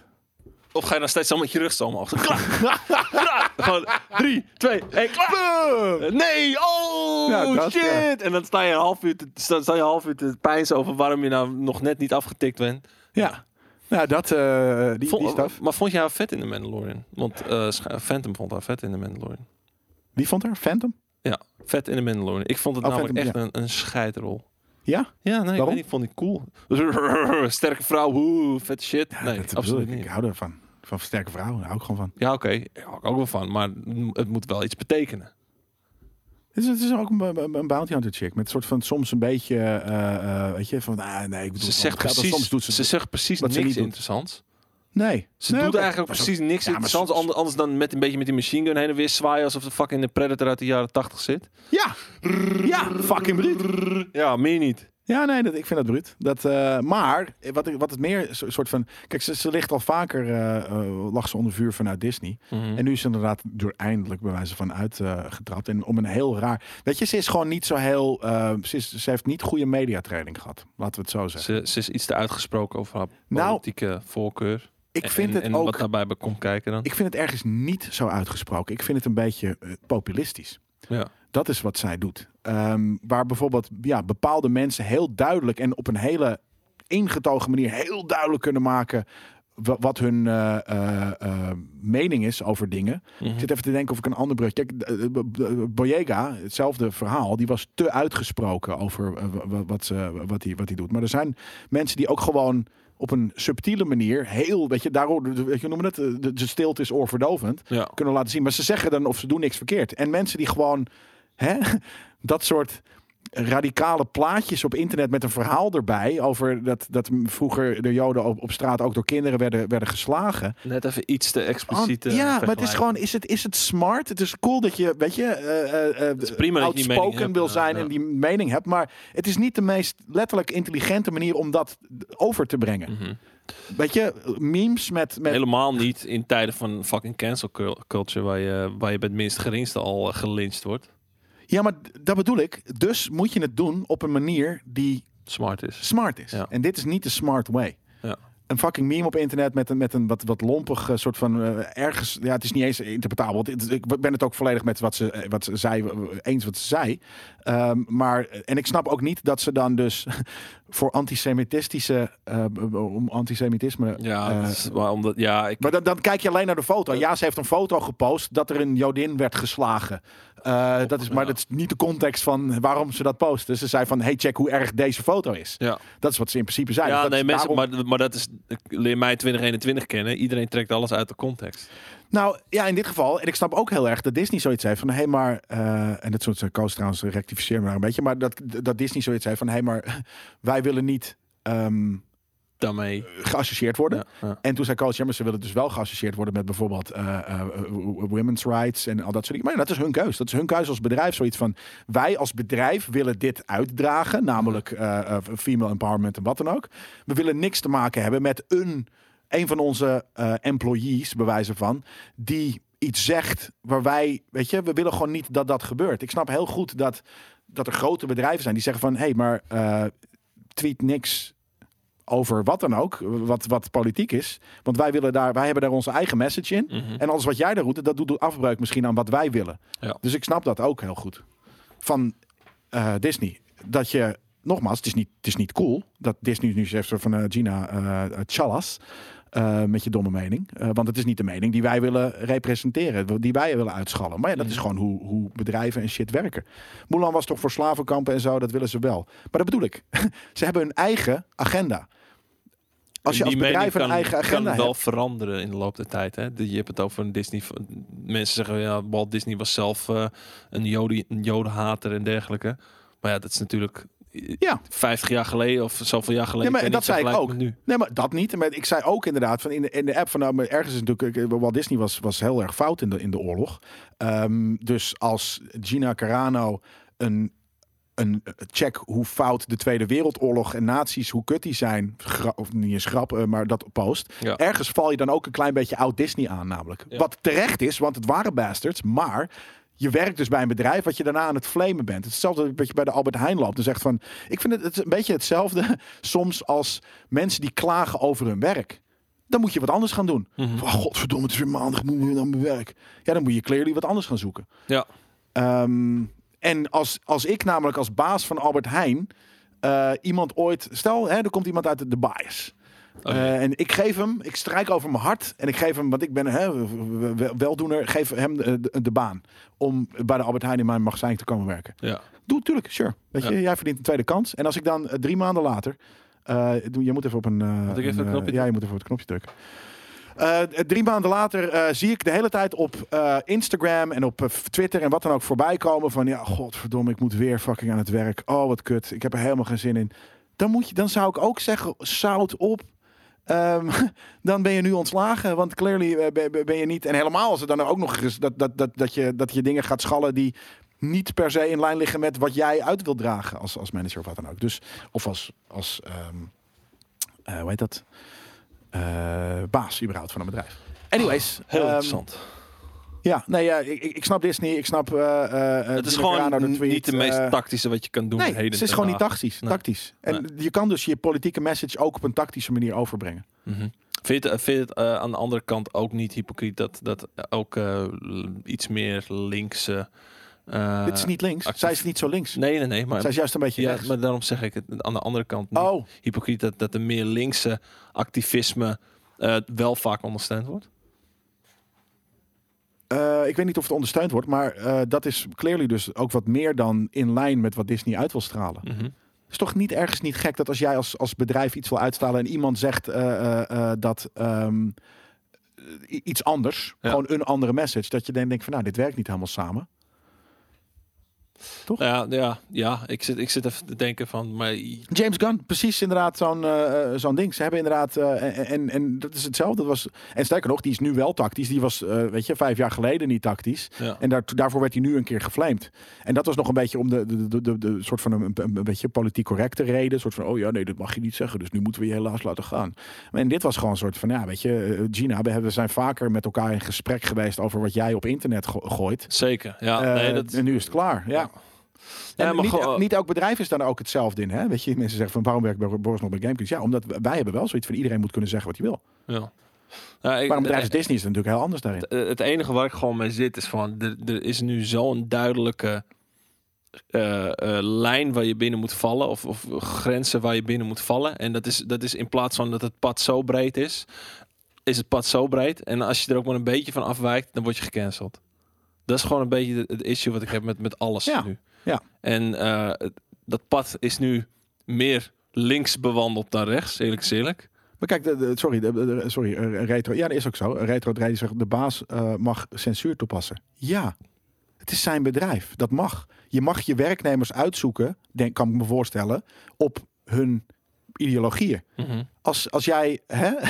Of ga je dan steeds zo met je rug zo
[laughs]
omhoog? Zo, Klaar! Klaar! Gewoon drie, twee, één, klaar!
Boom!
Nee, oh
Ja, dat,
shit!
ja.
En dan sta je een half uur te, sta, sta je een half uur te pijnsen over waarom je nou nog net niet afgetikt bent.
Ja. Nou, dat... eh die, die
Vond-
staf.
maar vond je haar vet in de Mandalorian? Want eh, scha- Phantom vond haar vet in de Mandalorian.
Wie vond haar? Phantom?
Ja, vet in de Mandalorian. Ik vond het
Oh,
namelijk
Phantom,
echt een, een scheidrol.
Ja?
Ja, nee, ik,
Waarom?
weet niet, vond ik cool. [laughs] Sterke vrouw, woe, vet shit.
Ja,
nee,
dat
absoluut
bedoel ik.
niet.
Ik hou ervan. Van sterke vrouwen. Daar hou ik gewoon van.
Ja, oké, daar hou ik ook wel van, maar m- het moet wel iets betekenen.
Het is, het is ook een, een, een bounty hunter chick. Met een soort van soms een beetje... eh, eh, weet je, van... Ah, nee, ik bedoel...
Ze
het
zegt
wel. Dat
precies,
Soms doet ze...
ze zegt precies
wat ze
niks
niet doet.
interessants.
nee.
Ze
Nee,
doet
oké.
eigenlijk
Maar zo-
precies niks
Ja, maar
interessants,
zo-
ander- anders dan met een beetje met die machine gun heen en weer zwaaien alsof de fucking de Predator uit de jaren 80 zit.
Ja. Ja, fucking bruut.
Ja, meer niet.
Ja, nee, dat, ik vind dat bruut. Dat, eh, maar eh, wat, ik- wat het meer so- soort van... Kijk, ze, ze ligt al vaker... eh, eh, lag ze onder vuur vanuit Disney.
Mhm.
En nu is ze inderdaad door eindelijk bij wijze van uitgetrapt. en om een heel raar... Weet je, ze is gewoon niet zo heel... eh, ze, is- ze heeft niet goede mediatraining gehad. Laten we het zo zeggen.
Ze, ze is iets te uitgesproken over haar
Nou,
politieke voorkeur.
ik vind
en,
het
en
ook...
wat daarbij bij komt kijken dan.
Ik vind het ergens niet zo uitgesproken. Ik vind het een beetje eh, populistisch.
ja.
Dat is wat zij doet. Ehm, waar bijvoorbeeld ja, bepaalde mensen heel duidelijk en op een hele ingetogen manier heel duidelijk kunnen maken wa- wat hun eh, eh, eh, mening is over dingen.
Mhm.
Ik zit even te denken of ik een ander brug. Kijk, eh, eh, B- eh, Boyega, hetzelfde verhaal, die was te uitgesproken over eh, wa- wa- wat ze- wat hij wat hij doet. Maar er zijn mensen die ook gewoon op een subtiele manier heel, weet je, daarom, weet je, hoe noemen we dat? Eh, De, de stilte is oorverdovend
Ja.
kunnen laten zien. Maar ze zeggen dan of ze doen niks verkeerd. En mensen die gewoon hè, [laughs] dat soort radicale plaatjes op internet met een verhaal erbij over dat, dat vroeger de Joden op, op straat ook door kinderen werden, werden geslagen.
Net even iets te expliciet. eh,
ja, maar het is
vergelijken.
gewoon, is het, is het smart? Het is cool dat je, weet je, eh, eh,
is prima dat je die mening
outspoken
hebt,
wil
ja,
zijn
ja.
en die mening hebt. Maar het is niet de meest letterlijk intelligente manier om dat over te brengen.
Mhm.
Weet je, memes met, met
Helemaal niet in tijden van fucking cancel cul- culture, waar je, waar je bij het minst geringste al eh, gelinched wordt.
Ja, maar d- dat bedoel ik. Dus moet je het doen op een manier die
Smart is.
smart is.
Ja.
En dit is niet de smart way.
Ja.
een fucking meme op internet met een, met een wat, wat lompig eh, soort van eh, ergens. Ja, het is niet eens interpretabel. want het- ik ben het ook volledig met wat ze, eh, wat ze zei, eh, eens wat ze zei. Ehm, maar, en ik snap ook niet dat ze dan dus [laughs] voor antisemitistische, eh, om antisemitisme.
Ja,
eh,
dat is- maar omdat, ja, ik,
maar dan, dan kijk je alleen naar de foto. Ja, ze heeft een foto gepost dat er een Jodin werd geslagen. Eh, dat is, maar dat is niet de context van waarom ze dat post. Dus ze zei van, hey, check hoe erg deze foto is.
ja.
Dat is wat ze in principe zei.
ja
Dat
nee,
is
mensen,
daarom-
maar, maar dat is, ik leer mij 2021 kennen. Iedereen trekt alles uit de context.
Nou, ja, in dit geval. En ik snap ook heel erg dat Disney zoiets heeft van... hé, hey, maar... eh, en dat soort eh, Koos trouwens, rectificeer me daar een beetje. Maar dat, dat Disney zoiets heeft van... hé, hey, maar [laughs] wij willen niet ehm, Eh,
Daarmee.
geassocieerd worden.
Ja, ja.
En toen zei Koos, ja, maar ze willen dus wel geassocieerd worden... met bijvoorbeeld eh, eh, women's rights en al dat soort dingen. Maar ja, dat is hun keus. Dat is hun keus als bedrijf. Zoiets van, wij als bedrijf willen dit uitdragen. Namelijk eh, eh, female empowerment en wat dan ook. We willen niks te maken hebben met een... Een van onze eh, employees, bewijzen van, die iets zegt waar wij, weet je, we willen gewoon niet dat dat gebeurt. Ik snap heel goed dat, dat er grote bedrijven zijn die zeggen van, hé, hey, maar eh, tweet niks over wat dan ook, wat, wat politiek is. Want wij, willen daar, wij hebben daar onze eigen message in.
Mhm.
En alles wat jij daar roept, dat doet afbreuk misschien aan wat wij willen.
Ja.
Dus ik snap dat ook heel goed. Van eh, Disney. Dat je, nogmaals, het is niet, het is niet cool dat Disney nu zegt van eh, Gina eh Chalas. eh, met je domme mening. Eh, want het is niet de mening die wij willen representeren. Die wij willen uitschallen. Maar ja, dat
Mhm.
is gewoon hoe, hoe bedrijven en shit werken. Mulan was toch voor slavenkampen en zo. Dat willen ze wel. Maar dat bedoel ik. [laughs] ze hebben hun eigen agenda. Als je
En
als
die mening
bedrijf een
kan-
eigen
kan
agenda
wel
hebt.
veranderen in de loop der tijd. Hè? De- Je hebt het over een Disney. Mensen zeggen ja, Walt Disney was zelf eh, een, Jode, een jodenhater en dergelijke. Maar ja, dat is natuurlijk eh,
Ja.
50 jaar geleden of zoveel jaar geleden.
Ja, maar
Ik weet
dat
niet
zei ik
vergelijk
ook.
met Nu.
Nee, maar dat niet. Maar ik zei ook inderdaad van in de, in de app van nou, maar ergens is natuurlijk eh, Walt Disney was, was heel erg fout in de, in de oorlog. Ehm, dus als Gina Carano een, een check hoe fout de Tweede Wereldoorlog en nazi's, hoe kut die zijn, gra- of niet eens grap, eh, maar dat post.
Ja.
Ergens val je dan ook een klein beetje oud Disney aan, namelijk.
Ja.
Wat terecht is, want het waren bastards, maar. Je werkt dus bij een bedrijf wat je daarna aan het flamen bent. Het is hetzelfde dat je bij de Albert Heijn loopt en zegt van... Ik vind het, het is een beetje hetzelfde [laughs] soms als mensen die klagen over hun werk. Dan moet je wat anders gaan doen.
Mhm.
Oh, godverdomme, het is weer maandag, ik moet nu naar mijn werk. Ja, dan moet je clearly wat anders gaan zoeken.
Ja.
Ehm, en als, als ik namelijk als baas van Albert Heijn eh, iemand ooit... Stel, hè, er komt iemand uit de, de bias.
Oh,
Eh, en ik geef hem, ik strijk over mijn hart en ik geef hem, want ik ben hè, w- w- weldoener, geef hem de, de- de baan om bij de Albert Heijn in mijn magazijn te komen werken.
ja.
Doe, tuurlijk, sure. Weet
Ja.
je, jij verdient een tweede kans. En als ik dan eh, drie maanden later, eh, doe- je moet even op een, eh,
ik even
een,
een
eh,
knopje
ja, je moet even op het knopje drukken. Eh, drie maanden later eh, zie ik de hele tijd op eh, Instagram en op eh, Twitter en wat dan ook voorbij komen van ja, godverdomme, ik moet weer fucking aan het werk. Oh, wat kut. Ik heb er helemaal geen zin in. Dan, moet je, dan zou ik ook zeggen, zout op. Ehm, [laughs] dan ben je nu ontslagen, want clearly eh, ben- ben, ben je niet. En helemaal als er dan ook nog eens dat, dat, dat, dat, je, dat je dingen gaat schallen die niet per se in lijn liggen met wat jij uit wilt dragen als, als manager of wat dan ook. Dus, of als, als ehm, eh, hoe heet dat? Eh, baas überhaupt van een bedrijf. Anyways.
Ah, Heel
ehm,
interessant.
Ja, nee, ja, ik, ik ik snap Disney, ik snap... eh, eh,
Het is
Gina
gewoon
Carano, de tweet,
niet de meest
eh,
tactische wat je kan doen.
Nee,
heden
het is
ten
gewoon niet
dagen.
tactisch.
Nee.
tactisch. En je kan dus je politieke message ook op een tactische manier overbrengen.
Mhm. Vind je het, vind je het eh, aan de andere kant ook niet hypocriet dat, dat ook eh, l- iets meer linkse. eh,
Dit is niet links.
actief-
Zij is niet zo links.
Nee, nee, nee. Maar,
Zij is juist een beetje
ja,
rechts.
maar daarom zeg ik het aan de andere kant. Niet
Oh,
Hypocriet dat, dat de meer linkse activisme eh, wel vaak ondersteund wordt.
eh, ik weet niet of het ondersteund wordt, maar eh, dat is clearly dus ook wat meer dan in lijn met wat Disney uit wil stralen.
Mhm.
Het is toch niet ergens niet gek dat als jij als, als bedrijf iets wil uitstralen en iemand zegt eh, eh, eh, dat ehm, i- iets anders,
Ja.
gewoon een andere message, dat je dan denkt van nou, dit werkt niet helemaal samen.
Ja, ja, ja. Ik, zit, ik zit even te denken van. Maar,
James Gunn, precies inderdaad zo'n eh, eh, zo'n ding. Ze hebben inderdaad, eh, en- en, en dat is hetzelfde. Dat was, en sterker nog, die is nu wel tactisch. Die was, eh, weet je, vijf jaar geleden niet tactisch.
ja.
En daar, daarvoor werd hij nu een keer geflamed. En dat was nog een beetje om de, de, de, de, de soort van een, een, een beetje politiek correcte reden. Een soort van, oh ja, nee, dat mag je niet zeggen. Dus nu moeten we je helaas laten gaan. En dit was gewoon een soort van, ja, weet je, eh, Gina, we, hebben, we zijn vaker met elkaar in gesprek geweest over wat jij op internet go- gooit.
Zeker. Ja,
Eh,
nee, dat,
En nu is het klaar. Ja.
Ja,
En
maar
niet, eh,
gewoon-
niet elk bedrijf is daar ook hetzelfde in. Hè? Weet je, mensen zeggen van waarom werkt Bor- Boris nog bij GameKings? Ja, omdat wij hebben wel zoiets van iedereen moet kunnen zeggen wat hij wil.
Ja. Ja, ik- eh,
Maar een bedrijf als Disney is natuurlijk heel anders daarin.
het, het enige waar ik gewoon mee zit is van, er, er is nu zo'n duidelijke eh, eh, lijn waar je binnen moet vallen of, of grenzen waar je binnen moet vallen. En dat is, dat is in plaats van dat het pad zo breed is, is het pad zo breed. En als je er ook maar een beetje van afwijkt, dan word je gecanceld. Dat is gewoon een beetje het, het issue wat ik heb met, met alles
Ja,
nu.
ja.
En eh, het- dat pad is nu meer links bewandeld dan rechts, eerlijk is eerlijk.
Maar kijk, de- de- sorry, de- de- de- sorry eh, retro. Ja, dat is ook zo. Retro Draai zegt de baas eh, mag censuur toepassen. Ja, het is zijn bedrijf. Dat mag. Je mag je werknemers uitzoeken, denk, kan ik me voorstellen, op hun ideologieën. Als, als jij, hè, [laughs]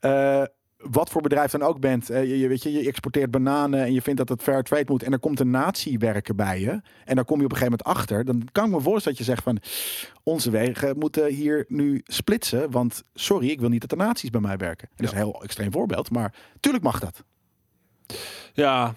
eh, wat voor bedrijf dan ook bent, eh, je, je weet je, je exporteert bananen en je vindt dat het fair trade moet en er komt een nazi werken bij je en daar kom je op een gegeven moment achter, dan kan ik me voorstellen dat je zegt van, onze wegen moeten hier nu splitsen. Want sorry, ik wil niet dat de nazi's bij mij werken. Dat is een heel extreem voorbeeld, maar tuurlijk mag dat.
Ja,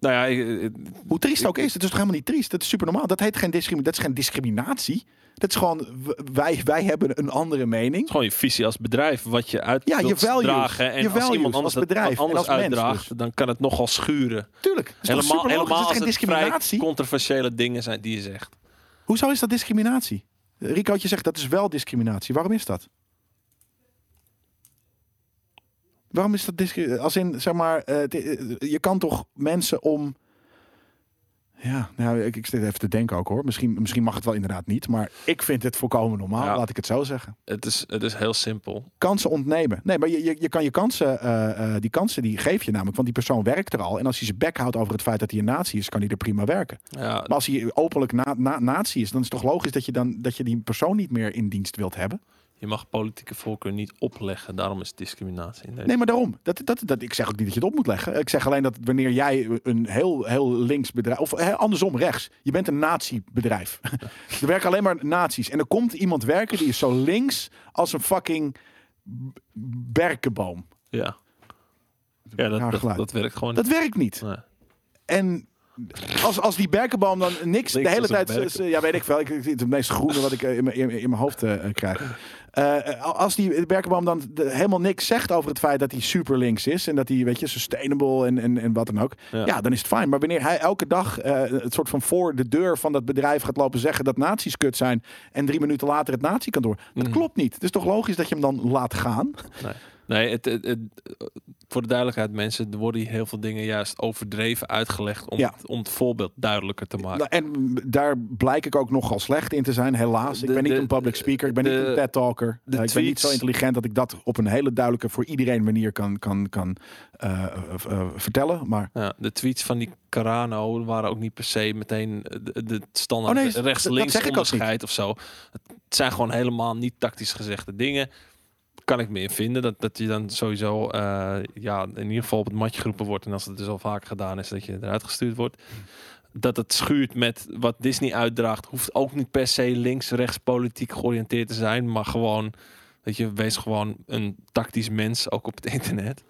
nou ja, ik- ik-
Hoe triest het ook is, het is toch helemaal niet triest. Dat is super normaal. Dat heet geen discriminatie. Dat is geen discriminatie. Dat is gewoon, w- wij, wij hebben een andere mening.
Het is gewoon je visie als bedrijf, wat je uit
Ja,
wilt
je values.
dragen. En
Je
als
values
iemand anders
als bedrijf
dat
en
anders
als mens
uitdraagt, dan kan het nogal schuren.
Tuurlijk. Dat is toch
helemaal
superlogisch?
helemaal
dat is
als
geen
het vrij
discriminatie.
controversiële dingen zijn die je zegt.
Hoezo is dat discriminatie? Ricootje zegt dat is wel discriminatie. Waarom is dat? Waarom is dat discriminatie? Als in, zeg maar, eh, het- eh, je kan toch mensen om. Ja, nou, ik, ik zit even te denken ook hoor. Misschien, misschien mag het wel inderdaad niet, maar ik vind het volkomen normaal,
Ja.
laat ik het zo zeggen.
Het is, het is heel simpel.
Kansen ontnemen. Nee, maar je, je, je kan je kansen, eh, eh, die kansen die geef je namelijk, want die persoon werkt er al. En als hij zijn bek houdt over het feit dat hij een nazi is, kan hij er prima werken.
Ja,
Maar als hij openlijk na, na, nazi is, dan is het toch logisch dat je, dan, dat je die persoon niet meer in dienst wilt hebben?
je mag politieke voorkeur niet opleggen. Daarom is discriminatie in deze.
Nee, maar daarom. Dat, dat, dat, ik zeg ook niet dat je het op moet leggen. Ik zeg alleen dat wanneer jij een heel, heel links bedrijf... of hè, andersom, rechts. Je bent een nazi-bedrijf. er werken alleen maar nazi's. En er komt iemand werken die is zo links als een fucking b- berkenboom.
Ja, ja
Raar
dat, dat,
geluid.
dat werkt gewoon
Dat werkt niet.
niet. Nee.
En als, als die berkenboom dan niks de
Links als een
hele tijd. z-
berken.
z- Ja, weet ik wel. Ik, ik- het meest groene wat ik eh, in mijn, in mijn- in mijn hoofd eh, eh, krijg. Eh, eh, als die berkenboom dan de- helemaal niks zegt over het feit dat hij super links is. En dat hij, weet je, sustainable en, en, en wat dan ook.
Ja.
Ja, dan is het fijn. Maar wanneer hij elke dag eh, het soort van voor de deur van dat bedrijf gaat lopen zeggen dat nazi's kut zijn. En drie minuten later het nazi-kantoor. Dat
Mhm.
klopt niet. Het is toch logisch dat je hem dan laat gaan?
Nee, het, het, het- voor de duidelijkheid, mensen, er worden hier heel veel dingen juist overdreven uitgelegd om,
Ja.
het, om het voorbeeld duidelijker te maken.
Nou, en daar blijk ik ook nogal slecht in te zijn, helaas. Ik
De-
ben niet
de-
een public speaker, ik ben niet
de-
een TED-talker.
de
Eh, ik ben niet
tweets-
zo intelligent dat ik dat op een hele duidelijke, voor iedereen manier kan, kan, kan eh, eh, eh, vertellen. Maar
Ja, de tweets van die Carano waren ook niet per se meteen eh, de, de
Oh
standaard
nee, dat- dat zeg
rechts-links
ik ook
onderscheid of zo. Het zijn gewoon helemaal niet tactisch gezegde dingen. Kan ik meer vinden dat, dat je dan sowieso eh, ja, in ieder geval op het matje geroepen wordt. En als het dus al vaak gedaan is, dat je eruit gestuurd wordt. Dat het schuurt met wat Disney uitdraagt, hoeft ook niet per se links-rechts politiek georiënteerd te zijn. Maar gewoon, weet je, wees gewoon een tactisch mens, ook op het [laughs] internet.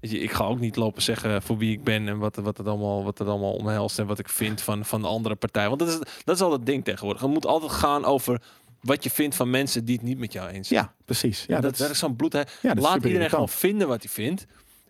Weet je, ik ga ook niet lopen zeggen voor wie ik ben en wat, wat, het, allemaal, wat het allemaal omhelst en wat ik vind van, van de andere partij. Want dat is, dat is al het ding tegenwoordig. Het moet altijd gaan over wat je vindt van mensen die het niet met jou eens zijn.
ja, precies. Ja,
dat, dat is zo'n bloed.
ja, dat is
Laat
super
iedereen gewoon
irritant.
vinden wat hij vindt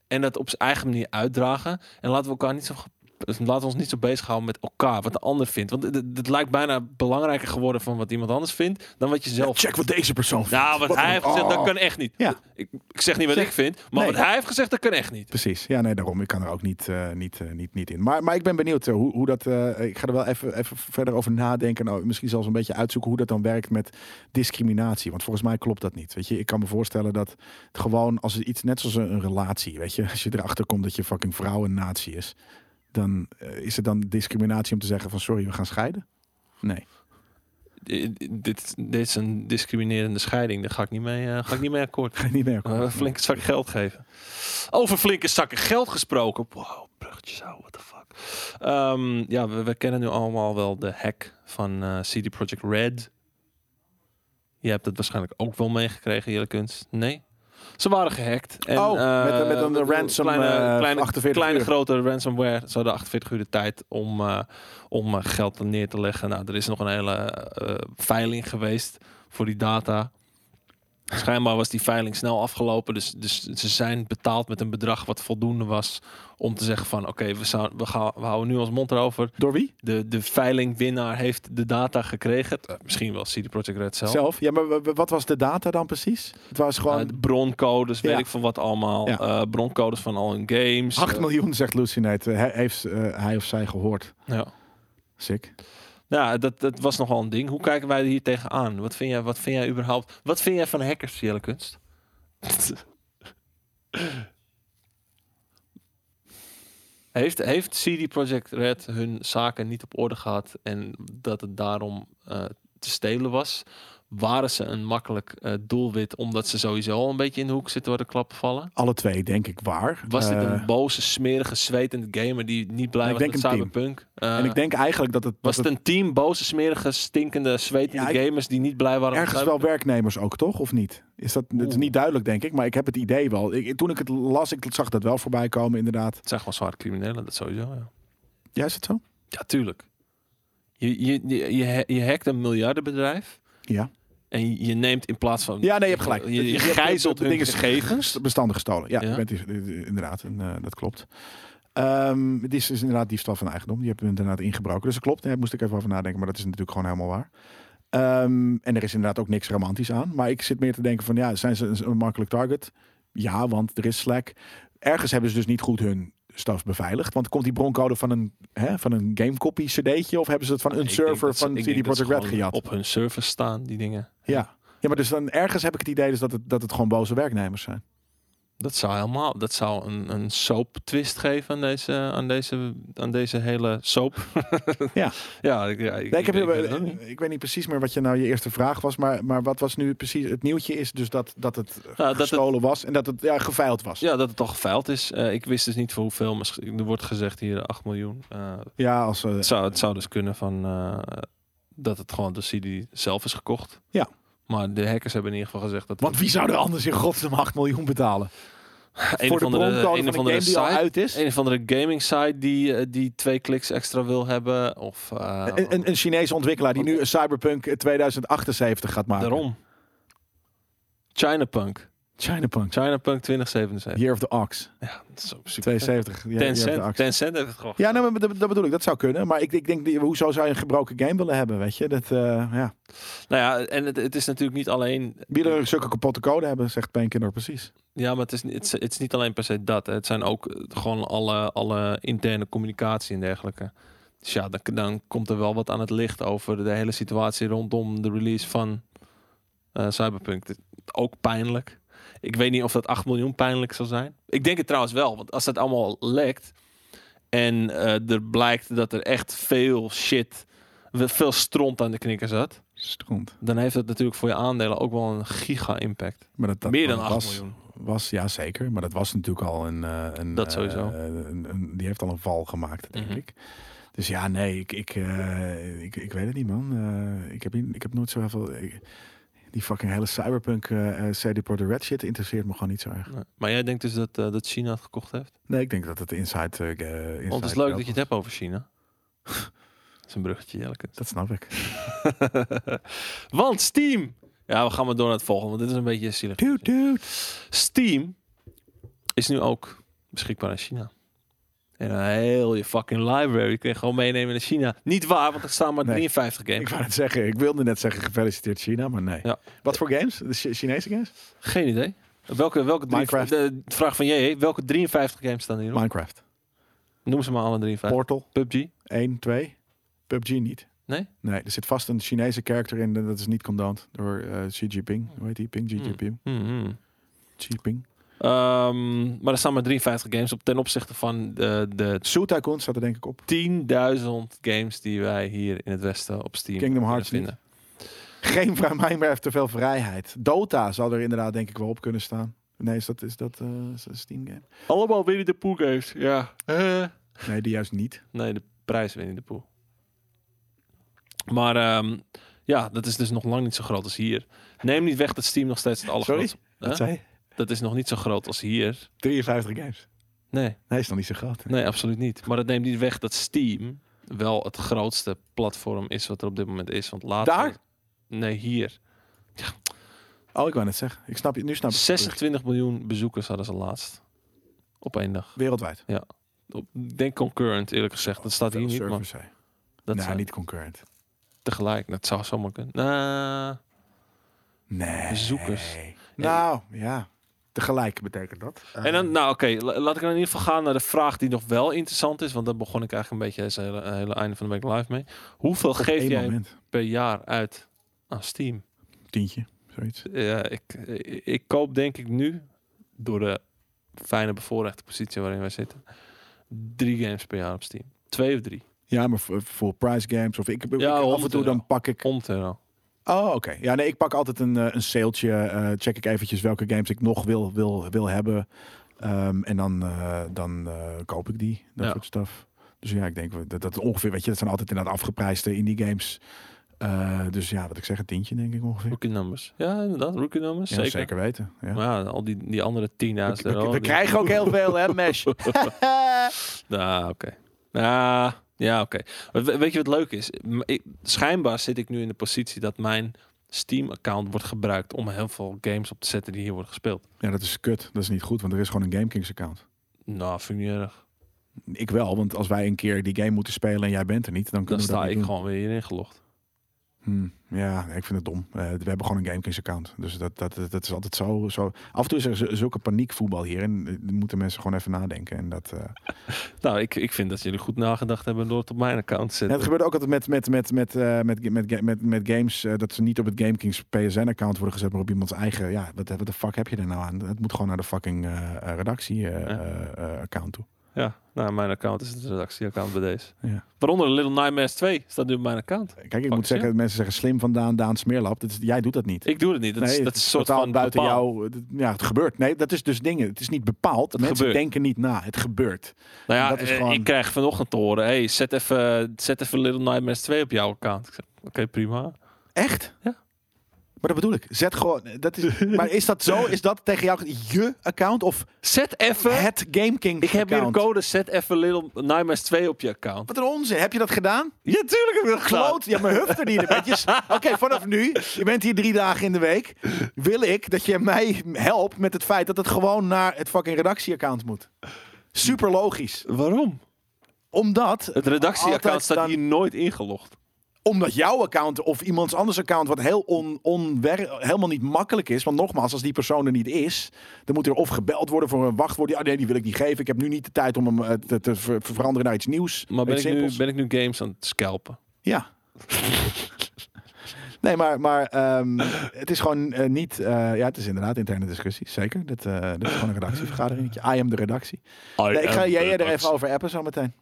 en dat op zijn eigen manier uitdragen. En laten we elkaar niet zo. ge- dus Laten we ons niet zo bezighouden met elkaar, wat de ander vindt. Want het- het het lijkt bijna belangrijker geworden van wat iemand anders vindt dan wat je zelf.
Check wat deze persoon vindt. Oh.
Nou, wat hij heeft gezegd, dat kan echt niet.
Ja.
Ik, ik zeg niet wat
Zeg-
ik vind, maar
Nee.
wat hij heeft gezegd, dat kan echt niet.
Precies. Ja, nee, daarom. Ik kan er ook niet, eh, niet, eh, niet, niet in. Maar, maar ik ben benieuwd eh, hoe, hoe dat... eh, ik ga er wel even, even verder over nadenken. Nou, misschien zelfs een beetje uitzoeken hoe dat dan werkt met discriminatie. Want volgens mij klopt dat niet. Weet je, ik kan me voorstellen dat het gewoon als het iets... Net zoals een, een relatie, weet je. [laughs] Als je erachter komt dat je fucking vrouw een nazi is... Dan eh, is het dan discriminatie om te zeggen van... Sorry, we gaan scheiden? Nee. [laughs]
Eh, dit, dit is een discriminerende scheiding. Daar ga ik niet mee, eh, ga ik niet mee akkoord.
Ga je niet meer
Maar een Eh, flinke zak geld geven. Over flinke zakken geld gesproken. Wow, bruggetjes, oh, what the fuck. Ehm, ja, we, we kennen nu allemaal wel de hack van eh, CD Projekt Red. Je hebt het waarschijnlijk ook wel meegekregen, Jelle Kunst. Nee? Ze waren gehackt. En,
Oh,
eh,
met een- met een
dat- dat
ransom,
Kleine,
eh,
kleine,
48
kleine
uur.
grote ransomware. Ze hadden 48 uur de tijd om, eh, om eh, geld neer te leggen. Nou, er is nog een hele eh, veiling geweest voor die data. Schijnbaar was die veiling snel afgelopen. Dus, dus ze zijn betaald met een bedrag wat voldoende was. Om te zeggen van oké, we, zou- we, gaan- we houden nu ons mond erover.
Door wie?
De, de veilingwinnaar heeft de data gekregen. Eh, misschien wel CD Projekt Red zelf.
Zelf. Ja, maar w- w- wat was de data dan precies? Het was gewoon
Eh, broncodes, weet
Ja.
ik van wat allemaal.
Ja.
Eh, broncodes van al hun games.
8
Eh,
miljoen, zegt Lucinate. Hij, heeft eh, hij of zij gehoord.
ja.
Sick.
Nou, dat, dat was nogal een ding. Hoe kijken wij hier tegenaan? Wat vind jij, wat vind jij überhaupt? Wat vind jij van hackers, Jelle Kunst? [laughs] heeft, heeft CD Projekt Red hun zaken niet op orde gehad en dat het daarom eh, te stelen was? Waren ze een makkelijk eh, doelwit omdat ze sowieso al een beetje in de hoek zitten waar de klappen vallen?
Alle twee, denk ik, waar.
Was dit
Eh,
een boze, smerige, zwetende gamer die niet
Ik
blij was
denk
met
een team.
Cyberpunk? Eh,
En ik denk eigenlijk dat het,
was
dat
het
het
een team boze, smerige, stinkende, zwetende
Ja, ik-
gamers die niet blij waren? met
ergens wel
Cyberpunk?
werknemers ook, toch? Of niet? Is dat, het is
Oeh.
niet duidelijk, denk ik. Maar ik heb het idee wel. Ik, toen ik het las, ik zag dat wel voorbij komen, inderdaad.
Het zijn gewoon zware criminelen, dat sowieso. Ja,
Ja, is het zo?
ja tuurlijk. Je, je, je, je, ha- je hackt een miljardenbedrijf
Ja.
en je neemt in plaats van...
Ja, nee, je hebt gelijk.
Je, je
Je hebt-
gijzelt
de
hun
dingen-
gegevens.
Bestanden gestolen. Ja,
Ja.
je bent is- inderdaad. En, eh, dat klopt. Ehm, het is, is inderdaad diefstal van eigendom. Die hebben we inderdaad ingebroken. Dus dat klopt. Daar moest ik even over nadenken. Maar dat is natuurlijk gewoon helemaal waar. Ehm, en er is inderdaad ook niks romantisch aan. Maar ik zit meer te denken van ja, zijn ze een, een makkelijk target? Ja, want er is Slack. Ergens hebben ze dus niet goed hun staf beveiligd. Want komt die broncode van een, hè, van een gamecopy cd'tje? Of hebben ze het van een
Ik denk
server
dat ze-
van
ik
CD
denk dat ze
Projekt Red
gewoon
gejat?
Op hun servers staan, die dingen.
Ja. ja, maar dus dan ergens heb ik het idee dus dat, het, dat het gewoon boze werknemers zijn.
Dat zou helemaal, dat zou een, een soap twist geven aan deze, aan deze, aan deze hele
[laughs]
soap.
Ja.
ja, ik, ja, ik,
Nee, ik, heb,
ik
ik,
weet het ook niet.
weet niet precies meer wat je nou je eerste vraag was, maar, maar wat was nu precies het nieuwtje is dus dat, dat het
Nou, dat het-
gestolen was en dat het ja, geveild was. Ja,
Ja, dat het al geveild is. Eh, ik wist dus niet voor hoeveel. maar sch- Er wordt gezegd hier 8 miljoen. Eh,
als, eh,
het, zou, het zou dus kunnen van eh, dat het gewoon door CD zelf is gekocht.
Ja.
Maar de hackers hebben in ieder geval gezegd dat
want wie zou er anders in godsnaam 8 miljoen betalen?
een
Voor de
of andere,
broncode van
een
de
of
game
andere
die al
site,
uit is?
een of andere gaming site die, eh, die twee kliks extra wil hebben. Of eh,
Een, een, een Chinese ontwikkelaar die nu een Cyberpunk 2078 gaat maken.
Oh. daarom. Chinapunk.
Chinapunk.
Chinapunk 2077.
Year of the Ox.
Ja, dat is ook super.
72. Ja, Year of the
Tencent,
Ox.
Tencent heeft het gewoon.
Ja, nou, maar dat, dat bedoel ik. Dat zou kunnen. Maar ik, ik denk, die- hoezo zou je een gebroken game willen hebben, weet je? Dat, eh ja.
Nou ja, en het, het is natuurlijk niet alleen
Wie er zulke kapotte code hebben, zegt Painkiller precies.
Ja, maar het is, niet- het, is, het is niet alleen per se dat. hè. Het zijn ook eh, gewoon alle, alle interne communicatie en dergelijke. Dus ja, dan, dan komt er wel wat aan het licht over de hele situatie rondom de release van eh, Cyberpunk. Het is Ook pijnlijk. Ik weet niet of dat 8 miljoen pijnlijk zal zijn. Ik denk het trouwens wel, want als dat allemaal lekt en eh, er blijkt dat er echt veel shit, veel stront aan de knikker zat,
Stront.
dan heeft dat natuurlijk voor je aandelen ook wel een giga-impact.
Maar dat, dat
Meer dan
was-
8 miljoen.
Was, ja zeker. Maar dat was natuurlijk al een... eh, een
Dat sowieso.
eh, een- een- die heeft al een val gemaakt, denk
Mhm.
ik. Dus ja, nee, ik, ik, eh, ik, ik weet het niet, man. Eh, ik, heb, niet- ik heb nooit zo heel veel... ik- die fucking hele cyberpunk eh eh, CD Projekt Red shit interesseert me gewoon niet zo erg.
Nee. Maar jij denkt dus dat, eh, dat China het gekocht heeft?
Nee, ik denk dat het inside... eh, eh, inside
Want het is
job
leuk dat je
was.
het hebt over China. [laughs] dat is een bruggetje, Jellekens.
Dat snap ik.
[laughs] want Steam... Ja, we gaan maar door naar het volgende, want dit is een beetje zielig.
Dude, dude.
Steam is nu ook beschikbaar in China. En een heel je fucking library kun je gewoon meenemen naar China. Niet waar, want er staan maar
Nee.
53
[laughs] Ik
games.
wou het zeggen. Ik wilde net zeggen gefeliciteerd China, maar nee.
Ja.
Wat voor games? De Chi- Chinese games?
Geen idee. Welke, welke drie-
Minecraft.
De vraag van jij, welke 53 games staan hierop?
Minecraft.
Noem ze maar alle 53.
Portal.
PUBG.
1, 2. PUBG niet.
Nee?
Nee, er zit vast een Chinese karakter in. en Dat is niet condoned door eh, Xi Jinping. Hoe heet die? Ping? Xi
Hmm.
Jinping?
Hmm, hmm.
Xi Jinping.
Ehm, maar er staan maar 53 games op ten opzichte van de, de
Zoo Tycoon staat er denk ik op. [laughs]
10.000 games die wij hier in het Westen op Steam
Kingdom
kunnen
Hearts
vinden.
Geen vrij mijn heeft te veel vrijheid. Dota zou er inderdaad denk ik wel op kunnen staan. Nee, is dat, is dat eh, is dat een Steam game?
Allemaal Winnie de Pooh games, ja.
Nee, die juist niet.
Nee, de prijs Winnie de Pooh. Maar ehm, ja, dat is dus nog lang niet zo groot als hier. Neem niet weg dat Steam nog steeds het
Sorry?
allergrootste...
Dat
Huh?
zei
Dat is nog niet zo groot als hier.
53 games.
Nee,
Hij is nog niet zo groot.
nee, absoluut niet. Maar dat neemt niet weg dat Steam wel het grootste platform is wat er op dit moment is. Want later...
Daar?
Nee, hier.
Oh, ik wou net zeggen. Ik snap je, nu snap ik het.
26 miljoen bezoekers hadden ze laatst. Op één dag.
Wereldwijd.
Op- ik Denk concurrent, eerlijk gezegd. Dat staat hier niet, maar
Servers, hè.
dat
nou,
zijn
niet concurrent.
tegelijk. Dat zou zomaar kunnen. Nou,
Nee.
Bezoekers.
Nou, ja. Tegelijk betekent dat.
En dan, nou oké, la- laat ik dan in ieder geval gaan naar de vraag die nog wel interessant is. Want daar begon ik eigenlijk een beetje het hele, hele einde van de week live mee. Hoeveel geef
Eén
jij
moment.
per jaar uit aan Steam?
Tientje, zoiets.
Ja, ik, ik, ik koop denk ik nu, door de fijne bevoorrechte positie waarin wij zitten, drie games per jaar op Steam. Twee of drie.
Ja, maar voor, voor price games of ik, ik-
Ja,
af en
100
toe
euro.
dan pak ik.
Om te euro.
Oh, oké. Ja, nee, ik pak altijd een, eh, een saleetje. eh, check ik eventjes welke games ik nog wil, wil, wil hebben. Ehm, en dan, eh, dan eh, koop ik die. Dat
Ja.
soort stuff. Dus ja, ik denk wel dat dat ongeveer, weet je, dat zijn altijd inderdaad afgeprijsde indie games. Eh, dus ja, wat ik zeg, een tientje denk ik ongeveer.
Rookie numbers. Ja, inderdaad, rookie numbers.
Ja,
zeker.
zeker. weten. Ja.
Maar ja, al die, die andere 10.000
we, we-
euro.
we
die-
krijgen ook heel veel, hè, Mesh?
Nou, oké. Nou, ja, oké. Maar we- Weet je wat leuk is? M- ik- schijnbaar zit ik nu in de positie dat mijn Steam-account wordt gebruikt om heel veel games op te zetten die hier worden gespeeld.
[laughs] ja, dat is kut. Dat is niet goed, want er is gewoon een GameKings account.
Nou, vind ik niet erg.
Ik wel, want als wij een keer die game moeten spelen en jij bent er niet, dan
Dan
kunnen we
sta
dat
ik
niet doen.
gewoon weer hierin gelogd.
Hmm, ja, nee, ik vind het dom. Eh, we hebben gewoon een GameKings account. Dus dat, dat, dat, dat is altijd zo, zo... Af en toe is er z- zulke paniekvoetbal hier. En eh, moeten mensen gewoon even nadenken. En dat, eh,
Nou, ik, ik vind dat jullie goed nagedacht hebben door het op mijn account te
Ja, het
zetten.
gebeurt ook altijd met, met, met, met, eh, met, ga- met, ga- met, met games. eh, dat ze niet op het GameKings PSN-account worden gezet, maar op iemands eigen. Ja, wat, wat de fuck heb je er nou aan? Het moet gewoon naar de fucking eh,
Ja.
redactie-account eh, toe.
Ja, nou, mijn account is het redactieaccount bij deze.
Ja.
Waaronder Little Nightmares 2 staat nu op mijn account.
Kijk, ik
Fuck
moet zeggen, mensen zeggen slim van Daan, Daan Smeerlap. Dat is, jij doet dat niet.
Ik doe het niet. Dat is,
Nee,
dat
het
is een soort
totaal
van
buiten
bepaald.
jou. d- Ja, het gebeurt. Nee, dat is dus dingen. Het is niet bepaald. mensen
gebeurt.
denken niet na. Het gebeurt.
Nou ja,
Dat is
eh,
gewoon-
ik krijg vanochtend te horen, hey, zet even, zet even Little Nightmares 2 op jouw account. Ik zeg, oké, prima.
Echt?
Ja.
Maar dat bedoel ik. Zet gewoon.
[laughs]
Dat is, maar is dat zo? Is dat tegen jou je account of
Zet even,
het GameKings?
ik heb hier een
account?
code, zet even Little Nightmares 2 op je account.
Wat een onzin. Heb je dat gedaan?
Ja, tuurlijk heb ik dat
Kloot. Ja, maar hufter die er
[laughs]
netjes. Oké, vanaf nu. Je bent hier drie dagen in de week. Wil ik dat je mij helpt met het feit dat het gewoon naar het fucking redactieaccount moet. Super logisch.
Waarom?
Omdat
Het redactieaccount
Altijd
staat
dan-
hier nooit ingelogd.
omdat jouw account of iemands anders account, wat heel on, onwer, helemaal niet makkelijk is. Want nogmaals, als die persoon er niet is, dan moet er of gebeld worden voor een wachtwoord. Ja, nee, die wil ik niet geven. Ik heb nu niet de tijd om hem eh, te, te ver- veranderen naar iets nieuws.
Maar ben
Iets
ik, nu,
simpels.
ben ik nu games aan het scalpen?
Ja.
[laughs]
nee, maar, maar ehm, het is gewoon eh, niet. eh, ja, het is inderdaad interne discussie, zeker. Dit, eh, dit is gewoon
[laughs]
een redactievergadering. I am de redactie. Nee, ik ga jij er even over appen zo meteen.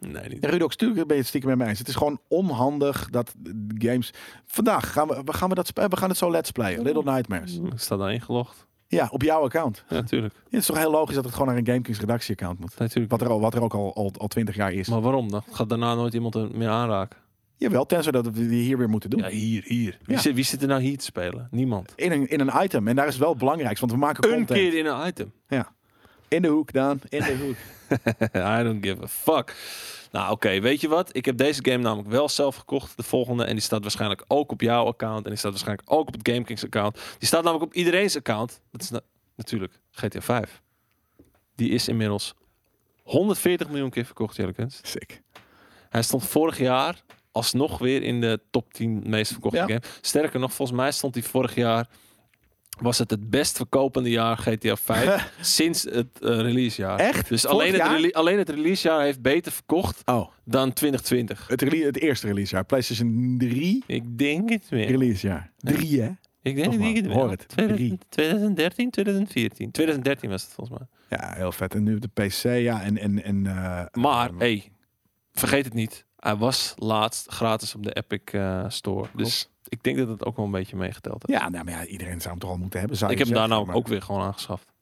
Nee, niet.
Ja, Rudox, tuurlijk ben je het stiekem met mij eens. Het is gewoon onhandig dat de games... Vandaag gaan we, we gaan we dat, spe- we gaan het zo let's playen. Little Nightmares.
Ik sta daar ingelogd.
Ja, op jouw account.
Ja, natuurlijk.
Het is toch heel logisch dat het gewoon naar een GameKings redactieaccount moet.
natuurlijk.
Wat er, al, wat er ook al twintig al, 20 jaar is.
Maar waarom? Dan gaat daarna nooit iemand er meer aanraken.
Jawel, tenzij dat we die hier weer moeten doen.
Ja, hier, hier. Wie,
Ja.
zit, wie zit er nou hier te spelen? Niemand.
In, een, in een item. En daar is wel belangrijk, want we maken
Een
content.
keer in een item.
In de hoek, Daan. In
[laughs]
de hoek.
I don't give a fuck. Nou, oké, weet je wat? Ik heb deze game namelijk wel zelf gekocht, de volgende. En die staat waarschijnlijk ook op jouw account. En die staat waarschijnlijk ook op het GameKings account. Die staat namelijk op iedereen's account. Dat is na- natuurlijk GTA 5. Die is inmiddels 140 miljoen keer verkocht, Jellekens.
Sick.
Hij stond vorig jaar alsnog weer in de top 10 meest verkochte
Ja.
game. Sterker nog, volgens mij stond hij vorig jaar... Was het het best verkopende jaar GTA
[laughs]
5 sinds het release releasejaar.
Echt?
Dus
Vorig
alleen het,
jaar?
rele- alleen het releasejaar heeft beter verkocht
Oh,
dan 2020.
het, rele- het eerste releasejaar. PlayStation 3
Ik denk het weer.
releasejaar. 3, hè?
Ik denk
Toch
het,
maar,
niet.
hoor het.
2013, 2014. 2013 was het volgens mij.
Ja, heel vet. En nu op de PC, ja. En, en, en, eh,
Maar,
ehm,
hey, vergeet het niet. Hij was laatst gratis op de Epic eh, Store. Dus ik denk dat het ook wel een beetje meegeteld heeft.
Ja, nou, maar ja, iedereen zou hem toch al moeten hebben. Zou
ik
je
heb hem daar
zeggen,
namelijk ook weer gewoon aangeschaft.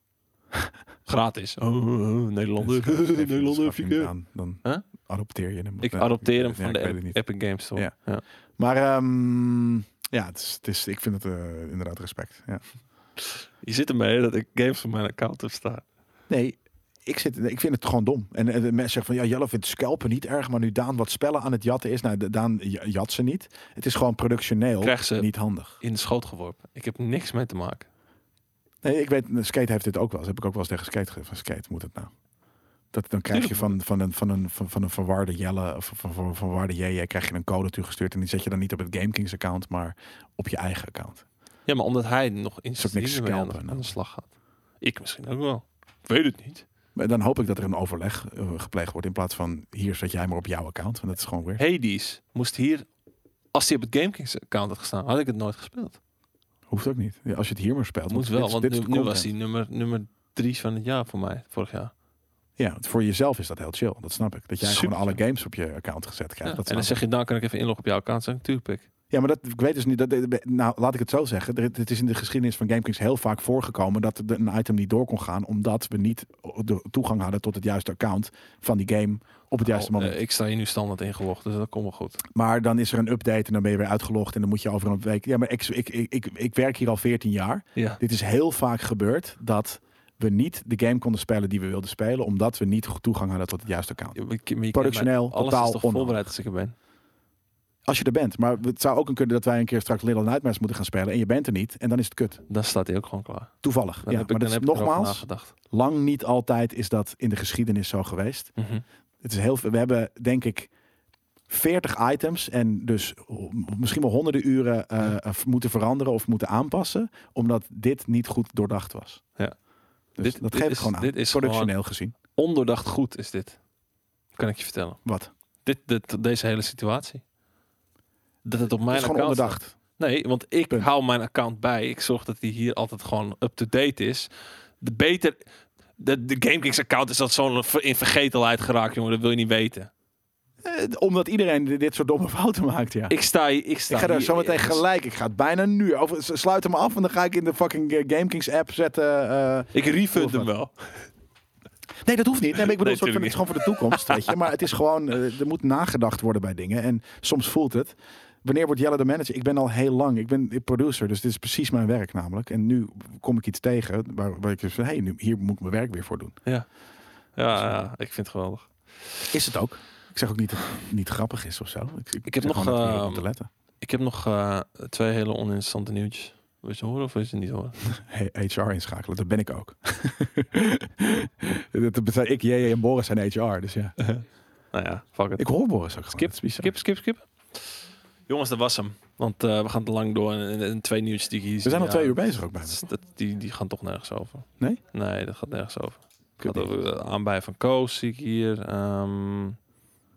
[laughs] gratis. Oh, oh, oh,
maar-
[laughs] Nederlander.
Dat schaf- schaf-
Nederlander.
schaf je dus niet
figuur.
aan, Dan
Huh?
adopteer je hem.
Ik
Nee,
adopteer hem
ja,
van
ik
de
weet het
Ep-
niet.
Epic Games Store.
Ja.
Ja.
Maar ehm, ja, het is, het is, ik vind het eh, inderdaad respect. Ja.
Je zit ermee dat ik games van mijn account heb staan.
Nee, ik, zit, ik vind het gewoon dom. En, en de mensen zeggen van, ja, Jelle vindt scalpen niet erg, maar nu Daan wat spellen aan het jatten is. Nou, de- Daan j- jat ze niet. Het is gewoon productioneel
Krijg ze
niet handig.
in de schoot geworpen. Ik heb niks mee te maken.
Nee, ik weet, Skate heeft dit ook wel eens. Heb ik ook wel eens tegen Skate gegeven. Van, Skate, moet het nou? Dat, dan krijg je van, van, een, van, een, van, van een verwarde Jelle of van, van, van verwarde JJ krijg je een code toegestuurd. En die zet je dan niet op het GameKings account, maar op je eigen account.
Ja, maar omdat hij nog in
Is ook niks
zijn mee aan, de-
scalpen,
aan de slag gaat. Ik misschien ook wel. Ik weet het niet.
Maar dan hoop ik dat er een overleg eh, gepleegd wordt in plaats van hier zet jij maar op jouw account. Want dat is gewoon weer.
Hades moest hier... Als hij op het GameKings account had gestaan, had ik het nooit gespeeld.
Hoeft ook niet. Ja, als je het hier maar speelt.
Dat moet wel,
dit is-
want
dit is
nu,
de
nu was
content.
hij nummer, nummer drie van het jaar voor mij, vorig jaar.
Ja, want voor jezelf is dat heel chill. Dat snap ik. Dat jij
Super
gewoon alle games op je account gezet
Ja,
krijgt. dat
en
snap
dan zeg je, dan kan ik even inloggen op jouw account. Dan Zeg ik, tuurlijk, pik.
Ja, maar dat, ik weet dus niet. Dat, nou, laat ik het zo zeggen. Er- Het is in de geschiedenis van GameKings heel vaak voorgekomen dat er een item niet door kon gaan. Omdat we niet de toegang hadden tot het juiste account van die game op het juiste
Oh,
moment.
eh, ik sta hier nu standaard ingelogd, dus dat komt wel goed.
Maar dan is er een update en dan ben je weer uitgelogd. En dan moet je over een week. Ja, maar ik, ik, ik, ik, ik werk hier al 14 jaar.
Ja.
Dit is heel vaak gebeurd dat we niet de game konden spelen die we wilden spelen. Omdat we niet goed toegang hadden tot het juiste account.
Je- je- je- je-
Productioneel,
maar Alles
totaal
is toch
onhandig.
voorbereid als ik er ben.
Als je er bent. Maar het zou ook een kunnen dat wij een keer straks Little Nightmares moeten gaan spelen. En je bent er niet. En dan is het kut.
Dan staat hij ook gewoon klaar.
Toevallig.
Dan
ja,
heb ik, dan
maar dat is
heb ik erover
nogmaals,
nagedacht.
lang niet altijd is dat in de geschiedenis zo geweest.
Mhm.
Het is heel, veel- we hebben denk ik 40 items en dus ho- misschien wel honderden uren eh, eh, moeten veranderen of moeten aanpassen. Omdat dit niet goed doordacht was.
Ja.
Dus
Dit-
dat
dit
geef ik
is-
gewoon aan.
dit is
Productioneel gezien.
Ondoordacht goed is dit. Kan ik je vertellen.
Wat?
Dit, dit, deze hele situatie. Dat het op mijn
Het is gewoon
account staat.
onderdacht.
Nee, want ik
Punt.
hou mijn account bij. Ik zorg dat die hier altijd gewoon up-to-date is. De beter... De, de GameKings account is dat zo'n ver- in vergetelheid geraakt, jongen. Dat wil je niet weten.
Eh, omdat iedereen di- dit soort domme [laughs] fouten maakt, ja. eh, Ik,
Ik sta hier... Ik, sta
ga daar
hier-
zo meteen
ergens.
gelijk. Ik ga het bijna nu. Over, s- sluit hem af en dan ga ik in de fucking eh, GameKings app zetten. eh,
Ik refund
Of
hem
wat?
wel.
Nee, dat hoeft niet. Nee, maar ik bedoel,
Nee,
soort van, het is gewoon voor de toekomst, weet je. Maar het is gewoon, eh, er moet nagedacht worden bij dingen. En soms voelt het. Wanneer wordt Jelle de manager? Ik ben al heel lang, ik ben producer, dus dit is precies mijn werk namelijk. En nu kom ik iets tegen waar, waar ik dus van, hé, nu hier moet ik mijn werk weer voor doen.
Ja, ja, ik vind het geweldig.
Is het ook. Ik zeg ook niet dat het niet grappig is of zo. Ik,
Ik heb
zeg
nog,
gewoon dat we
ehm,
op te letten.
Ik heb nog eh, twee hele oninteressante nieuwtjes. Wil je ze horen of wil je ze niet horen?
Hey, HR inschakelen, dat ben ik ook. [laughs] dat betekent, ik, JJ en Boris zijn HR, dus ja.
Nou ja, fuck it.
Ik hoor Boris ook gewoon.
Skip,
dat is bizar.
Skip, skip, skip. Jongens, dat was hem. Want eh, we gaan te lang door. En, en- en twee nieuwtjes die ik hier
We zijn al
ja,
twee uur bezig ook bijna.
dat- dat, die, die gaan toch nergens over.
Nee?
Nee, dat gaat nergens over. Het
Kut
gaat over de aanbij van Koos zie ik hier. Ehm,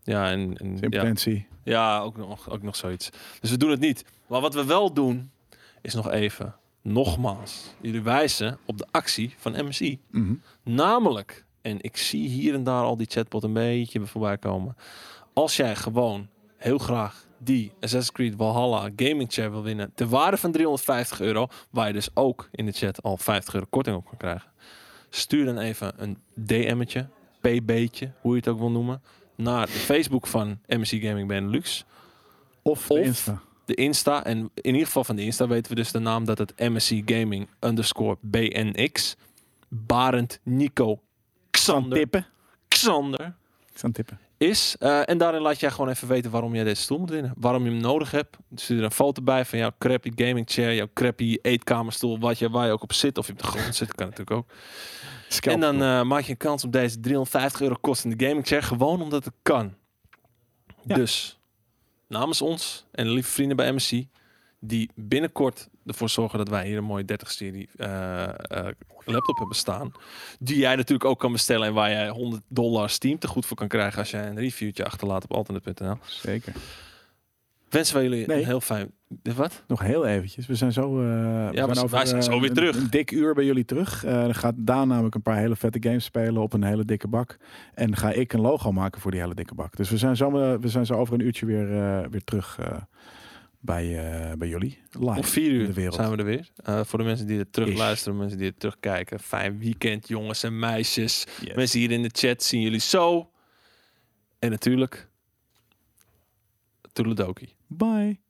ja, en, en ja,
Impotentie.
ja ook, nog, ook nog zoiets. Dus we doen het niet. Maar wat we wel doen, is nog even, nogmaals, jullie wijzen op de actie van MSI.
Mhm.
Namelijk, en ik zie hier en daar al die chatbot een beetje voorbij komen. Als jij gewoon heel graag die Assassin's Creed Valhalla gaming chair wil winnen, de waarde van 350 euro, waar je dus ook in de chat al 50 euro korting op kan krijgen, stuur dan even een DM'tje, pb'tje, hoe je het ook wil noemen, naar de Facebook van MSC Gaming Benelux,
Of,
Of-
de Insta.
de Insta. En in ieder geval van de Insta weten we dus de naam dat het MSC Gaming underscore BNX, Barend Nico
Aan
Xander
tippen.
Xander
Ik sta aan tippen.
is. Eh, en daarin laat jij gewoon even weten waarom jij deze stoel moet winnen. Waarom je hem nodig hebt. Stuur er een foto bij van jouw crappy gaming chair, jouw crappy eetkamerstoel, wat je, waar je ook op zit. Of je op de grond zit, kan natuurlijk ook. En dan eh, maak je een kans op deze 350 euro kostende gaming chair. Gewoon omdat het kan.
Ja.
Dus namens ons en de lieve vrienden bij MSC. Die binnenkort ervoor zorgen dat wij hier een mooie 30-serie eh, eh, laptop hebben staan. Die jij natuurlijk ook kan bestellen. En waar jij 100 dollar Steam te goed voor kan krijgen. Als jij een reviewtje achterlaat op alternate.nl.
Zeker.
Wensen wij jullie
Nee.
een heel fijn. Wat?
Nog heel eventjes. We zijn zo, eh, we
we zijn- wij zijn
eh,
zo weer
een-
terug.
Een, dik uur bij jullie terug. Eh, dan gaat Daan namelijk een paar hele vette games spelen op een hele dikke bak. En ga ik een logo maken voor die hele dikke bak. Dus we zijn zo, eh, we zijn zo over een uurtje weer, eh, weer terug eh, bij, eh, bij jullie. Live.
Om vier
in de
uur
wereld.
zijn we er weer. Eh, voor de mensen die het terug
Ish.
luisteren, mensen die het terugkijken. Fijn weekend, jongens en meisjes.
Yes.
Mensen hier in de chat zien jullie zo. En natuurlijk. Toedeledokie.
Bye.